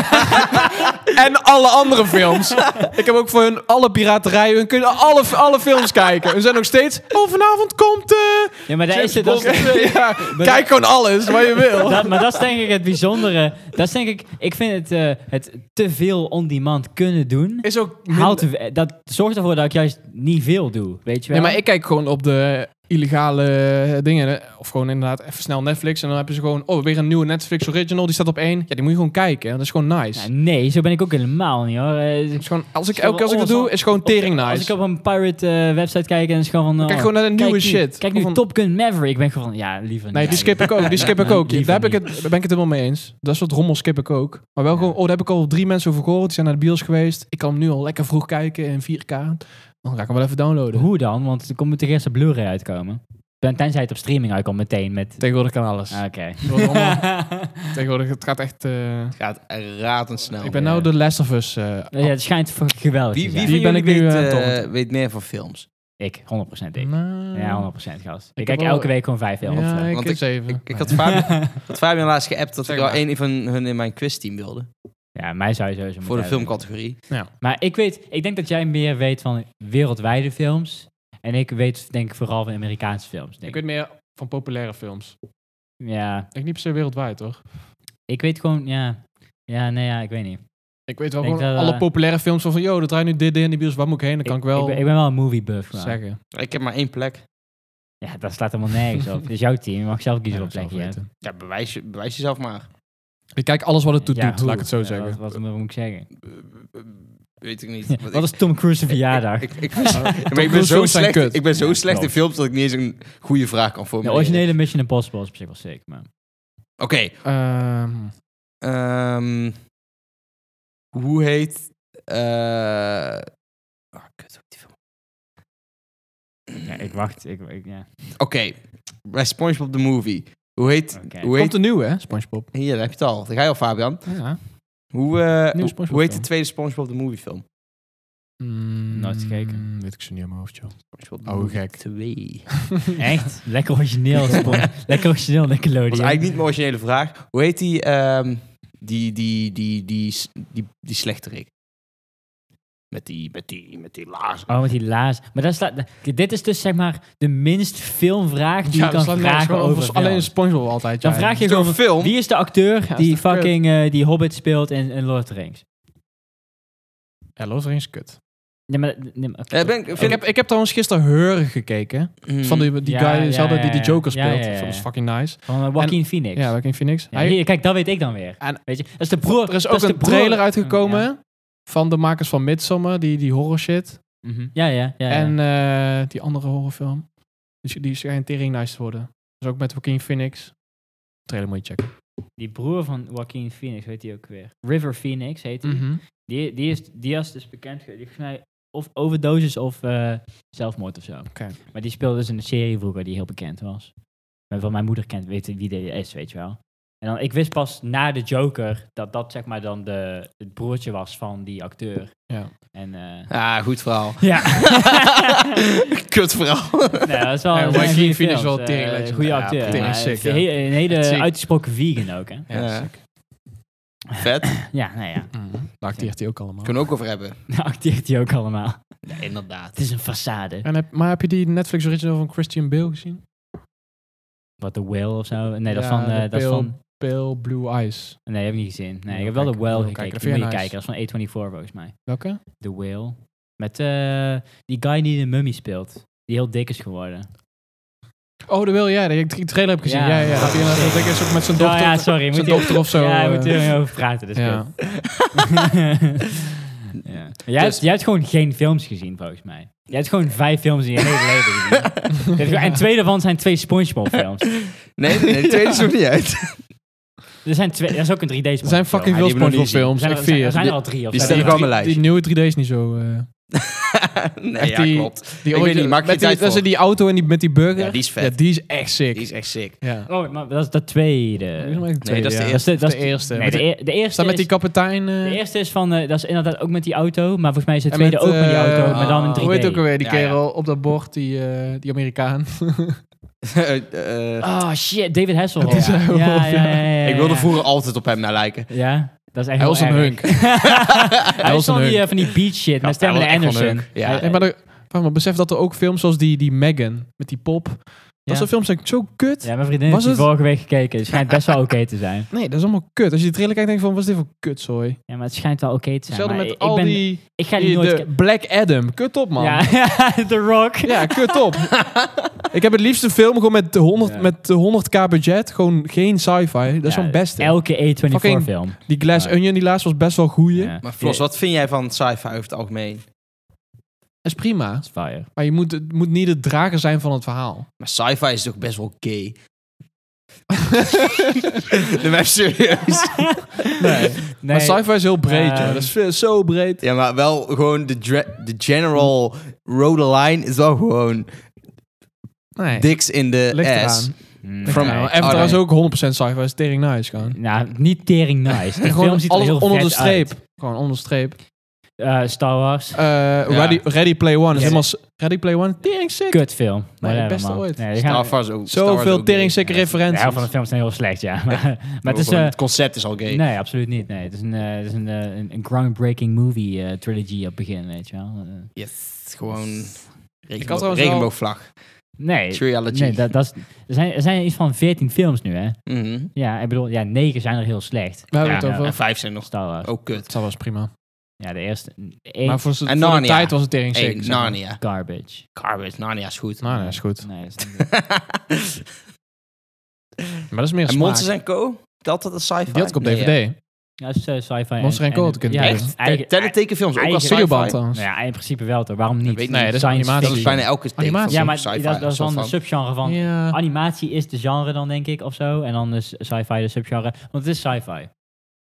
[SPEAKER 1] *laughs*
[SPEAKER 3] en alle andere films. Ik heb ook voor hun alle piraterijen, hun kunnen alle, alle films kijken. Hun zijn nog steeds, oh vanavond komt... eh,
[SPEAKER 1] ja, maar daar
[SPEAKER 3] James
[SPEAKER 1] is het.
[SPEAKER 3] Bond."
[SPEAKER 1] Dat, is-
[SPEAKER 3] Ja, kijk gewoon alles wat je wil.
[SPEAKER 1] *laughs* dat- maar dat is denk ik het bijzondere. Dat is denk ik, ik vind het, eh, het te veel on-demand kunnen doen.
[SPEAKER 3] Is ook
[SPEAKER 1] Haalt, de- dat zorgt ervoor dat ik juist niet veel doe. Weet je wel?
[SPEAKER 3] Nee, maar ik kijk gewoon op de illegale eh, dingen. eh, Of gewoon inderdaad even snel Netflix. En dan hebben ze gewoon, oh, weer een nieuwe Netflix original. Die staat op één. Ja, die moet je gewoon kijken. Dat is gewoon nice.
[SPEAKER 1] Nou, nee, zo ben ik ook helemaal niet hoor. Eh,
[SPEAKER 3] Het is gewoon, als ik
[SPEAKER 1] Is wel
[SPEAKER 3] elke keer als ik dat
[SPEAKER 1] alles
[SPEAKER 3] doe, is gewoon tering nice.
[SPEAKER 1] Als ik op een pirate eh, website kijk en is gewoon van... oh,
[SPEAKER 3] kijk gewoon naar de
[SPEAKER 1] kijk
[SPEAKER 3] nieuwe
[SPEAKER 1] nu-
[SPEAKER 3] shit.
[SPEAKER 1] Kijk nu
[SPEAKER 3] Of een-
[SPEAKER 1] Top Gun Maverick. Ik ben gewoon van, ja, liever niet.
[SPEAKER 3] Nee, die skip ik ook. Die skip ik
[SPEAKER 1] Nee,
[SPEAKER 3] ook. Daar
[SPEAKER 1] liever
[SPEAKER 3] heb ik het, daar ben ik het helemaal mee eens. Dat soort rommel skip ik ook. Maar wel gewoon, oh, daar heb ik al drie mensen over gehoord. Die zijn naar de bios geweest. Ik kan hem nu al lekker vroeg kijken in 4K. Dan ga ik hem wel even downloaden.
[SPEAKER 1] Hoe dan? Want er komt de eerste Blu-ray uitkomen. Ben- Tenzij het op streaming uitkomt meteen met...
[SPEAKER 3] Tegenwoordig kan alles.
[SPEAKER 1] Ah, Oké.
[SPEAKER 3] *laughs*
[SPEAKER 1] *laughs*
[SPEAKER 3] Tegenwoordig, het gaat echt... eh,
[SPEAKER 1] Oh,
[SPEAKER 2] Gaat razendsnel.
[SPEAKER 3] ik ben nou de Last of Us eh,
[SPEAKER 1] ja, het schijnt voor geweldig
[SPEAKER 2] Wie,
[SPEAKER 1] te
[SPEAKER 2] wie
[SPEAKER 1] zijn.
[SPEAKER 2] van
[SPEAKER 3] ben
[SPEAKER 2] jullie
[SPEAKER 3] ik nu,
[SPEAKER 2] weet,
[SPEAKER 3] eh,
[SPEAKER 2] eh,
[SPEAKER 3] Tom?
[SPEAKER 2] weet meer van films?
[SPEAKER 1] Ik, 100% ik.
[SPEAKER 3] Nou,
[SPEAKER 1] Ja, 100% gast. Ik,
[SPEAKER 3] Ik heb
[SPEAKER 1] kijk
[SPEAKER 3] wel-
[SPEAKER 1] elke week gewoon 5 euro. of zo.
[SPEAKER 3] Ja, ik
[SPEAKER 2] Want
[SPEAKER 3] heb zeven.
[SPEAKER 2] Ik, ik had Fabian, ik had Fabian laatst geappt dat
[SPEAKER 3] Zeg
[SPEAKER 2] ik wel
[SPEAKER 3] maar.
[SPEAKER 2] één van hun in mijn quizteam wilde.
[SPEAKER 1] *laughs* ja, mij zou je sowieso
[SPEAKER 2] Voor de
[SPEAKER 1] moeten hebben.
[SPEAKER 2] filmcategorie.
[SPEAKER 1] Maar ik weet, ik denk dat jij meer weet van wereldwijde films. En ik weet denk ik vooral van Amerikaanse films.
[SPEAKER 3] Ik
[SPEAKER 1] Denk
[SPEAKER 3] weet
[SPEAKER 1] ik.
[SPEAKER 3] meer van populaire films.
[SPEAKER 1] Ja,
[SPEAKER 3] Ik niet per se wereldwijd, toch?
[SPEAKER 1] ik weet gewoon, ja. Ja, nee, ja, ik weet niet.
[SPEAKER 3] Ik weet wel
[SPEAKER 1] Denk
[SPEAKER 3] gewoon
[SPEAKER 1] dat, eh,
[SPEAKER 3] alle populaire films van, van yo, dat draait nu dit in de bios, waar moet ik heen? Dan kan ik, wel
[SPEAKER 1] ben, ik ben wel een movie buff. maar-
[SPEAKER 3] zeggen.
[SPEAKER 2] Ik heb maar één plek.
[SPEAKER 1] Ja, dat slaat helemaal nergens
[SPEAKER 3] *laughs*
[SPEAKER 1] op. Dit is jouw team. Je mag zelf kiezen
[SPEAKER 3] Ja,
[SPEAKER 1] wat
[SPEAKER 3] zelf
[SPEAKER 1] plek je hebt.
[SPEAKER 3] weten.
[SPEAKER 2] Ja, bewijs, je- bewijs jezelf maar.
[SPEAKER 3] Ik kijk alles wat het toe
[SPEAKER 1] Ja,
[SPEAKER 3] doet,
[SPEAKER 1] hoe?
[SPEAKER 3] laat ik het zo
[SPEAKER 1] Ja,
[SPEAKER 3] zeggen.
[SPEAKER 1] Wat, wat moet ik zeggen?
[SPEAKER 2] Eh, Weet ik niet. Want
[SPEAKER 1] wat
[SPEAKER 2] ik-
[SPEAKER 1] is Tom Cruise verjaardag?
[SPEAKER 2] Ik, ik, ik- maar ik ben
[SPEAKER 3] Cruise
[SPEAKER 2] zo
[SPEAKER 3] films zijn
[SPEAKER 2] slecht,
[SPEAKER 3] kut.
[SPEAKER 2] ik ben zo
[SPEAKER 1] Ja,
[SPEAKER 2] slecht in
[SPEAKER 1] klopt.
[SPEAKER 2] films dat ik niet eens een goede vraag kan
[SPEAKER 1] de Nou,
[SPEAKER 2] formuleren.
[SPEAKER 1] originele Mission Impossible is op zich wel sick, maar...
[SPEAKER 2] Oké.
[SPEAKER 3] Ehm,
[SPEAKER 2] ehm, hoe heet... eh, ah, kut, hoe heet die film?
[SPEAKER 1] Ja, ik wacht. Ik, ik-
[SPEAKER 3] *laughs*
[SPEAKER 1] ja.
[SPEAKER 2] Oké. Bij SpongeBob the Movie. Hoe heet...
[SPEAKER 1] Oké.
[SPEAKER 2] Hoe
[SPEAKER 3] komt
[SPEAKER 2] heet
[SPEAKER 3] een nieuwe, hè? SpongeBob.
[SPEAKER 2] hier, daar heb je het al. Daar ga je al, Fabian.
[SPEAKER 1] Oh,
[SPEAKER 3] Ja.
[SPEAKER 2] Hoe, eh,
[SPEAKER 3] Nieuwe
[SPEAKER 2] hoe,
[SPEAKER 3] SpongeBob
[SPEAKER 2] hoe heet de
[SPEAKER 3] film.
[SPEAKER 2] tweede SpongeBob the Movie film?
[SPEAKER 3] Mm,
[SPEAKER 1] Nooit gekeken.
[SPEAKER 3] Weet ik ze niet in mijn hoofd,
[SPEAKER 1] *laughs*
[SPEAKER 3] joh.
[SPEAKER 2] SpongeBob the
[SPEAKER 3] Oh,
[SPEAKER 2] Movie
[SPEAKER 3] gek.
[SPEAKER 2] 2.
[SPEAKER 1] Echt? Lekker
[SPEAKER 3] *laughs*
[SPEAKER 1] origineel, Spon. Lekker origineel, Nickelodeon.
[SPEAKER 2] Dat was eigenlijk niet mijn originele vraag. Hoe heet die... ehm, die, die, die, die, s- die, die, slechterik? Met die, met die, met die laarzen.
[SPEAKER 1] Oh, met die laars. Maar dat slaat... Dit is dus, zeg maar, de minst filmvraag die
[SPEAKER 3] Ja,
[SPEAKER 1] je
[SPEAKER 3] dat
[SPEAKER 1] kan
[SPEAKER 3] slaat nergens
[SPEAKER 1] vragen
[SPEAKER 3] nou gewoon
[SPEAKER 1] over
[SPEAKER 3] over alleen
[SPEAKER 1] films.
[SPEAKER 3] SpongeBob altijd.
[SPEAKER 1] Dan
[SPEAKER 3] ja.
[SPEAKER 1] vraag je
[SPEAKER 2] Zo'n
[SPEAKER 1] gewoon...
[SPEAKER 2] film?
[SPEAKER 1] Wie is de acteur
[SPEAKER 3] Ja,
[SPEAKER 1] die
[SPEAKER 3] is toch
[SPEAKER 1] fucking eh, die Hobbit speelt in, in Lord of the Rings?
[SPEAKER 3] Ja, Lord of the Rings, kut.
[SPEAKER 1] Nee, maar... Nee, maar oké.
[SPEAKER 2] Ja, ben, ik- Hmm.
[SPEAKER 3] Ik
[SPEAKER 2] vind ik,
[SPEAKER 3] heb, ik heb trouwens gisteren Heuren gekeken. Van die, die
[SPEAKER 1] Hmm. Ja,
[SPEAKER 3] guy
[SPEAKER 1] ja,
[SPEAKER 3] Zelda die
[SPEAKER 1] ja,
[SPEAKER 3] de
[SPEAKER 1] ja.
[SPEAKER 3] Joker
[SPEAKER 1] Ja,
[SPEAKER 3] speelt.
[SPEAKER 1] ja, ja,
[SPEAKER 3] Dat is
[SPEAKER 1] ja.
[SPEAKER 3] fucking nice.
[SPEAKER 1] Van eh, Joaquin Phoenix.
[SPEAKER 3] Ja, Joaquin Phoenix.
[SPEAKER 1] Ja,
[SPEAKER 3] Hij-
[SPEAKER 1] hier, kijk, dat weet ik dan weer.
[SPEAKER 3] En-
[SPEAKER 1] weet je, dat is de broer.
[SPEAKER 3] er is
[SPEAKER 1] dat
[SPEAKER 3] ook
[SPEAKER 1] de
[SPEAKER 3] een
[SPEAKER 1] broer-
[SPEAKER 3] trailer uitgekomen
[SPEAKER 1] Ja,
[SPEAKER 3] van de makers van Midsommar, die, die horror shit.
[SPEAKER 1] Mhm. ja, ja. ja, ja.
[SPEAKER 3] En eh, die andere horrorfilm. Dus die schijnt tering nice te worden. Dus ook met Joaquin Phoenix. Trailer moet je checken.
[SPEAKER 1] die broer van Joaquin Phoenix, weet hij ook weer. River Phoenix heet hij.
[SPEAKER 3] Mhm.
[SPEAKER 1] Die, die, is, die is dus bekend ge- die volgens mij of overdosis of eh, zelfmoord of zo.
[SPEAKER 3] Oké.
[SPEAKER 1] Maar die speelde dus in een serie vroeger die heel bekend was. Maar van mijn moeder kent, weet wie die is, weet je wel. En dan, ik wist pas na de Joker dat dat zeg maar dan de, het broertje was van die acteur.
[SPEAKER 3] Ja.
[SPEAKER 1] En eh,
[SPEAKER 2] Ah, goed verhaal. *laughs*
[SPEAKER 1] ja.
[SPEAKER 2] Kut verhaal.
[SPEAKER 1] nee, dat is wel
[SPEAKER 3] Ja,
[SPEAKER 1] een
[SPEAKER 3] Joaquin
[SPEAKER 1] goede
[SPEAKER 3] Phoenix
[SPEAKER 1] film.
[SPEAKER 3] wel
[SPEAKER 1] Eh,
[SPEAKER 3] tering leuk.
[SPEAKER 1] goede
[SPEAKER 2] Ja,
[SPEAKER 1] acteur.
[SPEAKER 2] tering
[SPEAKER 1] Maar
[SPEAKER 3] sick,
[SPEAKER 1] een
[SPEAKER 3] ja.
[SPEAKER 1] he- Een hele
[SPEAKER 3] Sick.
[SPEAKER 1] uitgesproken vegan ook, hè.
[SPEAKER 3] Ja,
[SPEAKER 2] Ja.
[SPEAKER 3] sick.
[SPEAKER 2] Vet.
[SPEAKER 1] Ja, nou *laughs* ja.
[SPEAKER 3] Mhm. Daar acteert hij ook allemaal.
[SPEAKER 2] Kunnen we ook over hebben.
[SPEAKER 1] Nou, acteert hij ook allemaal.
[SPEAKER 2] Ja, inderdaad.
[SPEAKER 1] Het is een façade.
[SPEAKER 3] En heb, maar heb je die Netflix original van Christian Bale gezien?
[SPEAKER 1] Wat, The Whale of zo? Nee, dat is
[SPEAKER 3] Ja,
[SPEAKER 1] van... eh,
[SPEAKER 3] de
[SPEAKER 1] dat is van
[SPEAKER 3] Pale Blue Eyes.
[SPEAKER 1] Nee, heb ik niet gezien. Nee, ik
[SPEAKER 3] Ja,
[SPEAKER 1] heb wel
[SPEAKER 3] kijk,
[SPEAKER 1] The Whale
[SPEAKER 3] wil
[SPEAKER 1] gekeken.
[SPEAKER 3] kijken. Dat
[SPEAKER 1] Die
[SPEAKER 3] vind
[SPEAKER 1] moet je
[SPEAKER 3] je nice.
[SPEAKER 1] kijken. Dat is van A24 volgens mij.
[SPEAKER 3] Welke?
[SPEAKER 1] The Whale. Met eh, die guy die de mummy speelt. Die heel dik is geworden.
[SPEAKER 3] Oh, de wil jij. Ja, die trailer heb ik gezien. Ja,
[SPEAKER 1] Ja.
[SPEAKER 3] ja. Dat, hij inderdaad- dat is ook met zijn dochter.
[SPEAKER 1] oh ja, sorry. Moet
[SPEAKER 3] zijn
[SPEAKER 1] je-
[SPEAKER 3] dochter of zo.
[SPEAKER 1] Ja, we
[SPEAKER 3] eh,
[SPEAKER 1] moeten er niet over praten. Dus
[SPEAKER 3] ja.
[SPEAKER 1] ja. *laughs* ja. Jij, hebt, jij hebt gewoon geen films gezien volgens mij. Jij hebt gewoon vijf films in je hele leven gezien. Je hebt gewoon- En twee daarvan zijn twee Spongebob films.
[SPEAKER 2] Nee, nee, nee, tweede is nog niet uit.
[SPEAKER 1] Er zijn twee, er is ook een 3D Spongebob
[SPEAKER 3] Er zijn fucking
[SPEAKER 2] Ja,
[SPEAKER 3] veel
[SPEAKER 2] die hebben we
[SPEAKER 3] Spongebob
[SPEAKER 2] nog niet
[SPEAKER 1] Er
[SPEAKER 3] films.
[SPEAKER 1] zijn,
[SPEAKER 3] Ik
[SPEAKER 1] er, zijn, er
[SPEAKER 3] veer.
[SPEAKER 1] zijn
[SPEAKER 2] Die-
[SPEAKER 1] er al drie of
[SPEAKER 2] die
[SPEAKER 1] zo.
[SPEAKER 2] staan
[SPEAKER 1] Ja.
[SPEAKER 2] hier wel op mijn lijst.
[SPEAKER 3] Die nieuwe 3D is niet zo... eh,
[SPEAKER 2] nee,
[SPEAKER 3] Echt
[SPEAKER 2] ja,
[SPEAKER 3] die-
[SPEAKER 2] klopt.
[SPEAKER 3] die
[SPEAKER 2] Ik weet niet, maak je
[SPEAKER 3] met die,
[SPEAKER 2] tijd
[SPEAKER 3] dat is
[SPEAKER 2] voor.
[SPEAKER 3] die auto en die, met die burger.
[SPEAKER 2] Ja, die is vet.
[SPEAKER 3] Ja, die is echt sick.
[SPEAKER 2] Die is echt sick.
[SPEAKER 3] ja.
[SPEAKER 1] Oh, maar dat is de tweede.
[SPEAKER 2] Nee, dat is de
[SPEAKER 1] Dat is de, dat
[SPEAKER 3] Dat
[SPEAKER 1] is
[SPEAKER 3] is de eerste.
[SPEAKER 1] Nee, de, eer- de eerste
[SPEAKER 3] Staat met die
[SPEAKER 1] is-
[SPEAKER 3] kapitein... eh,
[SPEAKER 1] De eerste is van, eh, dat is inderdaad ook met die auto, maar volgens mij is de
[SPEAKER 3] en
[SPEAKER 1] tweede ook met die
[SPEAKER 3] eh,
[SPEAKER 1] auto, maar dan in 3D.
[SPEAKER 3] Hoe heet ook alweer die
[SPEAKER 2] Ja, ja.
[SPEAKER 3] kerel op dat bord, die, eh, die Amerikaan? *laughs*
[SPEAKER 2] Eh, eh,
[SPEAKER 1] Oh shit, David Hasselhoff.
[SPEAKER 3] Dat is
[SPEAKER 1] ja.
[SPEAKER 3] Hasselhoff,
[SPEAKER 1] ja, ja, ja, ja,
[SPEAKER 2] ik wilde
[SPEAKER 1] ja.
[SPEAKER 2] vroeger altijd op hem naar lijken.
[SPEAKER 1] Ja, dat is echt
[SPEAKER 3] Hij was
[SPEAKER 1] heel
[SPEAKER 3] een
[SPEAKER 1] erg. *laughs*
[SPEAKER 3] hunk.
[SPEAKER 1] Hij was
[SPEAKER 3] was een
[SPEAKER 1] van die,
[SPEAKER 3] hunk.
[SPEAKER 1] eh, van die beach shit met
[SPEAKER 2] hij was
[SPEAKER 1] Stamler
[SPEAKER 2] echt wel een
[SPEAKER 1] Anderson.
[SPEAKER 2] hunk. Ja.
[SPEAKER 1] Hij-
[SPEAKER 3] Nee, maar, er, wacht maar besef dat er ook films zoals die, die Megan, met die pop.
[SPEAKER 1] Ja.
[SPEAKER 3] Dat soort films zijn zo kut.
[SPEAKER 1] Ja, mijn vriendin
[SPEAKER 3] Was
[SPEAKER 1] heeft die
[SPEAKER 3] het-
[SPEAKER 1] vorige week gekeken. Het schijnt best wel oké te zijn.
[SPEAKER 3] Nee, dat is allemaal kut. Als je die trailer kijkt, denk je van, wat is dit voor kutzooi?
[SPEAKER 1] Ja, maar het schijnt wel oké te zijn.
[SPEAKER 3] Hetzelfde
[SPEAKER 1] maar
[SPEAKER 3] met
[SPEAKER 1] ik,
[SPEAKER 3] al
[SPEAKER 1] ben,
[SPEAKER 3] die...
[SPEAKER 1] ik ga die,
[SPEAKER 3] die
[SPEAKER 1] nooit...
[SPEAKER 3] de
[SPEAKER 1] ke-
[SPEAKER 3] Black Adam. Kut op, man.
[SPEAKER 1] ja, *laughs*
[SPEAKER 3] Ja,
[SPEAKER 1] The Rock.
[SPEAKER 3] *laughs* kut
[SPEAKER 1] *laughs*
[SPEAKER 3] op. ik heb het liefste film gewoon met de 100,
[SPEAKER 1] Ja.
[SPEAKER 3] met de 100k budget. Gewoon geen sci-fi. Dat is
[SPEAKER 1] Ja,
[SPEAKER 3] zo'n beste.
[SPEAKER 1] Elke A24
[SPEAKER 3] Fucking-
[SPEAKER 1] film.
[SPEAKER 3] die Glass
[SPEAKER 1] Ja.
[SPEAKER 3] Onion, die laatst was best wel goeie.
[SPEAKER 1] Ja.
[SPEAKER 2] Maar Flos, wat vind jij van sci-fi over het algemeen?
[SPEAKER 3] Dat is prima.
[SPEAKER 1] Dat is fire.
[SPEAKER 3] Maar je moet, het moet niet de drager zijn van het verhaal.
[SPEAKER 2] Maar sci-fi is toch best wel gay? *laughs* Nee, maar even serieus.
[SPEAKER 3] Nee. Maar sci-fi is heel breed,
[SPEAKER 1] Ehm.
[SPEAKER 3] joh. Dat is veel- zo breed.
[SPEAKER 2] Ja, maar wel gewoon de, dre- de general rode line is wel gewoon
[SPEAKER 3] Nee.
[SPEAKER 2] dicks in de
[SPEAKER 3] Ligt
[SPEAKER 2] ass.
[SPEAKER 3] eraan.
[SPEAKER 1] Mm,
[SPEAKER 2] From-
[SPEAKER 1] nee.
[SPEAKER 3] Nou, Avatar
[SPEAKER 2] Oh,
[SPEAKER 3] is
[SPEAKER 2] nee.
[SPEAKER 3] ook 100% sci-fi. is tering nice, gewoon.
[SPEAKER 1] Nou, niet tering
[SPEAKER 3] *laughs*
[SPEAKER 1] nice. De film
[SPEAKER 3] Gewoon
[SPEAKER 1] ziet er
[SPEAKER 3] alles
[SPEAKER 1] heel
[SPEAKER 3] onder de
[SPEAKER 1] vet
[SPEAKER 3] streep.
[SPEAKER 1] uit.
[SPEAKER 3] Gewoon onder de streep.
[SPEAKER 1] Eh, Star Wars.
[SPEAKER 3] Eh, Ready, Ready Play One. Is
[SPEAKER 2] Ja.
[SPEAKER 3] helemaal s- Ready Play One. Tering sick.
[SPEAKER 1] Kutfilm. Whatever,
[SPEAKER 3] best
[SPEAKER 1] man.
[SPEAKER 3] ooit.
[SPEAKER 1] Nee, die gaan-
[SPEAKER 2] Star Wars ook. Star Wars
[SPEAKER 3] Zoveel
[SPEAKER 2] ook gay.
[SPEAKER 3] tering sick
[SPEAKER 1] de helft van
[SPEAKER 3] referenties.
[SPEAKER 1] de films zijn heel slecht, ja. *laughs* Maar, maar het is...
[SPEAKER 2] Gewoon,
[SPEAKER 1] eh,
[SPEAKER 2] het concept is al gay.
[SPEAKER 1] nee, absoluut niet. Nee, het is een, eh, het is een, eh, een, een groundbreaking movie eh, trilogy op het begin, weet je wel. Eh,
[SPEAKER 2] Yes, gewoon
[SPEAKER 3] had
[SPEAKER 2] regenbo-
[SPEAKER 3] trouwens wel-
[SPEAKER 2] regenboogvlag.
[SPEAKER 1] nee,
[SPEAKER 2] Trilogy.
[SPEAKER 1] nee dat, dat is, er, zijn, er zijn iets van 14 films nu, hè.
[SPEAKER 2] Mhm.
[SPEAKER 1] Ja, ik bedoel, ja, 9 zijn er heel slecht.
[SPEAKER 3] We hebben
[SPEAKER 2] Ja,
[SPEAKER 3] het
[SPEAKER 1] Oh.
[SPEAKER 3] over.
[SPEAKER 2] en vijf zijn nog
[SPEAKER 1] Star Wars.
[SPEAKER 2] ook kut.
[SPEAKER 3] Dat was prima.
[SPEAKER 1] Ja, de eerste... één
[SPEAKER 3] Maar voor, z'n-
[SPEAKER 2] En
[SPEAKER 3] voor de
[SPEAKER 2] Narnia.
[SPEAKER 3] tijd was het tering sick.
[SPEAKER 2] Hey,
[SPEAKER 3] zeg maar.
[SPEAKER 2] Narnia.
[SPEAKER 1] garbage.
[SPEAKER 2] Garbage, Narnia is goed. *laughs*
[SPEAKER 3] Nou, dat is goed.
[SPEAKER 1] Nee, dat is niet-
[SPEAKER 3] Maar dat is meer
[SPEAKER 2] en
[SPEAKER 3] smaak.
[SPEAKER 2] Monsters en Co? Telt dat als sci-fi?
[SPEAKER 3] Die had ik op
[SPEAKER 2] Nee,
[SPEAKER 3] DVD.
[SPEAKER 2] hè?
[SPEAKER 1] Ja, dat is eh, sci-fi.
[SPEAKER 3] Monster Co had ik in de
[SPEAKER 1] ja,
[SPEAKER 3] tijd.
[SPEAKER 1] eigen-
[SPEAKER 2] Te- Tekenfilms, ook
[SPEAKER 1] eigen-
[SPEAKER 2] als
[SPEAKER 3] Videoband
[SPEAKER 2] sci-fi.
[SPEAKER 3] trouwens.
[SPEAKER 1] Nou ja, in principe wel toch? Waarom niet?
[SPEAKER 2] weet ik
[SPEAKER 3] Nee, dat is
[SPEAKER 1] Science
[SPEAKER 3] animatie.
[SPEAKER 2] Dat is
[SPEAKER 1] fiction.
[SPEAKER 2] bijna elke tekenfilm
[SPEAKER 3] Animatie.
[SPEAKER 1] Ja, maar
[SPEAKER 2] sci-fi.
[SPEAKER 1] dat, dat is dan een
[SPEAKER 2] soort van.
[SPEAKER 1] subgenre van...
[SPEAKER 3] Ja.
[SPEAKER 1] Animatie is de genre dan, denk ik, of zo. En dan is sci-fi de subgenre. Want het is sci-fi.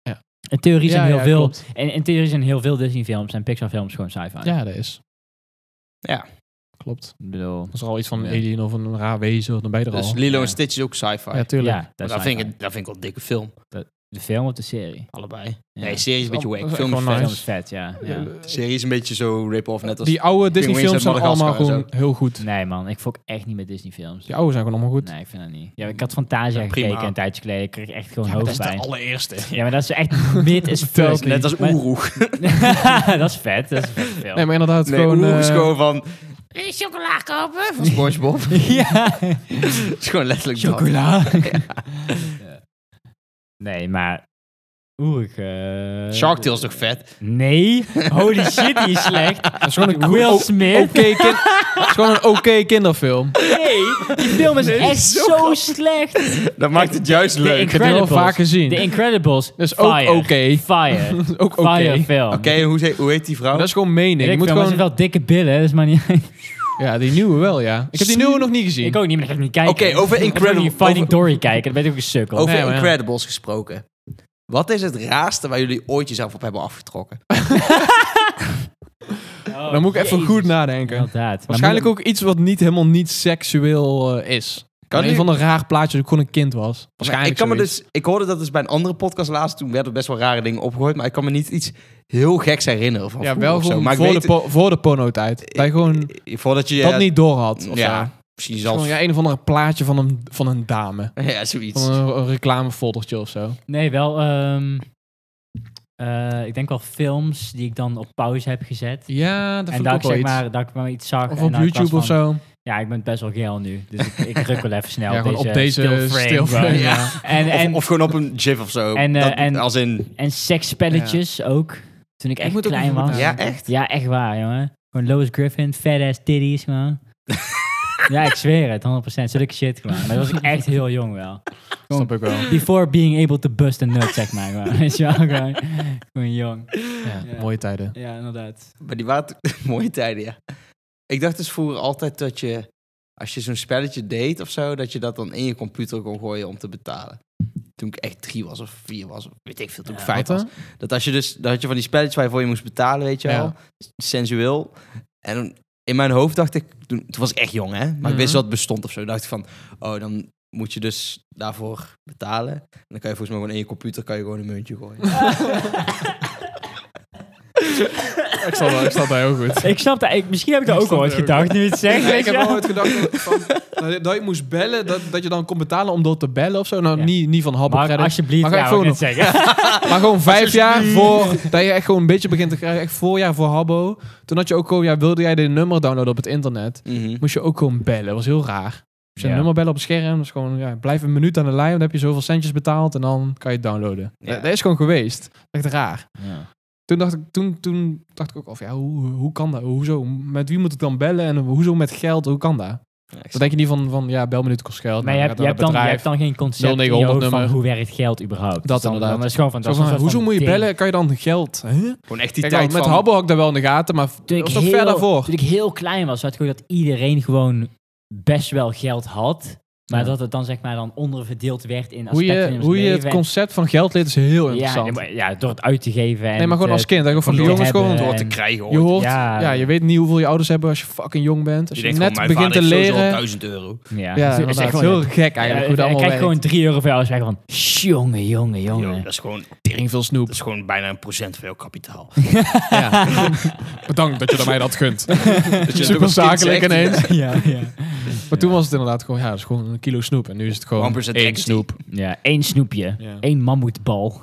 [SPEAKER 3] Ja.
[SPEAKER 1] In theorie zijn
[SPEAKER 3] Ja,
[SPEAKER 1] heel
[SPEAKER 3] ja,
[SPEAKER 1] veel...
[SPEAKER 3] klopt.
[SPEAKER 1] En in theorie zijn heel veel Disney-films en Pixar-films gewoon sci-fi.
[SPEAKER 3] Ja, dat is.
[SPEAKER 2] Ja.
[SPEAKER 3] Klopt.
[SPEAKER 1] Ik bedoel...
[SPEAKER 3] Als er al iets van een
[SPEAKER 1] Ja.
[SPEAKER 3] alien of een raar wezen, dan ben je er
[SPEAKER 2] Dus
[SPEAKER 3] al.
[SPEAKER 2] Lilo
[SPEAKER 1] Ja.
[SPEAKER 2] en Stitch is ook sci-fi.
[SPEAKER 3] Ja, tuurlijk.
[SPEAKER 1] Ja,
[SPEAKER 2] Maar
[SPEAKER 1] dat,
[SPEAKER 2] dat,
[SPEAKER 1] is
[SPEAKER 2] vind
[SPEAKER 1] sci-fi.
[SPEAKER 2] ik, dat vind ik wel een dikke film.
[SPEAKER 1] De film of de serie?
[SPEAKER 2] Allebei.
[SPEAKER 1] Ja.
[SPEAKER 2] Nee, serie is een beetje
[SPEAKER 3] Oh,
[SPEAKER 2] wack.
[SPEAKER 3] dat is
[SPEAKER 2] Film is
[SPEAKER 3] echt
[SPEAKER 1] De
[SPEAKER 3] wel
[SPEAKER 2] vet.
[SPEAKER 1] film
[SPEAKER 3] nice.
[SPEAKER 1] is vet, ja. ja.
[SPEAKER 2] De serie is een beetje zo rip-off, net als...
[SPEAKER 3] Die oude Disney films
[SPEAKER 2] uit
[SPEAKER 3] zijn
[SPEAKER 2] Madagaskar
[SPEAKER 3] allemaal
[SPEAKER 2] en
[SPEAKER 3] gewoon heel goed.
[SPEAKER 1] Nee man, ik fok echt niet met Disney-films.
[SPEAKER 3] Die oude zijn gewoon allemaal goed.
[SPEAKER 1] Nee, ik vind dat niet. Ja, ik had Fantasia
[SPEAKER 2] Ja, prima.
[SPEAKER 1] gekeken een tijdje geleden. Ik kreeg echt gewoon
[SPEAKER 3] Ja, maar dat is de
[SPEAKER 1] hoofdpijn.
[SPEAKER 3] allereerste.
[SPEAKER 1] Ja, maar dat is echt mid is
[SPEAKER 3] Dat is
[SPEAKER 1] fuck.
[SPEAKER 2] *laughs* Net als
[SPEAKER 1] Maar-
[SPEAKER 2] Oeroeg.
[SPEAKER 1] *laughs* dat is vet, dat is een vette film.
[SPEAKER 3] Nee, maar inderdaad
[SPEAKER 2] Nee,
[SPEAKER 3] gewoon...
[SPEAKER 2] Oeroeg is
[SPEAKER 3] eh,
[SPEAKER 2] gewoon van... Wil je chocola kopen? Van Spongebob.
[SPEAKER 1] *laughs*
[SPEAKER 2] *laughs*
[SPEAKER 1] ja.
[SPEAKER 2] Het is gewoon letterlijk dat.
[SPEAKER 1] Chocola. Nee, maar Oerig. eh,
[SPEAKER 2] Shark Tale is toch vet?
[SPEAKER 1] Nee. Holy shit, die is slecht.
[SPEAKER 3] Dat is gewoon een
[SPEAKER 1] Will
[SPEAKER 3] o-
[SPEAKER 1] Smith.
[SPEAKER 3] oké kind- dat is gewoon een oké kinderfilm.
[SPEAKER 1] *laughs* Nee, die film is echt zo, slecht.
[SPEAKER 2] Dat maakt het juist
[SPEAKER 1] De
[SPEAKER 2] leuk.
[SPEAKER 3] heb die wel
[SPEAKER 1] Incredibles.
[SPEAKER 3] vaak gezien.
[SPEAKER 1] De Incredibles.
[SPEAKER 3] Dat is ook
[SPEAKER 1] Fire.
[SPEAKER 3] oké. *laughs*
[SPEAKER 1] Fire.
[SPEAKER 3] Dat is ook oké.
[SPEAKER 1] Fire film.
[SPEAKER 2] Oké, hoe, ze- hoe heet die vrouw?
[SPEAKER 3] Maar Dat is gewoon mening.
[SPEAKER 1] Ik
[SPEAKER 3] Je
[SPEAKER 1] moet
[SPEAKER 3] moet
[SPEAKER 1] wel, gewoon...
[SPEAKER 3] gewoon,
[SPEAKER 1] wel dikke billen, hè, dat is maar
[SPEAKER 3] *laughs*
[SPEAKER 1] niet...
[SPEAKER 3] ja, die nieuwe wel, ja. Ik heb die nieuwe nog niet gezien.
[SPEAKER 1] ik ook niet, maar dat ga ik niet kijken.
[SPEAKER 2] Oké, over
[SPEAKER 1] Ik ga ook
[SPEAKER 2] Incredible-
[SPEAKER 1] niet Finding
[SPEAKER 2] over-
[SPEAKER 1] Dory kijken, dan ben ik ook een sukkel.
[SPEAKER 2] Over
[SPEAKER 3] Nee, maar ja.
[SPEAKER 2] Incredibles gesproken. Wat is het raarste waar jullie ooit jezelf op hebben afgetrokken?
[SPEAKER 1] Oh,
[SPEAKER 3] Dan moet ik even
[SPEAKER 1] jezus.
[SPEAKER 3] goed nadenken.
[SPEAKER 1] Inderdaad.
[SPEAKER 3] Waarschijnlijk ook iets wat niet helemaal niet seksueel eh, is. Kan een
[SPEAKER 2] nu-
[SPEAKER 3] van de raar plaatjes toen ik gewoon een kind was.
[SPEAKER 2] Maar
[SPEAKER 3] Waarschijnlijk
[SPEAKER 2] ik, kan me
[SPEAKER 3] zoiets.
[SPEAKER 2] dus, ik hoorde dat dus bij een andere podcast laatst. Toen werden best wel rare dingen opgegooid. Maar ik kan me niet iets heel geks herinneren. Van
[SPEAKER 3] ja,
[SPEAKER 2] vroeger
[SPEAKER 3] wel
[SPEAKER 2] dus- of zo.
[SPEAKER 3] gewoon
[SPEAKER 2] Maar ik
[SPEAKER 3] voor,
[SPEAKER 2] weet-
[SPEAKER 3] de po- voor de porno-tijd. Dat je gewoon
[SPEAKER 2] eh, Voordat je...
[SPEAKER 3] dat
[SPEAKER 2] eh,
[SPEAKER 3] niet door had. Of zo.
[SPEAKER 2] Ja, misschien zelfs...
[SPEAKER 3] Gewoon ja, een of ander plaatje van een, van een dame.
[SPEAKER 2] *laughs* Ja, zoiets.
[SPEAKER 3] Van een, een reclamefoldertje of zo.
[SPEAKER 1] Nee, wel... ehm, eh, ik denk wel films die ik dan op pauze heb gezet.
[SPEAKER 3] Ja, dat
[SPEAKER 1] en
[SPEAKER 3] vond ik
[SPEAKER 1] dat
[SPEAKER 3] ook
[SPEAKER 1] ik
[SPEAKER 3] wel
[SPEAKER 1] zeg
[SPEAKER 3] iets.
[SPEAKER 1] maar, dat ik maar iets zag.
[SPEAKER 3] Of
[SPEAKER 1] en
[SPEAKER 3] op
[SPEAKER 1] dat ik was
[SPEAKER 3] YouTube of
[SPEAKER 1] van,
[SPEAKER 3] zo.
[SPEAKER 1] Ja, ik ben best wel geil nu. Dus ik, ik ruk wel even snel
[SPEAKER 3] Ja,
[SPEAKER 1] op,
[SPEAKER 3] gewoon
[SPEAKER 1] deze
[SPEAKER 3] op deze
[SPEAKER 1] still frame,
[SPEAKER 3] still
[SPEAKER 1] bro.
[SPEAKER 3] frame,
[SPEAKER 1] Ja.
[SPEAKER 3] ja.
[SPEAKER 1] En,
[SPEAKER 2] Of-
[SPEAKER 1] en,
[SPEAKER 2] Of, gewoon op een gif of
[SPEAKER 3] *laughs*
[SPEAKER 2] zo.
[SPEAKER 1] En, eh,
[SPEAKER 2] Dat-
[SPEAKER 1] en-
[SPEAKER 2] als in...
[SPEAKER 1] en seksspelletjes ook. Toen ik echt
[SPEAKER 3] moet ook
[SPEAKER 1] klein
[SPEAKER 3] even
[SPEAKER 1] was.
[SPEAKER 3] Ja.
[SPEAKER 2] Ja, echt?
[SPEAKER 1] Ja, echt waar, jongen. Gewoon Lois Griffin, fat ass titties,
[SPEAKER 3] *laughs*
[SPEAKER 1] man. ja, ik zweer het, 100%. Zulke shit, gewoon. Maar dat was ik echt heel jong wel.
[SPEAKER 3] Snap ik wel.
[SPEAKER 1] Before being able to bust a nut, zeg maar. gewoon. *laughs* Weet je wel, gewoon. Gewoon jong.
[SPEAKER 3] Ja,
[SPEAKER 1] Ja.
[SPEAKER 3] Mooie tijden.
[SPEAKER 1] Ja, inderdaad.
[SPEAKER 2] Maar die waren *laughs* t- mooie tijden, ja. Ik dacht dus vroeger altijd dat je... Als je zo'n spelletje deed of zo... Dat je dat dan in je computer kon gooien om te betalen. Toen ik echt drie was of vier was. Of weet ik veel, toen ik
[SPEAKER 1] Ja,
[SPEAKER 2] vijf was. Dat als je dus... Dat had je van die spelletjes waar je voor je moest betalen, weet je
[SPEAKER 3] Ja.
[SPEAKER 2] wel. Sensueel. En dan- in mijn hoofd dacht ik... Toen, toen was ik echt jong, hè. Maar ik wist
[SPEAKER 3] Mhm.
[SPEAKER 2] dat het bestond of zo. dacht ik van... Oh, dan moet je dus daarvoor betalen. En dan kan je volgens mij gewoon in je computer... Kan je gewoon een muntje gooien.
[SPEAKER 3] Ik snap dat- ik snap dat heel goed.
[SPEAKER 1] ik snap dat. Ik, misschien heb ik dat
[SPEAKER 3] Ik
[SPEAKER 1] ook
[SPEAKER 3] snap
[SPEAKER 1] ooit
[SPEAKER 3] dat ook.
[SPEAKER 1] gedacht, nu je het zegt.
[SPEAKER 3] Nee,
[SPEAKER 1] weet
[SPEAKER 3] ik
[SPEAKER 1] je
[SPEAKER 3] heb
[SPEAKER 1] wel.
[SPEAKER 3] ooit gedacht van, nou, dat- dat je moest bellen, dat, dat je dan kon betalen om door te bellen of zo. Nou,
[SPEAKER 1] Ja.
[SPEAKER 3] niet, niet van hap op
[SPEAKER 1] Mark,
[SPEAKER 3] Reddit.
[SPEAKER 1] alsjeblieft,
[SPEAKER 3] Maar ga ik
[SPEAKER 1] ja, wou ik
[SPEAKER 3] gewoon
[SPEAKER 1] net zeggen.
[SPEAKER 3] Maar gewoon vijf jaar voor dat je echt gewoon een beetje begint te krijgen. Echt voorjaar voor Habbo. Toen had je ook gewoon, ja, wilde jij de nummer downloaden op het internet,
[SPEAKER 2] Mhm.
[SPEAKER 3] moest je ook gewoon bellen. Dat was heel raar. Als je
[SPEAKER 1] Ja.
[SPEAKER 3] een nummer bellen op het scherm, dat is gewoon, ja, blijf een minuut aan de lijn, dan heb je zoveel centjes betaald en dan kan je het downloaden.
[SPEAKER 2] Ja.
[SPEAKER 3] Dat, dat is gewoon geweest. Echt raar. *laughs*
[SPEAKER 1] *laughs* Ja.
[SPEAKER 3] Toen dacht ik, toen, toen dacht ik ook al van, ja, hoe, hoe kan dat? Hoezo? Met wie moet ik dan bellen? En hoezo met geld? Hoe kan dat?
[SPEAKER 2] Ja, ik
[SPEAKER 3] Dan denk je niet van, van ja, bel me nu, het kost geld.
[SPEAKER 1] Maar
[SPEAKER 3] Nou,
[SPEAKER 1] je hebt, je,
[SPEAKER 3] dan
[SPEAKER 1] hebt
[SPEAKER 3] gaat
[SPEAKER 1] dan,
[SPEAKER 3] naar
[SPEAKER 1] je
[SPEAKER 3] het
[SPEAKER 1] hebt dan geen concept in je
[SPEAKER 3] 0900
[SPEAKER 1] hoofd van
[SPEAKER 3] nummer.
[SPEAKER 1] hoe werkt geld überhaupt. Dus
[SPEAKER 3] Dat
[SPEAKER 1] dan,
[SPEAKER 3] inderdaad.
[SPEAKER 1] Dan is gewoon van, dat
[SPEAKER 3] bedrijf.
[SPEAKER 1] is
[SPEAKER 3] Zo van,
[SPEAKER 1] een
[SPEAKER 3] hoezo
[SPEAKER 1] soort van
[SPEAKER 3] moet je
[SPEAKER 1] ding.
[SPEAKER 3] bellen? Kan je dan geld? Huh?
[SPEAKER 2] Gewoon echt die
[SPEAKER 3] Kijk, al,
[SPEAKER 2] tijd
[SPEAKER 3] met
[SPEAKER 2] van...
[SPEAKER 3] Habbo had ik daar wel in de gaten, maar
[SPEAKER 1] Toen
[SPEAKER 3] dat
[SPEAKER 1] ik,
[SPEAKER 3] was toch
[SPEAKER 1] heel,
[SPEAKER 3] ver daarvoor?
[SPEAKER 1] toen ik heel klein was, had ik gewoon dat iedereen gewoon best wel geld had. Maar
[SPEAKER 3] Ja.
[SPEAKER 1] dat het dan zeg maar dan onderverdeeld werd in
[SPEAKER 3] Hoe
[SPEAKER 1] aspecten in
[SPEAKER 3] je,
[SPEAKER 1] ons
[SPEAKER 3] hoe je het
[SPEAKER 1] leven.
[SPEAKER 3] concept van geld leert is heel
[SPEAKER 1] ja,
[SPEAKER 3] interessant.
[SPEAKER 1] nee, maar- ja, door het uit te geven. En
[SPEAKER 3] nee, maar gewoon
[SPEAKER 1] het, eh,
[SPEAKER 3] als kind. Dat je van
[SPEAKER 1] te
[SPEAKER 3] die jongens
[SPEAKER 1] hebben
[SPEAKER 3] gewoon...
[SPEAKER 1] en-
[SPEAKER 2] te krijgen
[SPEAKER 3] Je hoort, ja.
[SPEAKER 1] Ja.
[SPEAKER 3] je weet niet hoeveel je ouders hebben als je fucking jong bent. Als je,
[SPEAKER 2] denkt
[SPEAKER 3] net
[SPEAKER 2] gewoon, mijn
[SPEAKER 3] begint te
[SPEAKER 2] vader heeft sowieso al
[SPEAKER 3] leren.
[SPEAKER 2] 1000 euro.
[SPEAKER 1] eh, Ja,
[SPEAKER 3] Ja,
[SPEAKER 1] het is
[SPEAKER 3] dat
[SPEAKER 1] echt
[SPEAKER 3] is
[SPEAKER 1] gewoon...
[SPEAKER 3] heel gek eigenlijk hoe dat
[SPEAKER 1] ik
[SPEAKER 3] allemaal
[SPEAKER 1] krijg
[SPEAKER 3] werkt.
[SPEAKER 1] gewoon 3 euro voor jou. Dus van, jongen, jongen,
[SPEAKER 3] Oh,
[SPEAKER 2] Yo,
[SPEAKER 1] jongen.
[SPEAKER 2] dat, is gewoon,
[SPEAKER 3] tering veel snoep.
[SPEAKER 2] dat is gewoon bijna een procent van jouw kapitaal.
[SPEAKER 3] *laughs*
[SPEAKER 1] *laughs*
[SPEAKER 3] Ja. Bedankt dat je dat mij dat gunt.
[SPEAKER 2] dat je
[SPEAKER 3] Super zakelijk *laughs* ineens.
[SPEAKER 1] Ja, ja.
[SPEAKER 3] Maar toen was het inderdaad gewoon, ja, dat is gewoon een kilo snoep. En nu is het gewoon
[SPEAKER 2] 1%
[SPEAKER 3] één
[SPEAKER 2] equity.
[SPEAKER 3] snoep.
[SPEAKER 1] *laughs* ja, één snoepje.
[SPEAKER 3] Ja.
[SPEAKER 1] Eén mammoetbal.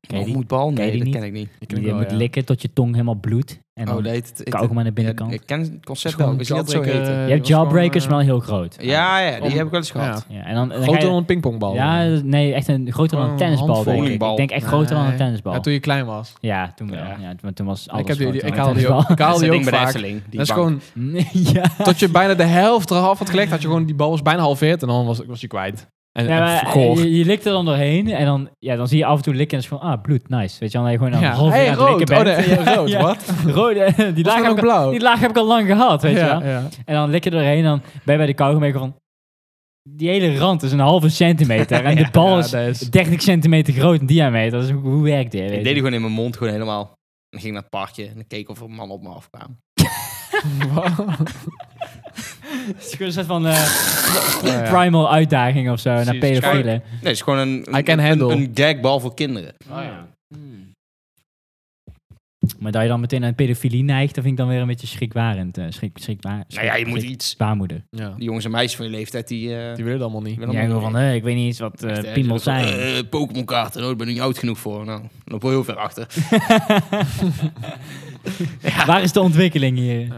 [SPEAKER 1] Ken je die?
[SPEAKER 2] Mammoetbal?
[SPEAKER 1] Ken je
[SPEAKER 2] Nee,
[SPEAKER 1] die
[SPEAKER 2] dat
[SPEAKER 1] niet?
[SPEAKER 2] ken ik niet.
[SPEAKER 3] Ik
[SPEAKER 1] Die
[SPEAKER 3] denk
[SPEAKER 1] je
[SPEAKER 3] wel,
[SPEAKER 1] moet
[SPEAKER 3] ja.
[SPEAKER 1] likken tot je tong helemaal bloedt. En dan
[SPEAKER 2] Oh, nee. het- het-
[SPEAKER 1] kauwgom aan de
[SPEAKER 2] ja,
[SPEAKER 1] binnenkant.
[SPEAKER 2] Ik ken het concept
[SPEAKER 3] Gewoon
[SPEAKER 2] wel. Ik wist niet dat het zo
[SPEAKER 3] jawbreaker,
[SPEAKER 2] heette.
[SPEAKER 1] je hebt
[SPEAKER 3] eh, was gewoon,
[SPEAKER 1] jawbreakers
[SPEAKER 3] eh,
[SPEAKER 1] wel heel groot.
[SPEAKER 2] Ja, ja, die
[SPEAKER 3] om-
[SPEAKER 2] heb ik wel eens
[SPEAKER 3] Ja.
[SPEAKER 2] gehad.
[SPEAKER 1] Ja, en dan, dan ga
[SPEAKER 3] Groter
[SPEAKER 1] je-
[SPEAKER 3] dan een pingpongbal.
[SPEAKER 1] Ja, nee, echt een, groter dan een
[SPEAKER 3] Een
[SPEAKER 1] tennisbal, denk ik.
[SPEAKER 2] handvol.
[SPEAKER 1] Ik denk echt groter dan een
[SPEAKER 3] Nee.
[SPEAKER 1] tennisbal.
[SPEAKER 3] Ja, toen je klein was.
[SPEAKER 1] Ja, toen wel.
[SPEAKER 3] Ja.
[SPEAKER 1] Ja. toen, toen was alles
[SPEAKER 3] ik, heb die,
[SPEAKER 1] groter
[SPEAKER 3] ik
[SPEAKER 1] dan
[SPEAKER 3] haalde die
[SPEAKER 1] een
[SPEAKER 3] ook, ik haalde
[SPEAKER 1] *laughs*
[SPEAKER 2] Dat
[SPEAKER 3] die ook
[SPEAKER 2] ding bij de
[SPEAKER 3] vaak.
[SPEAKER 2] Efteling, die
[SPEAKER 3] dat is
[SPEAKER 2] bank.
[SPEAKER 3] gewoon,
[SPEAKER 1] tennisbal. *laughs* ja.
[SPEAKER 3] tot je bijna de helft eraf had gelegd, had je gewoon, die bal was bijna halveerd en dan was, was je kwijt. En,
[SPEAKER 1] Ja,
[SPEAKER 3] en
[SPEAKER 1] maar eh,
[SPEAKER 3] goor.
[SPEAKER 1] je, je likt er dan doorheen en dan, ja, dan zie je af en toe likken en is van, ah, bloed, nice. Weet je, dan ben je gewoon een
[SPEAKER 3] Ja.
[SPEAKER 1] half uur
[SPEAKER 3] Hey,
[SPEAKER 1] aan het
[SPEAKER 3] rood.
[SPEAKER 1] likken
[SPEAKER 3] Oh
[SPEAKER 1] bent.
[SPEAKER 3] *laughs* nee,
[SPEAKER 1] Ja,
[SPEAKER 3] rood,
[SPEAKER 1] ja.
[SPEAKER 3] wat?
[SPEAKER 1] *laughs* Rood, eh,
[SPEAKER 3] Was
[SPEAKER 1] die
[SPEAKER 3] dat
[SPEAKER 1] laag,
[SPEAKER 3] ook
[SPEAKER 1] heb ik, al-
[SPEAKER 3] blauw?
[SPEAKER 1] die laag heb ik al lang gehad, weet je
[SPEAKER 3] ja,
[SPEAKER 1] wel. *laughs*
[SPEAKER 3] ja.
[SPEAKER 1] En dan lik je er doorheen en dan ben je bij de kauwgom en je van, die hele rand is een halve centimeter en de bal
[SPEAKER 3] Ja,
[SPEAKER 1] is
[SPEAKER 3] dat is-
[SPEAKER 1] 30 centimeter groot in diameter. Dus hoe, hoe werkt dit?
[SPEAKER 2] Ik
[SPEAKER 1] weet
[SPEAKER 2] deed
[SPEAKER 1] je?
[SPEAKER 2] die gewoon in mijn mond, gewoon helemaal. En dan ging ik naar het parkje en dan keek of er een man op me afkwam.
[SPEAKER 1] Het is gewoon een soort van eh,
[SPEAKER 3] Ja, ja.
[SPEAKER 1] primal uitdaging of zo, naar
[SPEAKER 3] Precies.
[SPEAKER 1] pedofielen.
[SPEAKER 2] Nee, het is gewoon een,
[SPEAKER 3] I can
[SPEAKER 2] een,
[SPEAKER 3] handle.
[SPEAKER 2] een gagbal voor kinderen.
[SPEAKER 1] Hmm. Maar dat je dan meteen aan pedofilie neigt, dat vind ik dan weer een beetje schrikwarend. eh, schrik, schrikwa
[SPEAKER 2] Nou ja, je moet iets.
[SPEAKER 1] Baarmoeder.
[SPEAKER 3] ja.
[SPEAKER 2] Die jongens en meisjes van je leeftijd, die... eh,
[SPEAKER 3] Die willen het allemaal niet.
[SPEAKER 2] willen
[SPEAKER 1] Jij
[SPEAKER 2] allemaal
[SPEAKER 1] wil van, eh, ik weet niet eens wat
[SPEAKER 2] Echt,
[SPEAKER 1] eh
[SPEAKER 2] hè,
[SPEAKER 1] piemels
[SPEAKER 2] zo van,
[SPEAKER 1] zijn.
[SPEAKER 2] eh, Pokémon kaarten, oh, daar ben ik niet oud genoeg voor. Nou, dan loop wel heel ver achter.
[SPEAKER 1] Waar is de ontwikkeling hier?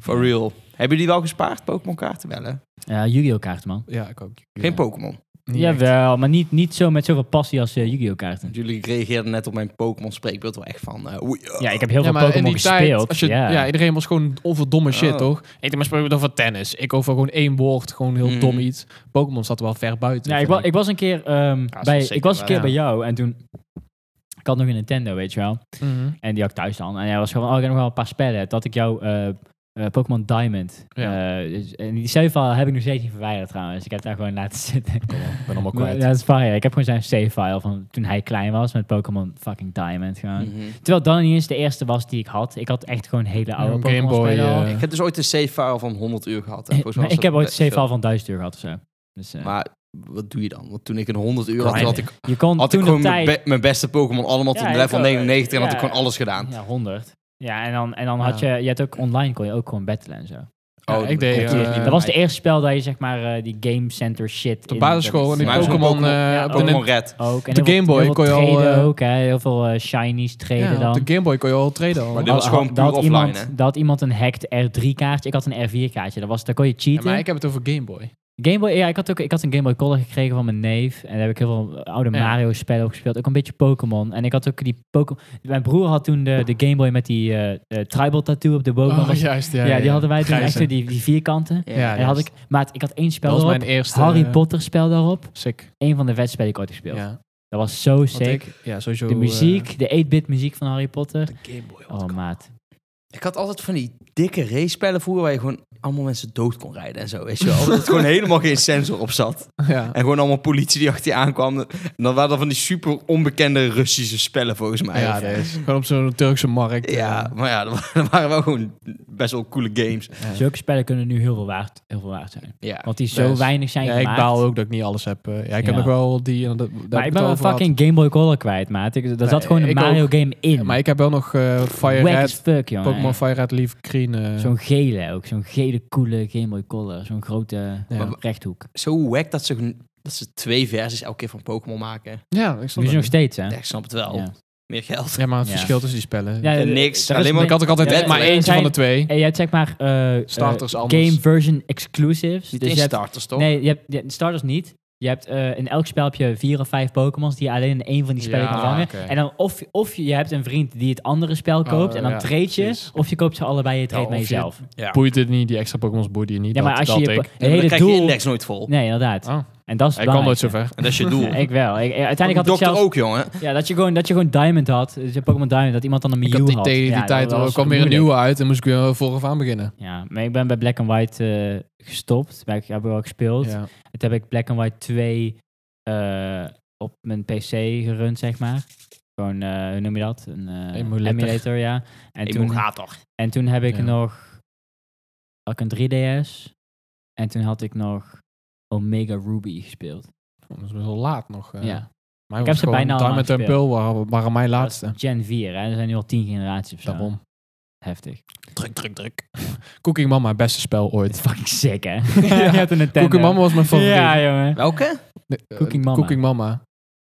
[SPEAKER 2] For real. Hebben jullie wel gespaard, Pokémon kaarten? Wel, hè?
[SPEAKER 1] Ja, Yu-Gi-Oh kaart, man.
[SPEAKER 3] Ja, ik ook.
[SPEAKER 2] Geen Pokémon.
[SPEAKER 3] Niet echt.
[SPEAKER 1] Jawel, maar niet, niet zo met zoveel passie als eh Yu-Gi-Oh! kaarten.
[SPEAKER 2] Jullie reageerden net op mijn Pokémon spreekbeeld wel echt van... eh, oei, eh.
[SPEAKER 1] Ja, ik heb heel
[SPEAKER 3] Ja,
[SPEAKER 1] veel
[SPEAKER 3] maar in
[SPEAKER 1] Pokémon
[SPEAKER 3] die tijd,
[SPEAKER 1] gespeeld.
[SPEAKER 3] als je-
[SPEAKER 1] ja.
[SPEAKER 3] ja, iedereen was gewoon over domme shit,
[SPEAKER 2] Oh.
[SPEAKER 3] toch? Ik denk, maar spreek over tennis. Ik over gewoon één woord, gewoon heel
[SPEAKER 2] Mm.
[SPEAKER 3] dom iets. Pokémon zat wel ver buiten.
[SPEAKER 1] Ja, ik, wa-
[SPEAKER 3] vond
[SPEAKER 1] ik was een keer, ehm,
[SPEAKER 2] dat is
[SPEAKER 1] bij,
[SPEAKER 2] zeker
[SPEAKER 1] ik was een
[SPEAKER 2] waar,
[SPEAKER 1] keer
[SPEAKER 3] ja.
[SPEAKER 1] bij jou en toen... Ik had nog een Nintendo, weet je wel.
[SPEAKER 3] Mhm.
[SPEAKER 1] En die had ik thuis dan. En hij was gewoon, oh, ik heb nog wel een paar spellen. Dat ik jou eh, eh, Pokémon Diamond.
[SPEAKER 3] Ja.
[SPEAKER 1] eh, dus- en die save file heb ik nog steeds niet verwijderd trouwens. Ik heb daar gewoon laten *laughs* zitten.
[SPEAKER 3] Ik ben allemaal
[SPEAKER 1] Maar
[SPEAKER 3] kwijt.
[SPEAKER 1] ja, dat is fijn. Ik heb gewoon zijn save file van toen hij klein was met Pokémon fucking Diamond. Gewoon.
[SPEAKER 3] Hmm.
[SPEAKER 2] Mhm.
[SPEAKER 1] Terwijl dat niet eens de eerste was die ik had. Ik had echt gewoon hele oude
[SPEAKER 3] een
[SPEAKER 1] Pokémon
[SPEAKER 3] Game Boy,
[SPEAKER 1] spelen *laughs* al.
[SPEAKER 3] eh,
[SPEAKER 2] Ik heb dus ooit een save file van 100 uur gehad. hè. Volgens mij
[SPEAKER 1] Eh, Maar
[SPEAKER 2] was
[SPEAKER 1] ik heb
[SPEAKER 2] dat
[SPEAKER 1] ooit een save
[SPEAKER 2] best
[SPEAKER 1] file van 1000 uur gehad of zo. Dus, eh,
[SPEAKER 2] veel. Maar wat doe je dan? Want toen ik een 100 uur had, toen had ik,
[SPEAKER 1] je kon
[SPEAKER 2] had ik
[SPEAKER 1] toen
[SPEAKER 2] gewoon
[SPEAKER 1] de
[SPEAKER 2] mijn,
[SPEAKER 1] tijd...
[SPEAKER 2] be- mijn beste Pokémon allemaal tot
[SPEAKER 1] Ja, ik
[SPEAKER 2] level
[SPEAKER 1] ook.
[SPEAKER 2] 99 en had ik
[SPEAKER 1] Ja.
[SPEAKER 2] gewoon alles gedaan.
[SPEAKER 1] Ja, 100. Ja, en dan, en dan had je...
[SPEAKER 3] Ja.
[SPEAKER 1] Je had ook online kon je ook gewoon battlen en zo.
[SPEAKER 3] Ja,
[SPEAKER 2] dat
[SPEAKER 3] ik deed,
[SPEAKER 2] komt
[SPEAKER 1] Dat
[SPEAKER 3] eh,
[SPEAKER 2] hier niet
[SPEAKER 1] je-
[SPEAKER 2] bij.
[SPEAKER 1] dat was het eerste spel dat je zeg maar eh, die game center shit...
[SPEAKER 3] Op de
[SPEAKER 1] in-
[SPEAKER 3] basisschool en die
[SPEAKER 2] Maar zo'n
[SPEAKER 3] Pokémon
[SPEAKER 2] Pokémon-
[SPEAKER 3] eh,
[SPEAKER 1] ja,
[SPEAKER 3] op de
[SPEAKER 1] Pokémon
[SPEAKER 3] Nin-
[SPEAKER 2] Pokémon Red.
[SPEAKER 1] Ook. En
[SPEAKER 3] de
[SPEAKER 1] heel veel-
[SPEAKER 3] Game Boy
[SPEAKER 1] heel veel
[SPEAKER 3] kon je al,
[SPEAKER 1] traden
[SPEAKER 3] eh,
[SPEAKER 1] ook, hè. Heel veel eh, shinies traden
[SPEAKER 3] Ja,
[SPEAKER 1] dan.
[SPEAKER 3] op de Game Boy kon je al traden al.
[SPEAKER 2] Maar dit
[SPEAKER 1] Had-
[SPEAKER 2] was gewoon
[SPEAKER 1] had-
[SPEAKER 2] puur
[SPEAKER 1] dat had
[SPEAKER 2] offline,
[SPEAKER 1] iemand,
[SPEAKER 2] hè?
[SPEAKER 1] Dat had iemand een hacked R3-kaartje. Ik had een R4-kaartje. Dat was, daar kon je
[SPEAKER 3] Ja,
[SPEAKER 1] cheaten.
[SPEAKER 3] maar ik heb het over Game Boy.
[SPEAKER 1] Game Boy, ja, ik had, ook, ik had een Game Boy Color gekregen van mijn neef. En daar heb ik heel veel oude
[SPEAKER 3] Ja.
[SPEAKER 1] Mario-spellen op gespeeld. Ook een beetje Pokémon. En ik had ook die Pokémon... Mijn broer had toen de, de Game Boy met die eh, eh, tribal tattoo op de boven.
[SPEAKER 3] Oh,
[SPEAKER 1] Was-
[SPEAKER 3] juist, ja.
[SPEAKER 1] ja, die hadden wij toen
[SPEAKER 3] Grijze.
[SPEAKER 1] echt zo die, die vierkanten.
[SPEAKER 2] Ja,
[SPEAKER 3] Ja,
[SPEAKER 1] en had
[SPEAKER 3] juist.
[SPEAKER 1] ik, maar ik had één spel
[SPEAKER 3] Dat was
[SPEAKER 1] daarop.
[SPEAKER 3] mijn eerste...
[SPEAKER 1] Harry
[SPEAKER 3] eh,
[SPEAKER 1] Potter spel daarop.
[SPEAKER 3] Sick.
[SPEAKER 1] Eén van de vetste spellen die ik ooit gespeeld.
[SPEAKER 3] Ja.
[SPEAKER 1] Dat was zo
[SPEAKER 3] Had
[SPEAKER 1] sick.
[SPEAKER 3] ik. Ja, sowieso...
[SPEAKER 1] De
[SPEAKER 3] eh,
[SPEAKER 1] muziek, de 8-bit muziek van Harry Potter.
[SPEAKER 3] de Game Boy.
[SPEAKER 1] Oh, maat.
[SPEAKER 2] Ik had altijd van die dikke race spellen vroeger waar je gewoon allemaal mensen dood kon rijden en zo. Weet je wel? Dat er gewoon helemaal geen sensor op
[SPEAKER 3] *laughs*
[SPEAKER 2] zat.
[SPEAKER 3] Ja.
[SPEAKER 2] En gewoon allemaal politie die achter je aankwam. En dan waren dat van die super onbekende Russische spellen volgens mij.
[SPEAKER 3] Ja, dat is. Gewoon op zo'n Turkse markt. eh.
[SPEAKER 2] Ja, maar ja, *laughs* dat wa- dat waren wel gewoon best wel coole games.
[SPEAKER 1] Zulke spellen kunnen nu heel veel waard, heel veel waard zijn.
[SPEAKER 2] Ja.
[SPEAKER 1] Want die zo
[SPEAKER 3] Best.
[SPEAKER 1] weinig zijn
[SPEAKER 3] Ja, ik
[SPEAKER 1] gemaakt.
[SPEAKER 3] baal ook dat ik niet alles heb. eh. Ja, ik heb
[SPEAKER 1] Ja.
[SPEAKER 3] nog wel die... en dat- daar heb
[SPEAKER 1] Maar ik
[SPEAKER 3] het al
[SPEAKER 1] ben mijn
[SPEAKER 3] over gehad.
[SPEAKER 1] fucking Game Boy Color kwijt, maat. Ik, daar zat gewoon een
[SPEAKER 3] ik
[SPEAKER 1] Mario game in.
[SPEAKER 3] Ja, Maar ik heb wel nog eh, Fire
[SPEAKER 1] Wack
[SPEAKER 3] Red,
[SPEAKER 1] as fuck, jongen.
[SPEAKER 3] Pokémon Fire Red, Leaf Green. eh.
[SPEAKER 1] Zo'n gele ook. Zo'n gele, coole Game Boy Color. Zo'n grote
[SPEAKER 3] Ja.
[SPEAKER 1] Maar- rechthoek.
[SPEAKER 2] Zo wack dat ze, gewoon- dat ze twee versies elke keer van Pokémon maken.
[SPEAKER 3] Ja, ik snap
[SPEAKER 1] Nu is
[SPEAKER 3] het.
[SPEAKER 1] nog steeds, hè?
[SPEAKER 2] Ja, ik snap het wel.
[SPEAKER 1] Ja.
[SPEAKER 2] Meer geld.
[SPEAKER 3] Ja, maar het
[SPEAKER 1] Ja.
[SPEAKER 3] verschil tussen die spellen.
[SPEAKER 1] Ja,
[SPEAKER 2] En
[SPEAKER 1] d-
[SPEAKER 2] niks.
[SPEAKER 1] er is
[SPEAKER 2] Alleen
[SPEAKER 3] Maar
[SPEAKER 2] maar
[SPEAKER 1] een-
[SPEAKER 3] ik had ook altijd
[SPEAKER 2] Ja,
[SPEAKER 3] net maar
[SPEAKER 2] er
[SPEAKER 3] eentje
[SPEAKER 1] zijn-
[SPEAKER 3] van de twee.
[SPEAKER 1] En je hebt zeg maar eh, eh,
[SPEAKER 3] Starters anders.
[SPEAKER 1] game version exclusives.
[SPEAKER 2] Niet
[SPEAKER 1] dus
[SPEAKER 2] in
[SPEAKER 1] je hebt,
[SPEAKER 2] starters, toch?
[SPEAKER 1] nee, je hebt, je hebt starters niet. Je hebt eh, in elk spel heb je vier of vijf Pokémons die je alleen in één van die spellen
[SPEAKER 3] Ja,
[SPEAKER 1] kan vangen.
[SPEAKER 3] oké. Oh,
[SPEAKER 1] En dan of, of je hebt een vriend die het andere spel koopt en dan
[SPEAKER 3] ja,
[SPEAKER 1] trade je.
[SPEAKER 3] precies.
[SPEAKER 1] Of je koopt ze allebei en je treedt
[SPEAKER 3] Ja,
[SPEAKER 1] met
[SPEAKER 3] of je-
[SPEAKER 1] jezelf.
[SPEAKER 2] Ja.
[SPEAKER 3] Boeit het niet, die extra Pokémon's boeit je niet.
[SPEAKER 1] Ja, maar
[SPEAKER 3] dat-
[SPEAKER 1] als je
[SPEAKER 3] dat ik.
[SPEAKER 1] je po-
[SPEAKER 2] Ja, maar
[SPEAKER 1] het hele
[SPEAKER 2] dan krijg je
[SPEAKER 1] doel...
[SPEAKER 2] index nooit vol.
[SPEAKER 1] Nee, inderdaad.
[SPEAKER 3] Oh,
[SPEAKER 1] En dat is
[SPEAKER 3] ik kwam nooit
[SPEAKER 1] belangrijk.
[SPEAKER 3] zover.
[SPEAKER 2] En dat is je doel.
[SPEAKER 1] Ja, ik wel. Ik, eh, uiteindelijk had ik
[SPEAKER 2] dokter
[SPEAKER 1] zelfs...
[SPEAKER 2] ook, jongen.
[SPEAKER 1] Ja, dat je, gewoon, dat je gewoon Diamond had. Dus je Pokémon Diamond, dat iemand dan een
[SPEAKER 3] Ik
[SPEAKER 1] Mew
[SPEAKER 3] had die,
[SPEAKER 1] had.
[SPEAKER 3] tegen die
[SPEAKER 1] Ja,
[SPEAKER 3] tijd,
[SPEAKER 1] dat
[SPEAKER 3] hoor.
[SPEAKER 1] was
[SPEAKER 3] er kwam weer een
[SPEAKER 1] moeilijk.
[SPEAKER 3] nieuwe uit en moest ik weer vooraf aan beginnen.
[SPEAKER 1] Ja, maar ik ben bij Black and White eh, gestopt. Bij, heb ik wel gespeeld.
[SPEAKER 3] Ja.
[SPEAKER 1] Toen heb ik Black and White 2 eh, op mijn PC gerund, zeg maar. Gewoon, eh, hoe noem je dat? Een eh,
[SPEAKER 3] Emulator.
[SPEAKER 1] ja. En
[SPEAKER 2] Ik
[SPEAKER 1] toen,
[SPEAKER 2] moet toch.
[SPEAKER 1] en toen heb ik
[SPEAKER 3] Ja.
[SPEAKER 1] nog... Had ik een 3DS. En toen had ik nog Omega Ruby gespeeld.
[SPEAKER 3] Dat is best wel laat nog. eh.
[SPEAKER 1] Ja.
[SPEAKER 3] Mij
[SPEAKER 1] Ik
[SPEAKER 3] was
[SPEAKER 1] heb ze
[SPEAKER 3] gewoon
[SPEAKER 1] bijna allemaal
[SPEAKER 3] Diamond and Pearl
[SPEAKER 1] gespeeld.
[SPEAKER 3] waren, waren mijn laatste.
[SPEAKER 1] Dat is Gen 4, hè. Er zijn nu al 10 generaties of zo.
[SPEAKER 3] Daarom.
[SPEAKER 1] Heftig.
[SPEAKER 3] Druk, druk, druk. *laughs* Cooking Mama, beste spel
[SPEAKER 1] Het
[SPEAKER 3] ooit.
[SPEAKER 1] is fucking sick, hè?
[SPEAKER 3] *laughs* Ja.
[SPEAKER 1] Je hebt een Nintendo.
[SPEAKER 3] Cooking Mama was mijn favoriet.
[SPEAKER 1] eh, Ja, jongen.
[SPEAKER 2] Welke?
[SPEAKER 3] Nee, eh,
[SPEAKER 1] Cooking Mama.
[SPEAKER 3] Cooking Mama.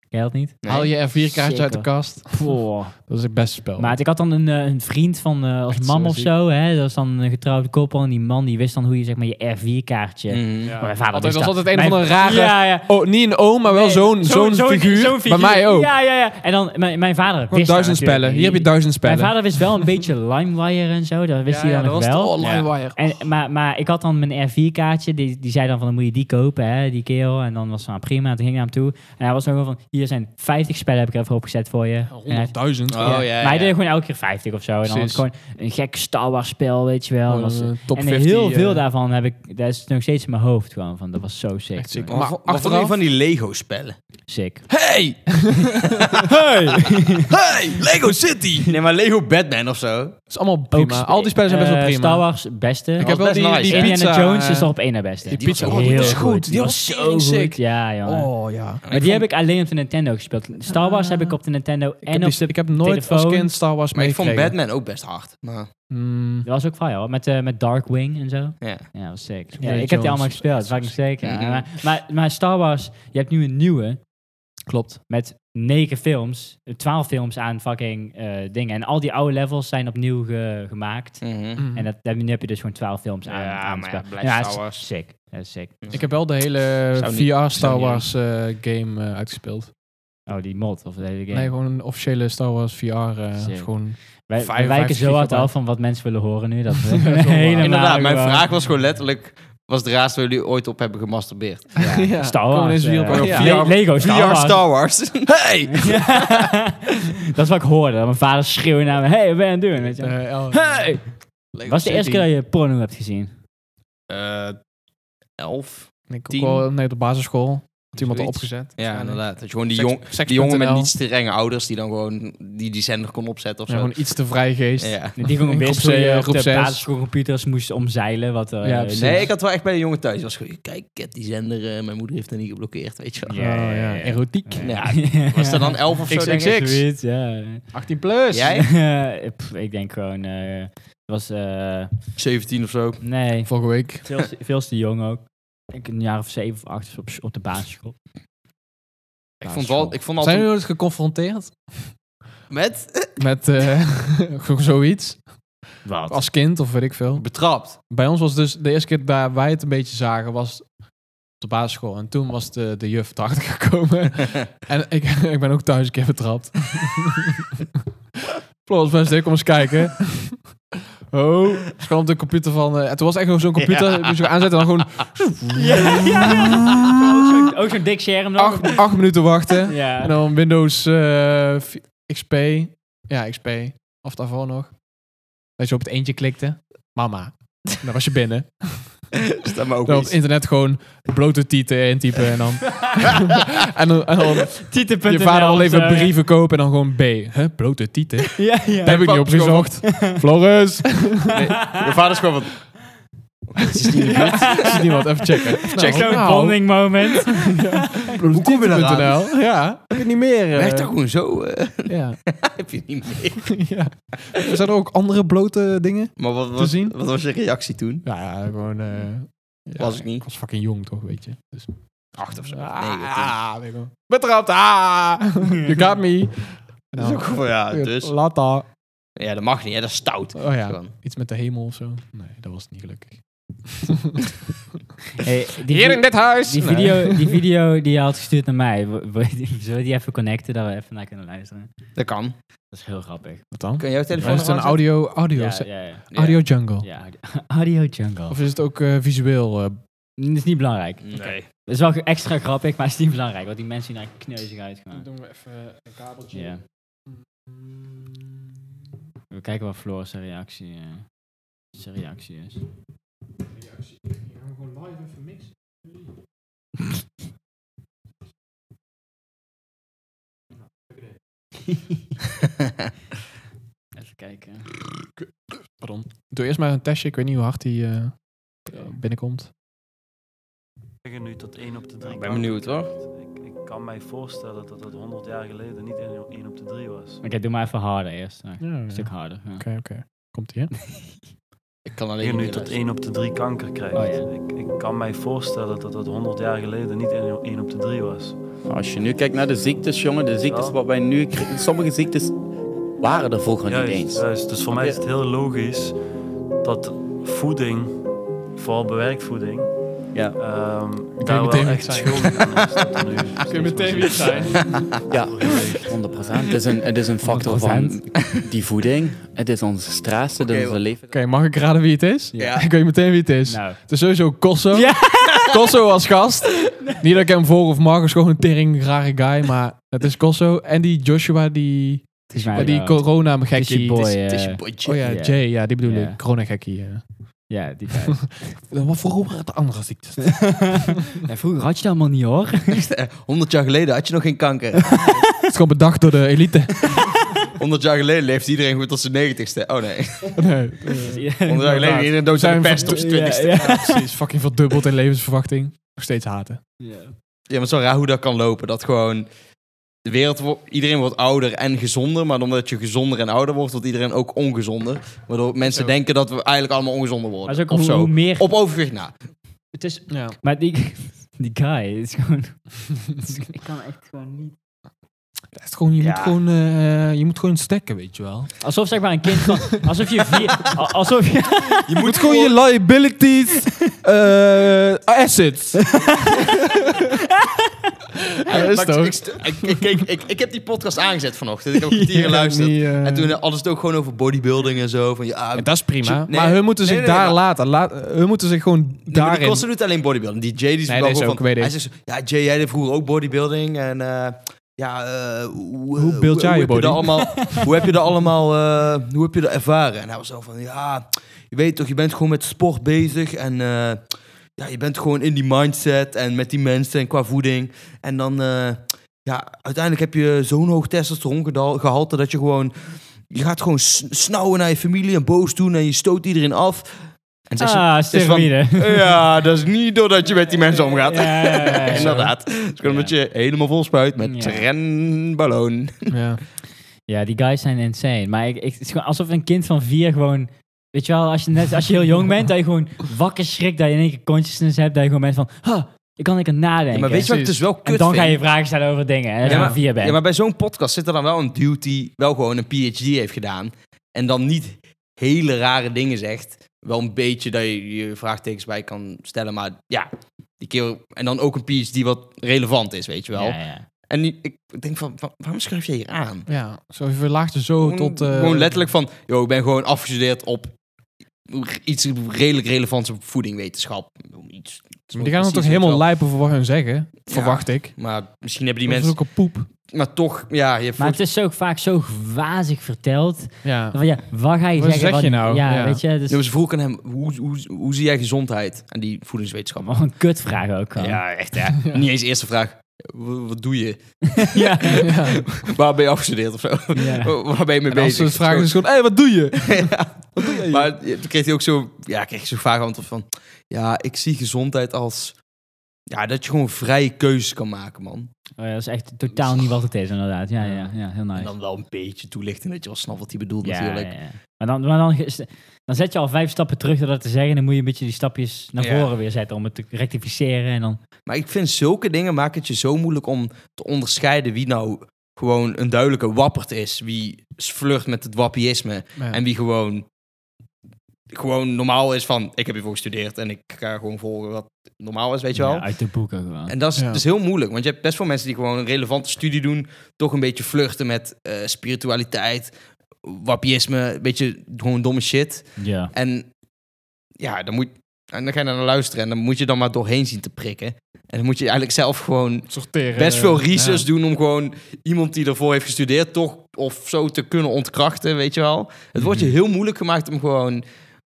[SPEAKER 1] Jij dat niet?
[SPEAKER 2] Nee.
[SPEAKER 3] Haal je R4 kaartje uit de
[SPEAKER 1] Zeker.
[SPEAKER 3] kast. *laughs*
[SPEAKER 1] Poh.
[SPEAKER 3] Dat is het beste spel.
[SPEAKER 1] Maar ik had dan een, eh, een vriend van eh, als
[SPEAKER 3] Oh. Echt
[SPEAKER 1] mam
[SPEAKER 3] zo
[SPEAKER 1] of
[SPEAKER 3] ziek.
[SPEAKER 1] zo, hè? Dat was dan een getrouwde koppel. En die man die wist dan hoe je zeg maar je R4-kaartje.
[SPEAKER 2] Mhm.
[SPEAKER 3] Ja.
[SPEAKER 1] Maar mijn vader
[SPEAKER 3] Mm. altijd, was
[SPEAKER 1] wist dat.
[SPEAKER 3] altijd een
[SPEAKER 1] Mijn-
[SPEAKER 3] van de rare...
[SPEAKER 1] Ja, ja.
[SPEAKER 3] Oh, niet een oom, maar wel
[SPEAKER 1] Nee,
[SPEAKER 3] zo'n zo'n
[SPEAKER 1] zo'n
[SPEAKER 3] figuur.
[SPEAKER 1] zo'n
[SPEAKER 3] Bij mij ook.
[SPEAKER 1] Ja, ja, ja. En dan mijn, mijn vader.
[SPEAKER 3] Gewoon
[SPEAKER 1] wist dat
[SPEAKER 3] duizend
[SPEAKER 1] natuurlijk.
[SPEAKER 3] spellen. Hier heb je duizend spellen.
[SPEAKER 1] Mijn vader wist wel een
[SPEAKER 3] *laughs*
[SPEAKER 1] beetje LimeWire en zo. Dat wist hij dan nog
[SPEAKER 2] Oh,
[SPEAKER 1] wel.
[SPEAKER 3] Limewire.
[SPEAKER 1] En, maar, maar ik had dan mijn R4-kaartje. Die, die zei dan van, dan moet je die kopen, hè, die kerel. En dan was van, ah, prima. En toen ging ik naar hem toe. En hij was dan gewoon van, hier zijn 50 spellen, heb ik er even opgezet voor je. En hij-
[SPEAKER 3] 100.000.
[SPEAKER 2] Oh, ja, ja.
[SPEAKER 1] maar hij deed gewoon elke keer 50 of zo. En dan was
[SPEAKER 3] Precies.
[SPEAKER 1] het gewoon een gek Star Wars spel, weet je wel.
[SPEAKER 3] Gewoon
[SPEAKER 1] Was-
[SPEAKER 3] een top
[SPEAKER 1] en
[SPEAKER 3] 50,
[SPEAKER 1] heel
[SPEAKER 3] eh,
[SPEAKER 1] veel daarvan heb ik... Dat is nog steeds in mijn hoofd gewoon van, dat was zo sick.
[SPEAKER 3] Echt sick.
[SPEAKER 1] toen.
[SPEAKER 3] Maar
[SPEAKER 2] Maar, wat vond je
[SPEAKER 3] achteraf-
[SPEAKER 2] van die Lego-spellen?
[SPEAKER 1] Sick.
[SPEAKER 2] Hey! *laughs*
[SPEAKER 3] Hey! Het
[SPEAKER 2] Hey! Lego City! Nee, maar Lego Batman of zo.
[SPEAKER 3] is allemaal prima.
[SPEAKER 1] Ook-
[SPEAKER 3] Al die spellen zijn best wel
[SPEAKER 1] eh,
[SPEAKER 3] prima.
[SPEAKER 1] Star Wars, beste.
[SPEAKER 3] Ik heb wel
[SPEAKER 2] best
[SPEAKER 3] die,
[SPEAKER 2] nice,
[SPEAKER 3] die
[SPEAKER 2] hè?
[SPEAKER 1] Indiana
[SPEAKER 3] pizza...
[SPEAKER 1] Jones is
[SPEAKER 3] eh,
[SPEAKER 1] nog op één na beste.
[SPEAKER 3] die
[SPEAKER 2] Die was
[SPEAKER 3] pizza.
[SPEAKER 2] ook
[SPEAKER 3] Oh, die
[SPEAKER 1] Heel
[SPEAKER 3] was goed. Die was
[SPEAKER 1] zo
[SPEAKER 3] zo sick.
[SPEAKER 1] Ja, jongen.
[SPEAKER 3] Oh, ja. Ik
[SPEAKER 1] Maar die heb ik alleen op de Nintendo gespeeld. Star Wars heb ik op de Nintendo
[SPEAKER 3] heb
[SPEAKER 1] en op
[SPEAKER 3] die-
[SPEAKER 1] de...
[SPEAKER 3] Ik heb nooit als
[SPEAKER 1] telefoon.
[SPEAKER 3] kind Star Wars
[SPEAKER 2] Maar ik vond
[SPEAKER 3] meegekregen.
[SPEAKER 2] Batman ook best hard. Maar,
[SPEAKER 3] Mm,
[SPEAKER 1] Dat was ook fire hoor. Met, eh, met Darkwing en zo.
[SPEAKER 2] ja.
[SPEAKER 1] Ja, dat was sick. Ja,
[SPEAKER 3] Indiana
[SPEAKER 1] ik heb die allemaal
[SPEAKER 3] Jones.
[SPEAKER 1] gespeeld, dat is fucking zeker.
[SPEAKER 2] Mhm.
[SPEAKER 1] Maar, maar, maar Star Wars, je hebt nu een nieuwe. Klopt. Met negen films, eh, twaalf films aan fucking eh, dingen. En al die oude levels zijn opnieuw ge- gemaakt.
[SPEAKER 2] Mhm.
[SPEAKER 3] Hmm.
[SPEAKER 1] En dat, dat- nu heb je dus gewoon twaalf films aan.
[SPEAKER 2] Hm. Ja,
[SPEAKER 1] aan het
[SPEAKER 2] maar
[SPEAKER 1] spel.
[SPEAKER 2] ja, blijft
[SPEAKER 1] Ja,
[SPEAKER 2] Star
[SPEAKER 1] is
[SPEAKER 2] Wars.
[SPEAKER 1] Sick. Dat is sick.
[SPEAKER 3] Ik heb wel de hele
[SPEAKER 2] Zou niet-
[SPEAKER 3] VR
[SPEAKER 2] zou
[SPEAKER 3] Star
[SPEAKER 2] niet
[SPEAKER 3] Wars eh, game eh, uitgespeeld.
[SPEAKER 1] Oh, die mod of de hele game.
[SPEAKER 3] Nee, gewoon een officiële Star Wars VR. eh,
[SPEAKER 1] Sick.
[SPEAKER 3] is gewoon
[SPEAKER 1] Wij, wij
[SPEAKER 3] 55
[SPEAKER 1] wijken zo hard
[SPEAKER 3] gigabyte.
[SPEAKER 1] af van wat mensen willen horen
[SPEAKER 3] *laughs*
[SPEAKER 1] nu. Dat we
[SPEAKER 3] Dat is wel waar.
[SPEAKER 1] helemaal
[SPEAKER 2] Inderdaad, mijn
[SPEAKER 1] gewoon-
[SPEAKER 2] vraag was gewoon letterlijk... Was de raarste waar jullie ooit op hebben gemasturbeerd? *laughs*
[SPEAKER 3] Ja.
[SPEAKER 1] Star
[SPEAKER 3] Gewoon
[SPEAKER 1] Wars.
[SPEAKER 3] eens weer op-
[SPEAKER 1] eh,
[SPEAKER 2] ja.
[SPEAKER 1] Le-
[SPEAKER 2] VR
[SPEAKER 1] *laughs* Lego Star
[SPEAKER 2] VR
[SPEAKER 1] Wars.
[SPEAKER 2] Star *laughs* Wars. hey!
[SPEAKER 1] Ja. dat is wat ik hoorde. dat Mijn vader schreeuwde naar me. Hey, what are you doing? Weet je. wel.
[SPEAKER 3] eh, El-
[SPEAKER 1] hey! Was de eerste keer dat je porno hebt
[SPEAKER 3] *laughs*
[SPEAKER 1] gezien?
[SPEAKER 2] Eh, elf.
[SPEAKER 3] Ik ook
[SPEAKER 2] Tien?
[SPEAKER 3] wel, nee, op de basisschool. Had iemand al
[SPEAKER 2] Zoiets.
[SPEAKER 3] opgezet.
[SPEAKER 2] Ja, inderdaad. Dat je gewoon die,
[SPEAKER 3] Seks-
[SPEAKER 2] jong,
[SPEAKER 3] seks.nl.
[SPEAKER 2] die jongen met niet strenge ouders die dan gewoon die, die zender kon opzetten of
[SPEAKER 3] Ja,
[SPEAKER 2] zo.
[SPEAKER 3] gewoon iets te vrij geest.
[SPEAKER 2] Ja.
[SPEAKER 1] Die gewoon
[SPEAKER 3] Groep
[SPEAKER 1] wist hoe
[SPEAKER 3] zes, eh,
[SPEAKER 1] je op
[SPEAKER 3] groep
[SPEAKER 1] de
[SPEAKER 3] zes.
[SPEAKER 1] basisschoolcomputers moest omzeilen. Wat er,
[SPEAKER 3] Ja,
[SPEAKER 1] eh,
[SPEAKER 3] precies.
[SPEAKER 2] Nee, ik had wel echt bij de jongen thuis. Die Was gewoon, kijk, ik heb die zender, eh, mijn moeder heeft er niet geblokkeerd, weet je wel.
[SPEAKER 1] Ja,
[SPEAKER 3] Oh, ja,
[SPEAKER 1] ja, ja.
[SPEAKER 3] Erotiek.
[SPEAKER 2] Ja, Was
[SPEAKER 1] *laughs*
[SPEAKER 2] dat dan elf of zo? denk ik?
[SPEAKER 3] XXX.
[SPEAKER 1] Zoiets, ja.
[SPEAKER 3] 18 plus.
[SPEAKER 2] Jij?
[SPEAKER 1] Eh, *laughs* pff, ik denk gewoon... eh, het was... eh,
[SPEAKER 2] 17 of zo.
[SPEAKER 1] nee,
[SPEAKER 3] Vorige week.
[SPEAKER 1] veel, te- veel te jong ook. Ik denk een jaar of zeven of acht op, op de
[SPEAKER 3] *laughs*
[SPEAKER 1] basisschool.
[SPEAKER 2] Ik vond, wel, ik vond
[SPEAKER 3] Zijn
[SPEAKER 2] altijd...
[SPEAKER 3] jullie ooit geconfronteerd
[SPEAKER 2] Met?
[SPEAKER 3] met eh, *laughs* gewoon zoiets?
[SPEAKER 1] Wat?
[SPEAKER 3] Als kind of weet ik veel.
[SPEAKER 2] Betrapt. *laughs*
[SPEAKER 3] Bij ons was dus de eerste keer dat wij het een beetje zagen was op de basisschool. En toen was de, de juf erachter *laughs* gekomen. en ik, *laughs* ik ben ook thuis een keer betrapt. *laughs* Plots ben ik kom eens kijken. *laughs* Oh, dus kwam op de computer van... eh, en toen was echt gewoon zo'n computer, die moest je aanzetten en dan gewoon
[SPEAKER 1] Ja, ja, ja. Ook Oh, zo'n- Ook zo'n dik scherm nog.
[SPEAKER 3] acht, acht minuten wachten.
[SPEAKER 1] Ja.
[SPEAKER 3] En dan Windows eh, vi- XP. Ja, XP. Of daarvoor nog. Dat je op het eentje klikte. *laughs* Mama. Dan was je binnen.
[SPEAKER 2] Stem me ook
[SPEAKER 3] Dan op het
[SPEAKER 2] eens.
[SPEAKER 3] internet gewoon blote tieten intypen en *laughs*
[SPEAKER 2] *laughs*
[SPEAKER 3] dan... en dan, en dan
[SPEAKER 1] Tieten.nl
[SPEAKER 3] je vader al
[SPEAKER 1] of
[SPEAKER 3] even
[SPEAKER 1] zo, ja.
[SPEAKER 3] brieven kopen en dan gewoon B. Huh, blote *laughs* tieten? Daar
[SPEAKER 1] Ja, ja.
[SPEAKER 3] heb ik niet op
[SPEAKER 2] pap is
[SPEAKER 3] gezocht. *laughs* Floris!
[SPEAKER 2] Mijn vader is gewoon van... Oké, dit *laughs* is niet goed.
[SPEAKER 1] *laughs*
[SPEAKER 2] *laughs*
[SPEAKER 3] Is niemand? Even checken. Nou,
[SPEAKER 2] Check.
[SPEAKER 1] Zo'n bonding moment.
[SPEAKER 3] Hoe
[SPEAKER 2] kom je eraan?
[SPEAKER 3] Ja. Ik weet niet meer. eh,
[SPEAKER 2] Echt toch gewoon zo? eh, *laughs*
[SPEAKER 3] ja.
[SPEAKER 2] heb je niet meer.
[SPEAKER 3] *laughs* ja. *laughs* Zijn er ook andere blote dingen?
[SPEAKER 2] Maar wat,
[SPEAKER 3] Te
[SPEAKER 2] wat,
[SPEAKER 3] zien?
[SPEAKER 2] wat was je reactie toen?
[SPEAKER 3] Ja, gewoon... eh, ja,
[SPEAKER 2] Was ik niet.
[SPEAKER 3] was fucking jong toch, weet je. Dus,
[SPEAKER 2] Acht of zo. Negen, tien.
[SPEAKER 3] ah, weet ik wel. Betrapt! Ah! *laughs* You got me!
[SPEAKER 2] Dat is ook gewoon, ja, Nou, dus.
[SPEAKER 3] Lata.
[SPEAKER 2] Ja, dat mag niet, hè? dat is stout.
[SPEAKER 3] Oh ja,
[SPEAKER 2] Gewoon.
[SPEAKER 3] iets met de hemel of zo. Nee, dat was niet gelukkig.
[SPEAKER 1] Hey, die
[SPEAKER 3] Hier
[SPEAKER 1] vi-
[SPEAKER 3] in dit huis!
[SPEAKER 1] Die
[SPEAKER 3] Nee. *laughs*
[SPEAKER 1] video, die video die je had gestuurd naar mij, w- w- *laughs* zullen we die even connecten, dat we even naar kunnen luisteren?
[SPEAKER 2] Dat kan.
[SPEAKER 1] Dat is heel grappig.
[SPEAKER 3] Wat dan?
[SPEAKER 2] Kun je jouw
[SPEAKER 3] Maar
[SPEAKER 2] telefoon
[SPEAKER 3] is het een
[SPEAKER 2] eraan zetten?
[SPEAKER 3] audio, audio,
[SPEAKER 1] Ja,
[SPEAKER 3] se-
[SPEAKER 1] ja, ja.
[SPEAKER 2] Ja.
[SPEAKER 3] audio jungle?
[SPEAKER 1] ja audio- audio jungle.
[SPEAKER 3] Of is het ook eh, visueel? eh,
[SPEAKER 1] Dat is niet belangrijk.
[SPEAKER 2] Nee.
[SPEAKER 1] Het is wel ge- extra grappig, maar het is niet belangrijk, want die mensen zien er kneuzig uit. gewoon.
[SPEAKER 3] doen we even een kabeltje.
[SPEAKER 1] Ja. We kijken wat Floris zijn reactie, eh, zijn reactie *laughs* is. Even kijken.
[SPEAKER 3] Pardon. Doe eerst maar een testje. Ik weet niet hoe hard die eh, binnenkomt.
[SPEAKER 4] zeggen nu tot 1 op de 3.
[SPEAKER 2] Ik ben benieuwd hoor.
[SPEAKER 4] Ik, ik kan mij voorstellen dat dat 100 jaar geleden niet 1 op de 3 was.
[SPEAKER 1] Oké, doe maar even harder eerst. Nou,
[SPEAKER 3] Ja,
[SPEAKER 1] Een
[SPEAKER 3] ja.
[SPEAKER 1] stuk
[SPEAKER 3] Oké,
[SPEAKER 1] harder. ja.
[SPEAKER 3] oké. Komt ie, hè?
[SPEAKER 1] *laughs*
[SPEAKER 2] Ik kan
[SPEAKER 4] Ik
[SPEAKER 2] alleen
[SPEAKER 4] nu
[SPEAKER 2] niet
[SPEAKER 4] tot
[SPEAKER 2] luisteren.
[SPEAKER 4] 1 op de 3 kanker krijgt.
[SPEAKER 1] Oh,
[SPEAKER 4] ik, ik kan mij voorstellen dat dat 100 jaar geleden niet 1 op de 3 was.
[SPEAKER 5] Als je nu kijkt naar de ziektes, jongen, de ziektes wat wij nu krijgen, sommige ziektes waren er vroeger niet
[SPEAKER 4] Juist,
[SPEAKER 5] eens.
[SPEAKER 4] juist. Dus voor mij is het heel logisch dat voeding, vooral bewerkt voeding,
[SPEAKER 5] Ja.
[SPEAKER 4] ehm,
[SPEAKER 3] je meteen
[SPEAKER 4] daar wel
[SPEAKER 3] weer
[SPEAKER 4] echt
[SPEAKER 3] zijn.
[SPEAKER 4] schuldig aan is. dat er nu steeds
[SPEAKER 3] meteen
[SPEAKER 4] meer
[SPEAKER 3] weer
[SPEAKER 4] ziektes
[SPEAKER 3] zijn.
[SPEAKER 5] Ja, 100 Het is een, het is een factor van die voeding, het is onze stress, het
[SPEAKER 2] Oké,
[SPEAKER 5] is onze leven.
[SPEAKER 3] Oké, mag ik raden wie het is?
[SPEAKER 2] Ja.
[SPEAKER 3] *laughs* Ik weet meteen wie het is.
[SPEAKER 1] Nou,
[SPEAKER 3] Het is sowieso Kosso. *laughs* Kosso als gast. Niet dat ik hem voor of mag, is gewoon een tering rare guy, maar het is Kosso. En die Joshua, die,
[SPEAKER 1] het is
[SPEAKER 3] ja,
[SPEAKER 1] mij
[SPEAKER 3] die
[SPEAKER 1] wel. Het
[SPEAKER 3] corona
[SPEAKER 1] is je
[SPEAKER 3] gekkie.
[SPEAKER 1] boy.
[SPEAKER 2] Het is
[SPEAKER 1] eh,
[SPEAKER 2] je potje.
[SPEAKER 3] Oh ja,
[SPEAKER 1] Ja.
[SPEAKER 3] Jay, ja, die bedoel
[SPEAKER 1] Ja.
[SPEAKER 3] ik. Corona gekkie. Ja.
[SPEAKER 1] ja, die guy. *laughs*
[SPEAKER 3] Wat voor *laughs* het andere ziektes?
[SPEAKER 1] Ja, Vroeger had je dat allemaal niet hoor.
[SPEAKER 2] 100 jaar geleden had je nog geen kanker.
[SPEAKER 3] Het is gewoon bedacht door de *laughs* elite.
[SPEAKER 2] 100 jaar geleden leeft iedereen goed tot zijn 90ste. Oh nee. 100
[SPEAKER 3] nee,
[SPEAKER 1] *laughs*
[SPEAKER 2] jaar geleden
[SPEAKER 3] Inderdaad.
[SPEAKER 2] iedereen dood aan
[SPEAKER 3] Zijn
[SPEAKER 2] de pest
[SPEAKER 3] van-
[SPEAKER 2] op zijn 20ste.
[SPEAKER 1] Ja, ja.
[SPEAKER 3] precies. Fucking verdubbeld in levensverwachting. Nog steeds haten.
[SPEAKER 2] Ja, maar zo raar hoe dat kan lopen. Dat gewoon de wereld wo- iedereen wordt ouder en gezonder, maar omdat je gezonder en ouder wordt, wordt iedereen ook ongezonder, waardoor mensen
[SPEAKER 3] Zo.
[SPEAKER 2] denken dat we eigenlijk allemaal ongezonder
[SPEAKER 1] Maar
[SPEAKER 2] worden.
[SPEAKER 1] het is ook
[SPEAKER 2] of
[SPEAKER 1] hoe,
[SPEAKER 2] zo.
[SPEAKER 1] hoe meer...
[SPEAKER 2] Op overgewicht na.
[SPEAKER 1] Het is,
[SPEAKER 3] Ja.
[SPEAKER 1] maar die, *laughs* Die guy is gewoon... ik kan echt gewoon niet...
[SPEAKER 3] Dat is gewoon, je,
[SPEAKER 2] Ja.
[SPEAKER 3] moet gewoon, eh, je moet gewoon stekken, weet je wel.
[SPEAKER 1] Alsof zeg maar een kind *laughs* van... Alsof je vier... a- Alsof je...
[SPEAKER 3] Je moet gewoon je liabilities,
[SPEAKER 2] *laughs*
[SPEAKER 3] eh, assets. Ja, dat is
[SPEAKER 2] Maar
[SPEAKER 3] toch?
[SPEAKER 2] ik, ik, ik, ik, ik, ik heb die podcast aangezet vanochtend. Ik heb
[SPEAKER 3] *laughs*
[SPEAKER 2] een kwartier geluisterd.
[SPEAKER 3] Ja, niet, eh,
[SPEAKER 2] En toen eh, hadden ze het ook gewoon over bodybuilding en zo. Van, ja,
[SPEAKER 3] Ja, dat is prima.
[SPEAKER 2] Nee,
[SPEAKER 3] maar hun moeten
[SPEAKER 2] nee,
[SPEAKER 3] zich
[SPEAKER 2] nee,
[SPEAKER 3] daar
[SPEAKER 2] maar-
[SPEAKER 3] laten. Laat, hun moeten zich gewoon
[SPEAKER 2] Nee, maar
[SPEAKER 3] daarin...
[SPEAKER 2] Die kosten doet alleen bodybuilding. Die Jay die is
[SPEAKER 3] Nee,
[SPEAKER 2] wel
[SPEAKER 3] deze
[SPEAKER 2] gewoon
[SPEAKER 3] ook,
[SPEAKER 2] van,
[SPEAKER 3] weet ik.
[SPEAKER 2] Hij zegt, zo, ja, Jay, jij deed vroeger ook bodybuilding. En eh, ja, eh, hoe,
[SPEAKER 3] Hoe build jij je
[SPEAKER 2] heb
[SPEAKER 3] body?
[SPEAKER 2] dat
[SPEAKER 3] *laughs*
[SPEAKER 2] allemaal, hoe heb je dat allemaal, eh, hoe heb je dat ervaren? En hij was zo van, ja, je weet toch, je bent gewoon met sport bezig. En eh, ja, je bent gewoon in die mindset en met die mensen en qua voeding. En dan, eh, ja, uiteindelijk heb je zo'n hoog testosterongehalte dat je gewoon... Je gaat gewoon s- snauwen naar je familie en boos doen en je stoot iedereen af. En zij zo-
[SPEAKER 1] Ah,
[SPEAKER 2] is van-
[SPEAKER 1] steroïden.
[SPEAKER 2] ja, dat is niet doordat je met die mensen omgaat. *laughs*
[SPEAKER 1] Ja, ja, ja, *laughs* ja.
[SPEAKER 2] Inderdaad. Het is gewoon dat je helemaal vol spuit met
[SPEAKER 1] Ja.
[SPEAKER 2] renballon.
[SPEAKER 3] Ja.
[SPEAKER 1] Ja, die guys zijn insane. Maar ik, ik, het is gewoon alsof een kind van vier gewoon... Weet je wel, als je, net, als je heel jong bent, dat je
[SPEAKER 2] *laughs*
[SPEAKER 1] gewoon wakker schrikt, dat je in één keer consciousness hebt, dat je gewoon bent van... "Huh, ik kan lekker nadenken.
[SPEAKER 2] maar weet je wat ik dus wel kut
[SPEAKER 1] en dan
[SPEAKER 2] vind?
[SPEAKER 1] ga je vragen stellen over dingen. En als
[SPEAKER 2] Ja,
[SPEAKER 1] je
[SPEAKER 2] maar-
[SPEAKER 1] van vier bent.
[SPEAKER 2] Ja, maar bij zo'n podcast zit er dan wel een dude die wel gewoon een PhD heeft gedaan. En dan niet hele rare dingen zegt. Wel een beetje dat je je vraagtekens bij kan stellen, maar ja. Die kerel, en dan ook een PhD wat relevant is, weet je wel.
[SPEAKER 1] Ja, ja.
[SPEAKER 2] En die- ik denk van, wa- waarom schrijf je hier aan?
[SPEAKER 3] ja, zo je verlaagt je zo
[SPEAKER 2] Gewoon-
[SPEAKER 3] tot... eh,
[SPEAKER 2] gewoon letterlijk van, joh, ik ben gewoon afgestudeerd op iets redelijk relevants op voedingwetenschap. Iets,
[SPEAKER 3] maar Die gaan dan toch
[SPEAKER 2] precies,
[SPEAKER 3] helemaal
[SPEAKER 2] weet je
[SPEAKER 3] lijpen voor wat hun zeggen. Verwacht ik.
[SPEAKER 2] wel. Maar misschien hebben die
[SPEAKER 3] dat
[SPEAKER 2] mensen,
[SPEAKER 3] is ook een poep.
[SPEAKER 2] maar toch, ja, je hebt
[SPEAKER 1] Maar
[SPEAKER 2] volgens-
[SPEAKER 1] het is ook vaak zo wazig verteld.
[SPEAKER 3] Ja.
[SPEAKER 1] Van, ja, wat ga je
[SPEAKER 3] Wat
[SPEAKER 1] zeggen?
[SPEAKER 3] zeg je
[SPEAKER 1] Wat-
[SPEAKER 3] nou?
[SPEAKER 1] Ja,
[SPEAKER 3] Ja.
[SPEAKER 1] weet je, dus
[SPEAKER 2] Ja, maar ze vroegen hem, hoe, hoe, hoe zie jij gezondheid en die voedingswetenschap?
[SPEAKER 1] wat een kutvraag ook. gewoon.
[SPEAKER 3] *laughs*
[SPEAKER 2] Ja, echt hè. Niet eens eerste vraag. W- Wat doe je?
[SPEAKER 1] ja.
[SPEAKER 3] Ja.
[SPEAKER 2] Waar ben je afgestudeerd of zo?
[SPEAKER 3] *laughs*
[SPEAKER 1] Ja.
[SPEAKER 2] Waar ben je mee
[SPEAKER 3] En als
[SPEAKER 2] bezig?
[SPEAKER 3] ze het vragen, is het gewoon... Hé, wat doe
[SPEAKER 2] *laughs*
[SPEAKER 3] je? *laughs*
[SPEAKER 2] Maar toen kreeg hij ook zo, ja, kreeg je zo'n vaag antwoord van, ja, ik zie gezondheid als, ja, dat je gewoon vrije keuzes kan maken, man.
[SPEAKER 1] Oh ja, dat is echt totaal niet wat het is, inderdaad. Ja, ja, ja heel nice.
[SPEAKER 2] En dan wel een beetje toelichten dat je wel snapt wat hij bedoelt
[SPEAKER 1] ja,
[SPEAKER 2] natuurlijk.
[SPEAKER 1] ja, ja. Maar, dan, maar dan, is- dan zet je al vijf stappen terug door dat te zeggen. Dan moet je een beetje die stapjes naar
[SPEAKER 2] Ja.
[SPEAKER 1] voren weer zetten om het te rectificeren. En dan,
[SPEAKER 2] Maar ik vind zulke dingen maken het je zo moeilijk om te onderscheiden wie nou gewoon een duidelijke wappert is. Wie flirt met het wappieisme
[SPEAKER 3] Ja.
[SPEAKER 2] en wie gewoon, gewoon normaal is van ik heb hiervoor gestudeerd en ik ga gewoon volgen wat normaal is, weet je wel.
[SPEAKER 1] Ja, uit de boeken gewoon.
[SPEAKER 2] En dat is,
[SPEAKER 3] Ja.
[SPEAKER 2] dat is heel moeilijk, want je hebt best veel mensen die gewoon een relevante studie doen, toch een beetje flirten met eh, spiritualiteit, wappiesme, een beetje gewoon domme shit.
[SPEAKER 1] ja.
[SPEAKER 2] En ja, dan moet en dan ga je daar naar luisteren en dan moet je dan maar doorheen zien te prikken. En dan moet je eigenlijk zelf gewoon
[SPEAKER 3] Sorteren.
[SPEAKER 2] best veel research
[SPEAKER 3] Eh, Ja.
[SPEAKER 2] doen om gewoon iemand die ervoor heeft gestudeerd toch of zo te kunnen ontkrachten, weet je wel. Het wordt je
[SPEAKER 3] Mhm.
[SPEAKER 2] heel moeilijk gemaakt om gewoon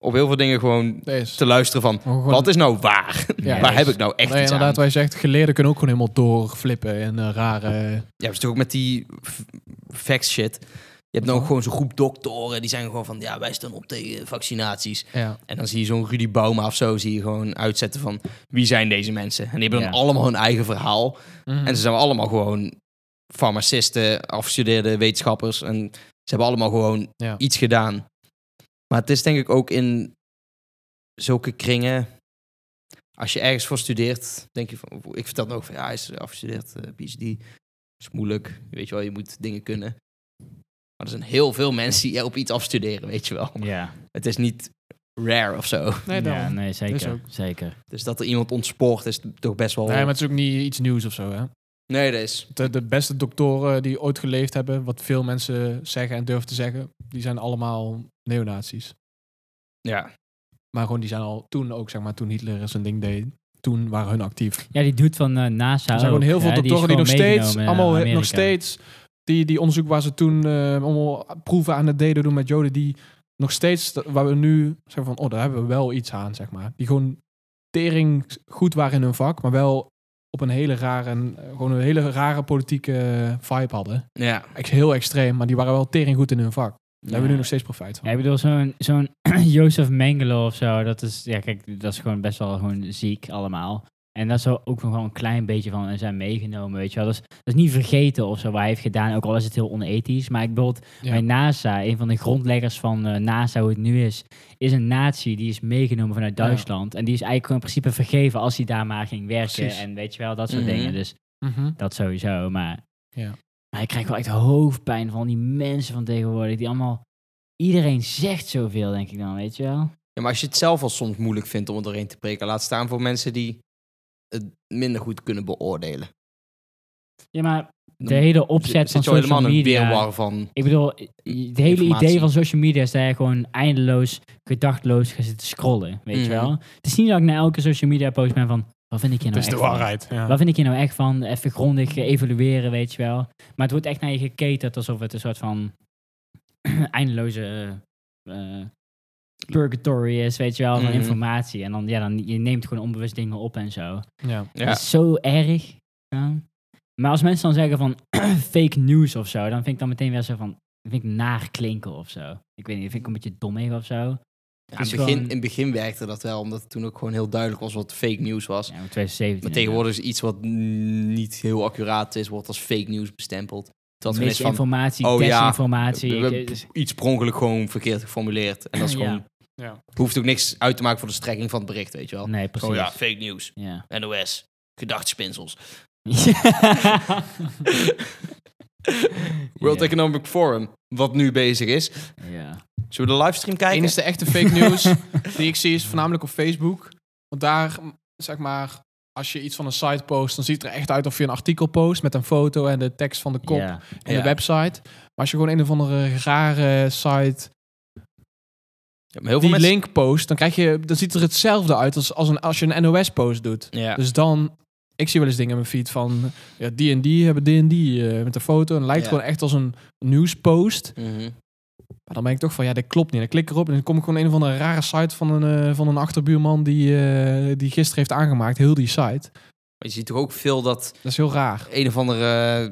[SPEAKER 2] op heel veel dingen gewoon
[SPEAKER 3] Dat is-
[SPEAKER 2] te luisteren van
[SPEAKER 3] Gewoon-
[SPEAKER 2] wat is nou waar?
[SPEAKER 3] Ja,
[SPEAKER 2] waar
[SPEAKER 3] is-
[SPEAKER 2] heb ik nou echt
[SPEAKER 3] Nee,
[SPEAKER 2] iets
[SPEAKER 3] inderdaad,
[SPEAKER 2] aan?
[SPEAKER 3] wij zegt, geleerden kunnen ook gewoon helemaal doorflippen en eh, rare...
[SPEAKER 2] Ja, dat is toch ook met die f- facts shit. Je hebt nou ook gewoon zo'n groep doktoren die zijn gewoon van ja, wij staan op tegen vaccinaties.
[SPEAKER 3] Ja.
[SPEAKER 2] En dan zie je zo'n Rudy Bauma of zo, zie je gewoon uitzetten van wie zijn deze mensen? En die hebben dan
[SPEAKER 1] Ja.
[SPEAKER 2] allemaal hun eigen verhaal.
[SPEAKER 3] Mhm.
[SPEAKER 2] En
[SPEAKER 3] Hmm.
[SPEAKER 2] ze zijn allemaal gewoon farmacisten, afgestudeerde wetenschappers. En ze hebben allemaal gewoon
[SPEAKER 3] Ja.
[SPEAKER 2] iets gedaan. Maar het is denk ik ook in zulke kringen, als je ergens voor studeert, denk je van, ik vertel het ook van ja, hij is afgestudeerd, eh, PhD. Is moeilijk, weet je wel, je moet dingen kunnen. Maar er zijn heel veel mensen die op iets afstuderen, weet je wel
[SPEAKER 1] ja.
[SPEAKER 2] het is niet rare of zo.
[SPEAKER 3] Nee, dan.
[SPEAKER 1] ja,
[SPEAKER 3] nee.
[SPEAKER 1] nee,
[SPEAKER 3] Is
[SPEAKER 1] zeker.
[SPEAKER 3] ook.
[SPEAKER 1] Zeker.
[SPEAKER 2] Dus dat er iemand ontspoort is toch best wel...
[SPEAKER 3] maar het is ook niet iets nieuws of zo, hè?
[SPEAKER 2] Nee, dat is...
[SPEAKER 3] De, de beste doktoren die ooit geleefd hebben, wat veel mensen zeggen en durven te zeggen, die zijn allemaal neonazies.
[SPEAKER 2] Ja.
[SPEAKER 3] Maar gewoon, die zijn al toen ook, zeg maar, toen Hitler zijn ding deed, toen waren hun actief.
[SPEAKER 1] Ja, die doet van eh, NASA
[SPEAKER 3] Er zijn gewoon
[SPEAKER 1] ook,
[SPEAKER 3] heel veel
[SPEAKER 1] hè, is
[SPEAKER 3] doktoren die, nog
[SPEAKER 1] gewoon
[SPEAKER 3] steeds,
[SPEAKER 1] meegenomen naar
[SPEAKER 3] allemaal nog
[SPEAKER 1] Amerika.
[SPEAKER 3] steeds, die, die onderzoek waar ze toen eh, allemaal proeven aan het deden doen met joden, die nog steeds, dat- waar we nu zeggen van, oh, daar hebben we wel iets aan, zeg maar. Die gewoon tering goed waren in hun vak, maar wel op een hele rare, en, eh, gewoon een hele rare politieke vibe hadden.
[SPEAKER 2] Ja.
[SPEAKER 3] Ex- heel extreem, maar die waren wel tering goed in hun vak. Daar hebben we nu
[SPEAKER 1] Ja.
[SPEAKER 3] nog steeds profijt van.
[SPEAKER 1] Ja, ik bedoel, zo'n *clears throat* zo'n Jozef Mengele of zo, dat is, ja, kijk, dat is gewoon best wel gewoon ziek allemaal. En dat is wel ook nog wel een klein beetje van en zijn meegenomen, weet je wel. Dat is, dat is niet vergeten of zo, wat hij heeft gedaan, ook al is het heel onethisch. Maar ik bedoel,
[SPEAKER 3] Ja.
[SPEAKER 1] bij NASA, een van de grondleggers van eh, NASA, hoe het nu is, is een nazi die is meegenomen vanuit
[SPEAKER 3] Ja.
[SPEAKER 1] Duitsland. En die is eigenlijk gewoon in principe vergeven als hij daar maar ging werken.
[SPEAKER 3] Precies.
[SPEAKER 1] En weet je wel, dat soort
[SPEAKER 2] Mhm.
[SPEAKER 1] dingen. Dus
[SPEAKER 3] Mhm.
[SPEAKER 1] dat sowieso, maar...
[SPEAKER 3] Ja.
[SPEAKER 1] Maar ik krijg wel echt hoofdpijn van die mensen van tegenwoordig, die allemaal... Iedereen zegt zoveel, denk ik dan, weet je wel.
[SPEAKER 2] Ja, maar als je het zelf al soms moeilijk vindt om er doorheen te prikken, laat staan voor mensen die het minder goed kunnen beoordelen.
[SPEAKER 1] Ja, maar de
[SPEAKER 2] Dan
[SPEAKER 1] hele opzet
[SPEAKER 2] zit
[SPEAKER 1] van
[SPEAKER 2] je al helemaal
[SPEAKER 1] social
[SPEAKER 2] in een
[SPEAKER 1] media...
[SPEAKER 2] weerwar van.
[SPEAKER 1] Ik bedoel, het hele idee
[SPEAKER 2] Informatie.
[SPEAKER 1] van social media is dat je gewoon eindeloos, gedachtloos gaat zitten scrollen, weet je
[SPEAKER 2] Mhm.
[SPEAKER 1] wel. Het is niet dat ik naar elke social media post ben van, wat vind ik hier
[SPEAKER 3] Het
[SPEAKER 1] nou
[SPEAKER 3] is
[SPEAKER 1] echt
[SPEAKER 3] de
[SPEAKER 1] van?
[SPEAKER 3] waarheid. Ja.
[SPEAKER 1] Waar vind ik je nou echt van? Even grondig evalueren, weet je wel. Maar het wordt echt naar je geketerd alsof het een soort van *clears throat* eindeloze eh, eh, purgatory is, weet je wel, van
[SPEAKER 2] Mhm.
[SPEAKER 1] informatie. En dan, ja, dan, je neemt gewoon onbewust dingen op en zo.
[SPEAKER 3] Ja.
[SPEAKER 2] Ja.
[SPEAKER 1] Dat is zo erg. Ja. Maar als mensen dan zeggen van *clears throat* fake news of zo, dan vind ik dan meteen weer zo van, vind ik naar klinken of zo. Ik weet niet, vind ik een beetje dom even of zo.
[SPEAKER 2] Ja,
[SPEAKER 1] is
[SPEAKER 2] in, het begin,
[SPEAKER 1] gewoon-
[SPEAKER 2] in het begin werkte dat wel, omdat het toen ook gewoon heel duidelijk was wat fake nieuws was.
[SPEAKER 1] Ja, maar 2017.
[SPEAKER 2] Maar tegenwoordig is iets wat n- niet heel accuraat is, wordt als fake nieuws bestempeld. Dat
[SPEAKER 1] inderdaad.
[SPEAKER 2] is van
[SPEAKER 1] misinformatie,
[SPEAKER 2] oh ja,
[SPEAKER 1] desinformatie.
[SPEAKER 2] we-
[SPEAKER 1] ik-
[SPEAKER 2] we- iets per ongeluk gewoon verkeerd geformuleerd. En dat is
[SPEAKER 1] Ja.
[SPEAKER 2] gewoon,
[SPEAKER 3] Ja.
[SPEAKER 2] hoeft ook niks uit te maken voor de strekking van het bericht, weet je wel.
[SPEAKER 1] nee, Mm, precies.
[SPEAKER 2] Gewoon Oh ja, fake nieuws,
[SPEAKER 1] Ja.
[SPEAKER 2] NOS, gedachtspinsels. World *laughs*
[SPEAKER 1] Ja.
[SPEAKER 2] Economic Forum, wat nu bezig is.
[SPEAKER 1] ja.
[SPEAKER 2] Zullen we de livestream
[SPEAKER 3] Het
[SPEAKER 2] kijken?
[SPEAKER 3] enige echte fake news *laughs* die ik zie is voornamelijk op Facebook. Want daar, m, zeg maar, als je iets van een site post, dan ziet het er echt uit of je een artikel post met een foto en de tekst van de kop
[SPEAKER 1] Ja.
[SPEAKER 3] en
[SPEAKER 2] Ja.
[SPEAKER 3] de website. Maar als je gewoon een of andere rare site
[SPEAKER 2] Ja, maar heel
[SPEAKER 3] die
[SPEAKER 2] veel mensen...
[SPEAKER 3] link post, dan, krijg je, dan ziet het er hetzelfde uit als, als, een, als je een NOS post doet.
[SPEAKER 2] Ja.
[SPEAKER 3] Dus dan, ik zie wel eens dingen in mijn feed van, ja, die en die hebben die en die eh, met een foto. En het lijkt
[SPEAKER 2] Ja.
[SPEAKER 3] gewoon echt als een nieuwspost.
[SPEAKER 2] Mhm.
[SPEAKER 3] Maar dan ben ik toch van, ja, dat klopt niet. Dan klik ik erop en dan kom ik gewoon een van de rare site van een, eh, van een achterbuurman die, eh, die gisteren heeft aangemaakt. Heel die site.
[SPEAKER 2] Maar je ziet toch ook veel dat
[SPEAKER 3] Dat is heel raar.
[SPEAKER 2] een of andere eh,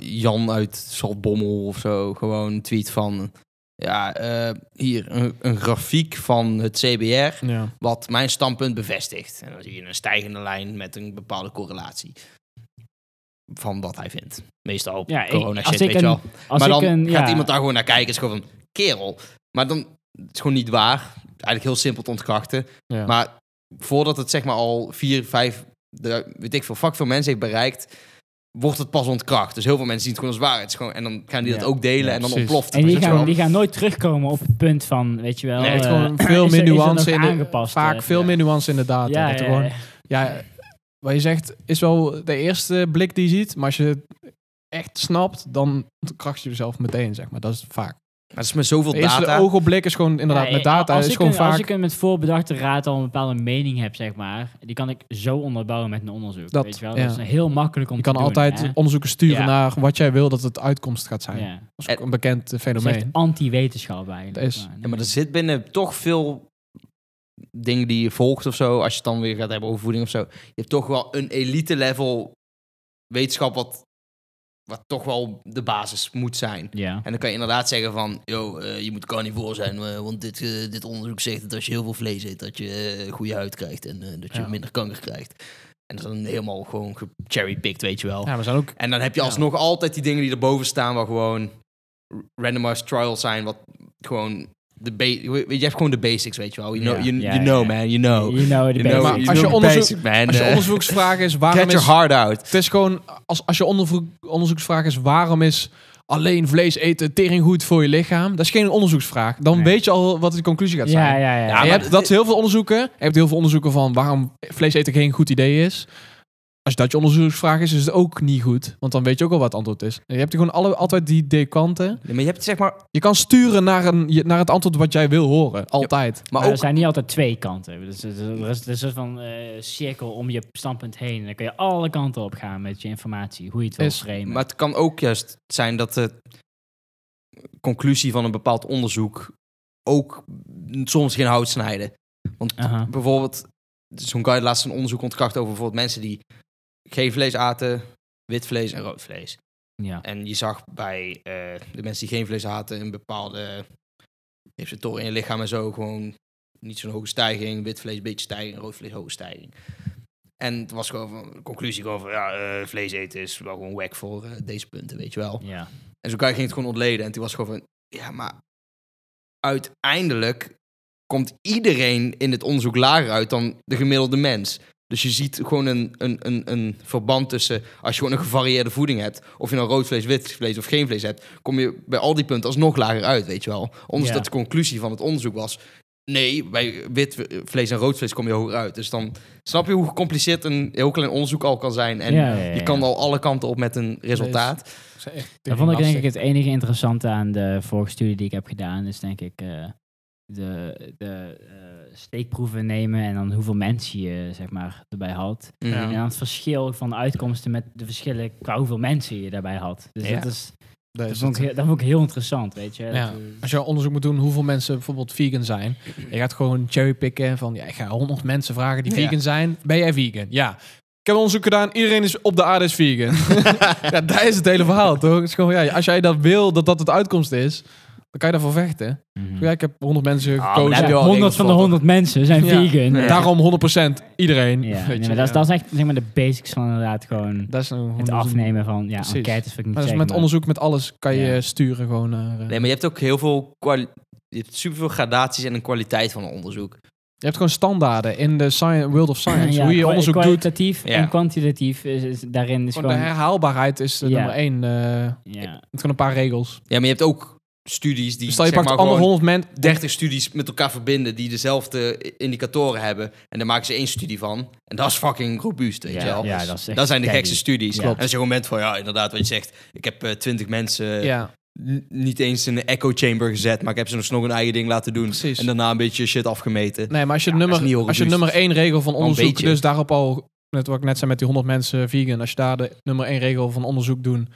[SPEAKER 2] Jan uit Zaltbommel of zo gewoon een tweet van... Ja, eh, hier, een, een grafiek van het CBR
[SPEAKER 3] Ja.
[SPEAKER 2] wat mijn standpunt bevestigt. En dan zie je een stijgende lijn met een bepaalde correlatie van wat hij vindt. Meestal
[SPEAKER 1] Ja, ik-
[SPEAKER 2] corona
[SPEAKER 1] als
[SPEAKER 2] shit,
[SPEAKER 1] ik
[SPEAKER 2] weet je
[SPEAKER 1] een-
[SPEAKER 2] wel.
[SPEAKER 1] Als
[SPEAKER 2] maar
[SPEAKER 1] ik
[SPEAKER 2] dan
[SPEAKER 1] een,
[SPEAKER 2] gaat
[SPEAKER 1] ja,
[SPEAKER 2] iemand daar gewoon naar kijken. Het is gewoon van, kerel. Maar dan, het is gewoon niet waar. Eigenlijk heel simpel te ontkrachten.
[SPEAKER 3] Ja.
[SPEAKER 2] Maar voordat het zeg maar al vier, vijf, de, weet ik veel, fuck veel mensen heeft bereikt, wordt het pas ontkracht. Dus heel veel mensen zien het gewoon als waarheid. Het is gewoon, en dan gaan die dat
[SPEAKER 1] Ja.
[SPEAKER 2] ook delen
[SPEAKER 3] Ja,
[SPEAKER 2] en dan
[SPEAKER 3] precies.
[SPEAKER 2] ontploft het.
[SPEAKER 1] En die
[SPEAKER 2] weet je wel.
[SPEAKER 1] gaan, die gaan nooit terugkomen op het punt van, weet je wel...
[SPEAKER 2] Nee,
[SPEAKER 3] Het is
[SPEAKER 1] eh,
[SPEAKER 3] gewoon veel
[SPEAKER 1] is er-
[SPEAKER 3] meer
[SPEAKER 1] is er nog
[SPEAKER 3] nuance. in de-
[SPEAKER 1] aangepast,
[SPEAKER 3] vaak
[SPEAKER 1] eh,
[SPEAKER 3] veel
[SPEAKER 2] ja.
[SPEAKER 3] meer nuance in de data.
[SPEAKER 1] Ja,
[SPEAKER 3] dat er
[SPEAKER 1] ja,
[SPEAKER 3] gewoon,
[SPEAKER 1] ja.
[SPEAKER 3] ja, wat je zegt is wel de eerste blik die je ziet. Maar als je het echt snapt, dan kracht je jezelf meteen, zeg maar. Dat is vaak.
[SPEAKER 2] Maar het is met zoveel
[SPEAKER 3] De eerste
[SPEAKER 2] data.
[SPEAKER 3] oogopblik is gewoon inderdaad
[SPEAKER 1] Ja,
[SPEAKER 3] met data.
[SPEAKER 1] Als,
[SPEAKER 3] is
[SPEAKER 1] ik
[SPEAKER 3] gewoon
[SPEAKER 1] een,
[SPEAKER 3] vaak...
[SPEAKER 1] als ik een met voorbedachte raad al een bepaalde mening heb, zeg maar... Die kan ik zo onderbouwen met een onderzoek,
[SPEAKER 3] Dat,
[SPEAKER 1] weet je wel.
[SPEAKER 3] ja.
[SPEAKER 1] Dat is heel makkelijk om
[SPEAKER 3] je
[SPEAKER 1] te
[SPEAKER 3] kan
[SPEAKER 1] doen,
[SPEAKER 3] altijd
[SPEAKER 1] hè.
[SPEAKER 3] onderzoeken sturen
[SPEAKER 1] Ja.
[SPEAKER 3] naar wat jij wil dat het uitkomst gaat zijn.
[SPEAKER 1] Ja.
[SPEAKER 3] Dat is ook een bekend eh,
[SPEAKER 1] Dat is echt
[SPEAKER 3] fenomeen.
[SPEAKER 1] anti-wetenschap eigenlijk.
[SPEAKER 3] Dat is-
[SPEAKER 2] Ja, maar er zit binnen toch veel dingen die je volgt of zo. Als je het dan weer gaat hebben over voeding of zo. Je hebt toch wel een elite level wetenschap wat, wat toch wel de basis moet zijn.
[SPEAKER 1] Ja.
[SPEAKER 2] En dan kan je inderdaad zeggen van, yo, eh, je moet carnivore zijn, eh, want dit, eh, dit onderzoek zegt dat als je heel veel vlees eet, dat je eh, goede huid krijgt en eh, dat je
[SPEAKER 3] Ja.
[SPEAKER 2] minder kanker krijgt. En dat is dan helemaal gewoon gecherrypicked, weet je wel.
[SPEAKER 3] Ja, we zijn ook
[SPEAKER 2] En dan heb je alsnog altijd die dingen die erboven staan, waar gewoon randomized trials zijn, wat gewoon de ba- je hebt gewoon de basics, weet je wel. You know,
[SPEAKER 1] Ja.
[SPEAKER 2] you,
[SPEAKER 1] Ja,
[SPEAKER 2] you
[SPEAKER 1] ja,
[SPEAKER 2] know
[SPEAKER 1] ja.
[SPEAKER 2] man, you know.
[SPEAKER 1] You know the
[SPEAKER 2] You
[SPEAKER 1] basics.
[SPEAKER 2] know,
[SPEAKER 3] Maar
[SPEAKER 2] you
[SPEAKER 3] als je
[SPEAKER 2] know the
[SPEAKER 3] onderzoek-
[SPEAKER 2] basic, man.
[SPEAKER 3] Als je
[SPEAKER 2] Eh,
[SPEAKER 3] onderzoeksvraag is waarom
[SPEAKER 2] Get your
[SPEAKER 3] is
[SPEAKER 2] heart out.
[SPEAKER 3] het is gewoon als, als je onderzoek, onderzoeksvraag is waarom is alleen vlees eten tering goed voor je lichaam? Dat is geen onderzoeksvraag. Dan
[SPEAKER 1] Nee.
[SPEAKER 3] weet je al wat de conclusie gaat zijn.
[SPEAKER 1] ja, ja, ja.
[SPEAKER 2] Ja,
[SPEAKER 3] En je
[SPEAKER 2] maar-
[SPEAKER 3] hebt dat is heel veel onderzoeken. Je hebt heel veel onderzoeken van waarom vlees eten geen goed idee is. Als dat je onderzoeksvraag is, is het ook niet goed. Want dan weet je ook al wat het antwoord is. Je hebt gewoon alle, altijd die dekanten.
[SPEAKER 2] Nee, maar je hebt zeg maar,
[SPEAKER 3] Je kan sturen naar, een, je- naar het antwoord wat jij wil horen. Altijd.
[SPEAKER 2] maar
[SPEAKER 1] Maar
[SPEAKER 2] ook
[SPEAKER 1] er zijn niet altijd twee kanten. Dus het is- er is er is een soort van eh, cirkel om je standpunt heen. En dan kun je alle kanten op gaan met je informatie, hoe je het wil
[SPEAKER 3] Is-
[SPEAKER 1] framen.
[SPEAKER 2] Maar het kan ook juist zijn dat de conclusie van een bepaald onderzoek ook soms geen hout snijden. Want
[SPEAKER 1] Aha.
[SPEAKER 2] bijvoorbeeld, zo'n guy had laatst een onderzoek ontkracht over bijvoorbeeld mensen die geen vlees aten, wit vlees en rood vlees.
[SPEAKER 1] Ja.
[SPEAKER 2] En je zag bij eh, de mensen die geen vlees aten een bepaalde receptoren in je lichaam en zo gewoon niet zo'n hoge stijging, wit vlees een beetje stijging, rood vlees hoge stijging. En het was gewoon van, de conclusie gewoon van, ja, eh, vlees eten is wel gewoon wack voor eh, deze punten, weet je wel.
[SPEAKER 1] Ja.
[SPEAKER 2] En zo'n guy ging het gewoon ontleden. En toen was het gewoon van, ja, maar uiteindelijk komt iedereen in het onderzoek lager uit dan de gemiddelde mens. Dus je ziet gewoon een, een, een, een verband tussen, als je gewoon een gevarieerde voeding hebt, of je nou rood vlees, wit vlees of geen vlees hebt, kom je bij al die punten alsnog lager uit, weet je wel. Ondanks
[SPEAKER 1] Ja.
[SPEAKER 2] dat de conclusie van het onderzoek was, nee, bij wit vlees en rood vlees kom je hoger uit. Dus dan snap je hoe gecompliceerd een heel klein onderzoek al kan zijn. En
[SPEAKER 1] Ja, ja, ja,
[SPEAKER 2] je kan
[SPEAKER 1] ja.
[SPEAKER 2] al alle kanten op met een resultaat.
[SPEAKER 1] Dat vond ik denk ik het enige interessante aan de vorige studie die ik heb gedaan, is denk ik eh, de, de eh, steekproeven nemen en dan hoeveel mensen je zeg maar erbij had.
[SPEAKER 2] Ja.
[SPEAKER 1] En dan het verschil van de uitkomsten met de verschillen qua hoeveel mensen je daarbij had. Dus
[SPEAKER 2] Ja.
[SPEAKER 1] dat, is,
[SPEAKER 3] Dat
[SPEAKER 1] dat,
[SPEAKER 3] is
[SPEAKER 1] vond ik,
[SPEAKER 3] het.
[SPEAKER 1] heel- dat vond ik heel interessant, weet je.
[SPEAKER 3] Ja.
[SPEAKER 1] Dat, eh,
[SPEAKER 3] Als je onderzoek moet doen hoeveel mensen bijvoorbeeld vegan zijn. Je gaat gewoon cherrypicken van, ja, ik ga honderd mensen vragen die
[SPEAKER 2] Ja.
[SPEAKER 3] vegan zijn. Ben jij vegan? Ja. Ik heb onderzoek gedaan, iedereen is op de aarde is
[SPEAKER 1] *laughs*
[SPEAKER 3] vegan. ja, daar is het hele verhaal, toch? Het is gewoon, ja, als jij dat wil, dat dat het uitkomst is, dan kan je daarvoor vechten.
[SPEAKER 1] mhm.
[SPEAKER 3] Ja, ik heb 100 mensen
[SPEAKER 2] Ah, maar
[SPEAKER 3] gekozen.
[SPEAKER 2] daar heb je
[SPEAKER 1] Ja,
[SPEAKER 2] wel
[SPEAKER 1] 100
[SPEAKER 2] regels
[SPEAKER 1] van de
[SPEAKER 2] voor,
[SPEAKER 1] 100 mensen zijn
[SPEAKER 3] Ja.
[SPEAKER 1] vegan.
[SPEAKER 2] Ja.
[SPEAKER 3] Daarom 100% iedereen.
[SPEAKER 1] Ja,
[SPEAKER 3] weet
[SPEAKER 1] nee,
[SPEAKER 3] je.
[SPEAKER 1] maar dat, is, dat is echt zeg maar, de basics van inderdaad gewoon
[SPEAKER 3] Dat is nou
[SPEAKER 1] het
[SPEAKER 3] gewoon-
[SPEAKER 1] afnemen van ja,
[SPEAKER 3] Precies.
[SPEAKER 1] enquêtes vind ik niet
[SPEAKER 3] Maar dat is
[SPEAKER 1] zeggen,
[SPEAKER 3] met
[SPEAKER 1] maar-
[SPEAKER 3] onderzoek, met alles kan je
[SPEAKER 1] Ja.
[SPEAKER 3] sturen gewoon naar... eh,
[SPEAKER 2] Nee, maar je hebt ook heel veel, kwali- je hebt superveel gradaties en een kwaliteit van een onderzoek.
[SPEAKER 3] Je hebt gewoon standaarden in de sci- world of science.
[SPEAKER 1] Ja,
[SPEAKER 3] hoe je
[SPEAKER 1] kwa-
[SPEAKER 3] onderzoek doet.
[SPEAKER 1] kwalitatief
[SPEAKER 2] Ja.
[SPEAKER 1] en kwantitatief is, is- daarin is
[SPEAKER 3] Gewoon de
[SPEAKER 1] gewoon...
[SPEAKER 3] herhaalbaarheid is eh,
[SPEAKER 1] Ja.
[SPEAKER 3] nummer één. eh,
[SPEAKER 1] ja.
[SPEAKER 3] met gewoon een paar regels.
[SPEAKER 2] Ja, maar je hebt ook studies die
[SPEAKER 3] Dus stel je
[SPEAKER 2] zeg
[SPEAKER 3] pakt
[SPEAKER 2] maar
[SPEAKER 3] ander
[SPEAKER 2] gewoon
[SPEAKER 3] honderd mensen.
[SPEAKER 2] 30 studies met elkaar verbinden die dezelfde i- indicatoren hebben en daar maken ze één studie van. En dat is fucking robuust, weet
[SPEAKER 1] Ja,
[SPEAKER 2] je wel.
[SPEAKER 1] ja, dat is echt
[SPEAKER 2] dat zijn de
[SPEAKER 1] steady.
[SPEAKER 2] gekste studies.
[SPEAKER 1] Ja.
[SPEAKER 2] En als je gewoon bent van, ja, inderdaad, wat je zegt. Ik heb eh, twintig mensen
[SPEAKER 3] Ja,
[SPEAKER 2] n- niet eens in een echo chamber gezet, maar ik heb ze nog een eigen ding laten doen.
[SPEAKER 3] Precies.
[SPEAKER 2] En daarna een beetje shit afgemeten.
[SPEAKER 3] nee, maar als je,
[SPEAKER 2] Ja, dat is niet heel
[SPEAKER 3] nummer, als je
[SPEAKER 2] robuust.
[SPEAKER 3] nummer één regel van onderzoek,
[SPEAKER 2] beetje.
[SPEAKER 3] dus daarop al, net wat ik net zei met die 100 mensen vegan, als je daar de nummer één regel van onderzoek doen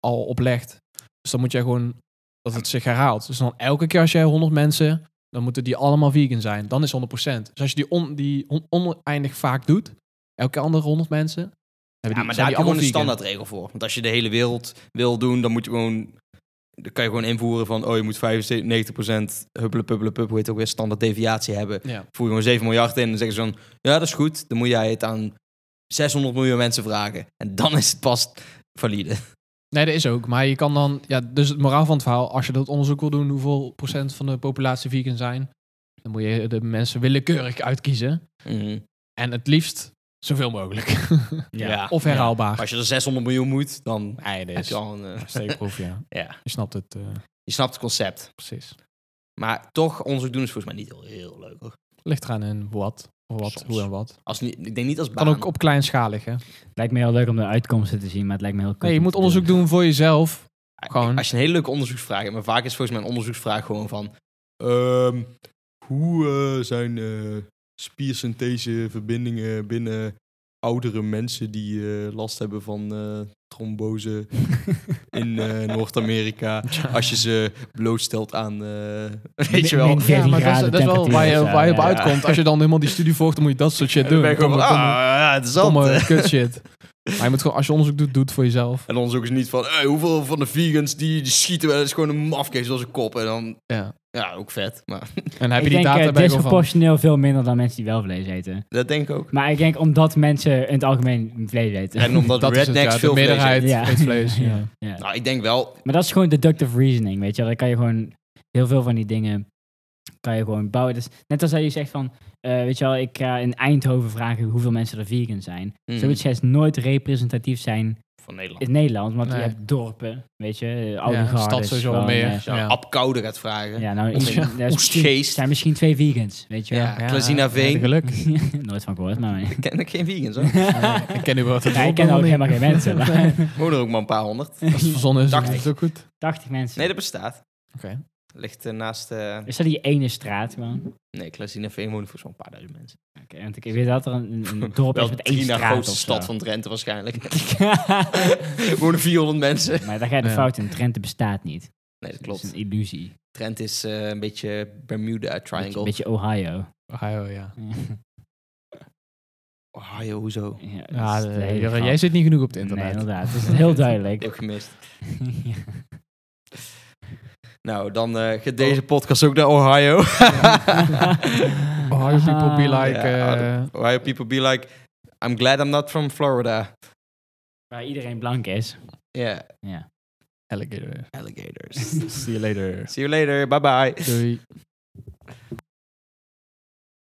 [SPEAKER 3] al oplegt, dus dan moet jij gewoon dat het zich herhaalt. Dus dan elke keer als jij 100 mensen, dan moeten die allemaal vegan zijn. Dan is 100%. Dus als je die, on, die on- oneindig vaak doet, elke andere 100 mensen, hebben die,
[SPEAKER 2] Ja, maar
[SPEAKER 3] zijn
[SPEAKER 2] daar heb
[SPEAKER 3] die
[SPEAKER 2] je gewoon
[SPEAKER 3] allemaal
[SPEAKER 2] een
[SPEAKER 3] vegan.
[SPEAKER 2] standaardregel voor. Want als je de hele wereld wil doen, dan moet je gewoon... Dan kan je gewoon invoeren van, oh, je moet 95% huppelen, puppelen, pup, hoe heet het ook weer, standaard deviatie hebben.
[SPEAKER 3] Ja.
[SPEAKER 2] Voer je gewoon 7 miljard in en dan zeggen ze van, ja, dat is goed. Dan moet jij het aan 600 miljoen mensen vragen. En dan is het pas valide.
[SPEAKER 3] Nee, dat is ook. Maar je kan dan, ja, dus het moraal van het verhaal, als je dat onderzoek wil doen, hoeveel procent van de populatie vegan zijn, dan moet je de mensen willekeurig uitkiezen.
[SPEAKER 2] Mhm.
[SPEAKER 3] En het liefst zoveel mogelijk. *laughs* of herhaalbaar.
[SPEAKER 2] Als je er 600 miljoen moet, dan
[SPEAKER 3] Nee, dat
[SPEAKER 2] heb
[SPEAKER 3] is
[SPEAKER 2] je al een... eh,
[SPEAKER 3] steekproef, *laughs* ja.
[SPEAKER 2] ja,
[SPEAKER 3] Je snapt het eh,
[SPEAKER 2] je snapt het concept.
[SPEAKER 3] precies.
[SPEAKER 2] Maar toch, onderzoek doen is volgens mij niet heel, heel leuk, hoor.
[SPEAKER 3] Ligt eraan in wat, of wat,
[SPEAKER 2] Soms.
[SPEAKER 3] hoe en wat.
[SPEAKER 2] Als niet, ik denk niet als baan.
[SPEAKER 3] Kan ook op kleinschalig, hè.
[SPEAKER 1] Lijkt me heel leuk om de uitkomsten te zien, maar het lijkt me heel
[SPEAKER 3] Nee, je moet onderzoek doen voor jezelf. Gewoon.
[SPEAKER 2] Als je een hele leuke onderzoeksvraag hebt, maar vaak is volgens mij een onderzoeksvraag gewoon van... ehm, hoe eh, zijn eh, spiersyntheseverbindingen binnen oudere mensen die eh, last hebben van eh, trombose in eh, Noord-Amerika? Als je ze blootstelt aan... eh, *laughs* weet je wel.
[SPEAKER 1] Min 14
[SPEAKER 3] ja, maar dat is,
[SPEAKER 1] graden
[SPEAKER 3] dat is wel waar je,
[SPEAKER 1] temperatuur of zo,
[SPEAKER 3] waar je op
[SPEAKER 1] ja.
[SPEAKER 3] uitkomt. Als je dan helemaal die studie volgt, dan moet je dat soort shit doen.
[SPEAKER 2] Dan ben je gewoon
[SPEAKER 3] Kom-
[SPEAKER 2] van,
[SPEAKER 3] kom-
[SPEAKER 2] ah, ja,
[SPEAKER 3] kom-
[SPEAKER 2] interessant. *laughs*
[SPEAKER 3] eh, kut shit. Maar je moet gewoon, als je onderzoek doet, doe het voor jezelf.
[SPEAKER 2] En onderzoek is niet van, hey, hoeveel van de vegans die, die schieten wel eens gewoon een mafkees door zijn kop. En dan,
[SPEAKER 3] Ja.
[SPEAKER 2] ja, ook vet. Maar *laughs*
[SPEAKER 3] En dan heb
[SPEAKER 1] Ik
[SPEAKER 3] je die
[SPEAKER 1] denk
[SPEAKER 3] data bij
[SPEAKER 1] eh,
[SPEAKER 3] gewoon van.
[SPEAKER 1] disproportioneel veel minder dan mensen die wel vlees eten.
[SPEAKER 2] dat denk ik ook.
[SPEAKER 1] Maar ik denk omdat mensen in het algemeen vlees eten.
[SPEAKER 2] En omdat
[SPEAKER 3] Dat is het,
[SPEAKER 2] rednecks
[SPEAKER 3] ja, de
[SPEAKER 2] veel vlees eten.
[SPEAKER 1] *laughs*
[SPEAKER 3] meerderheid
[SPEAKER 1] eten. Ja.
[SPEAKER 3] eet vlees. Ja.
[SPEAKER 1] Ja. Ja.
[SPEAKER 2] Nou, ik denk wel.
[SPEAKER 1] Maar dat is gewoon deductive reasoning, weet je. wel. Dan kan je gewoon heel veel van die dingen kan je gewoon bouwen. Dus net als dat je zegt van, eh, weet je wel, ik ga in Eindhoven vragen hoeveel mensen er vegan zijn.
[SPEAKER 2] mm,
[SPEAKER 1] Zoiets gaat nooit representatief zijn
[SPEAKER 2] van Nederland.
[SPEAKER 1] in Nederland, want
[SPEAKER 3] Nee.
[SPEAKER 1] je hebt dorpen, weet je, eh,
[SPEAKER 3] Ja,
[SPEAKER 1] oude
[SPEAKER 3] stad
[SPEAKER 1] gardes,
[SPEAKER 3] sowieso wel
[SPEAKER 1] gewoon,
[SPEAKER 3] meer.
[SPEAKER 1] eh,
[SPEAKER 2] Als je nou
[SPEAKER 3] Ja.
[SPEAKER 2] Ab Koude gaat vragen. Ja.
[SPEAKER 1] ja, nou,
[SPEAKER 2] Oest-
[SPEAKER 1] ik- dat is misschien-
[SPEAKER 2] Oestgeest.
[SPEAKER 1] zijn misschien twee vegans, weet je. wel.
[SPEAKER 2] Ja, Klazina
[SPEAKER 3] ja,
[SPEAKER 2] Veen.
[SPEAKER 3] Geluk.
[SPEAKER 1] Nooit van gehoord, maar...
[SPEAKER 2] *laughs* *laughs*
[SPEAKER 1] *laughs*
[SPEAKER 2] Ik ken ook geen vegans hoor.
[SPEAKER 3] Ik ken nu wel
[SPEAKER 1] Ja, *laughs* ik ken ook helemaal
[SPEAKER 3] *laughs*
[SPEAKER 1] geen mensen. *laughs* maar-
[SPEAKER 2] Wonen er ook maar een paar honderd.
[SPEAKER 3] Als het verzonnen is,
[SPEAKER 2] Dacht
[SPEAKER 3] is
[SPEAKER 2] ik.
[SPEAKER 3] het ook goed.
[SPEAKER 1] 80 mensen.
[SPEAKER 2] Nee, dat bestaat.
[SPEAKER 3] Oké.
[SPEAKER 2] Ligt eh, naast. eh
[SPEAKER 1] Is dat die ene straat gewoon?
[SPEAKER 2] nee, Klazina Veen woont voor zo'n paar duizend mensen.
[SPEAKER 1] Oké, want ik weet dat er een, een-
[SPEAKER 2] *laughs*
[SPEAKER 1] een dorp is
[SPEAKER 2] Wel
[SPEAKER 1] met één
[SPEAKER 2] de na
[SPEAKER 1] straat
[SPEAKER 2] grootste
[SPEAKER 1] of
[SPEAKER 2] stad
[SPEAKER 1] zo.
[SPEAKER 2] van Drenthe waarschijnlijk. *laughs*
[SPEAKER 1] *laughs*
[SPEAKER 2] wonen 400 mensen.
[SPEAKER 1] Maar daar ga je de
[SPEAKER 3] Ja.
[SPEAKER 1] fout in. Drenthe bestaat niet.
[SPEAKER 2] Nee, dat
[SPEAKER 1] Dat
[SPEAKER 2] klopt.
[SPEAKER 1] is een illusie.
[SPEAKER 2] Drenthe is eh, een beetje Bermuda
[SPEAKER 1] Beetje,
[SPEAKER 2] Triangle.
[SPEAKER 1] beetje Ohio.
[SPEAKER 3] Ohio, Oh, ja.
[SPEAKER 2] Ohio, Oh, hoezo? Ik
[SPEAKER 1] *laughs* ja,
[SPEAKER 3] ja eh,
[SPEAKER 1] dat is de hele
[SPEAKER 3] Jurre,
[SPEAKER 1] grap.
[SPEAKER 3] jij zit niet genoeg op het
[SPEAKER 1] Nee,
[SPEAKER 3] internet.
[SPEAKER 1] inderdaad. Dat is
[SPEAKER 3] *laughs*
[SPEAKER 2] *laughs*
[SPEAKER 1] heel
[SPEAKER 2] heb
[SPEAKER 1] duidelijk. *laughs*
[SPEAKER 2] ik gemist.
[SPEAKER 1] Ja.
[SPEAKER 2] Nou, dan eh gaat deze podcast ook naar
[SPEAKER 3] Oh. *laughs*
[SPEAKER 2] Ohio.
[SPEAKER 1] *laughs*
[SPEAKER 3] Ohio Oh, people be like...
[SPEAKER 2] Ja,
[SPEAKER 1] Ah,
[SPEAKER 3] eh,
[SPEAKER 2] Ohio people be like, I'm glad I'm not from Florida.
[SPEAKER 1] Waar iedereen blank is.
[SPEAKER 2] Yeah,
[SPEAKER 1] Ja.
[SPEAKER 3] Alligator.
[SPEAKER 2] alligators.
[SPEAKER 3] *laughs* See you later.
[SPEAKER 2] See you later. Bye bye.
[SPEAKER 3] Doei.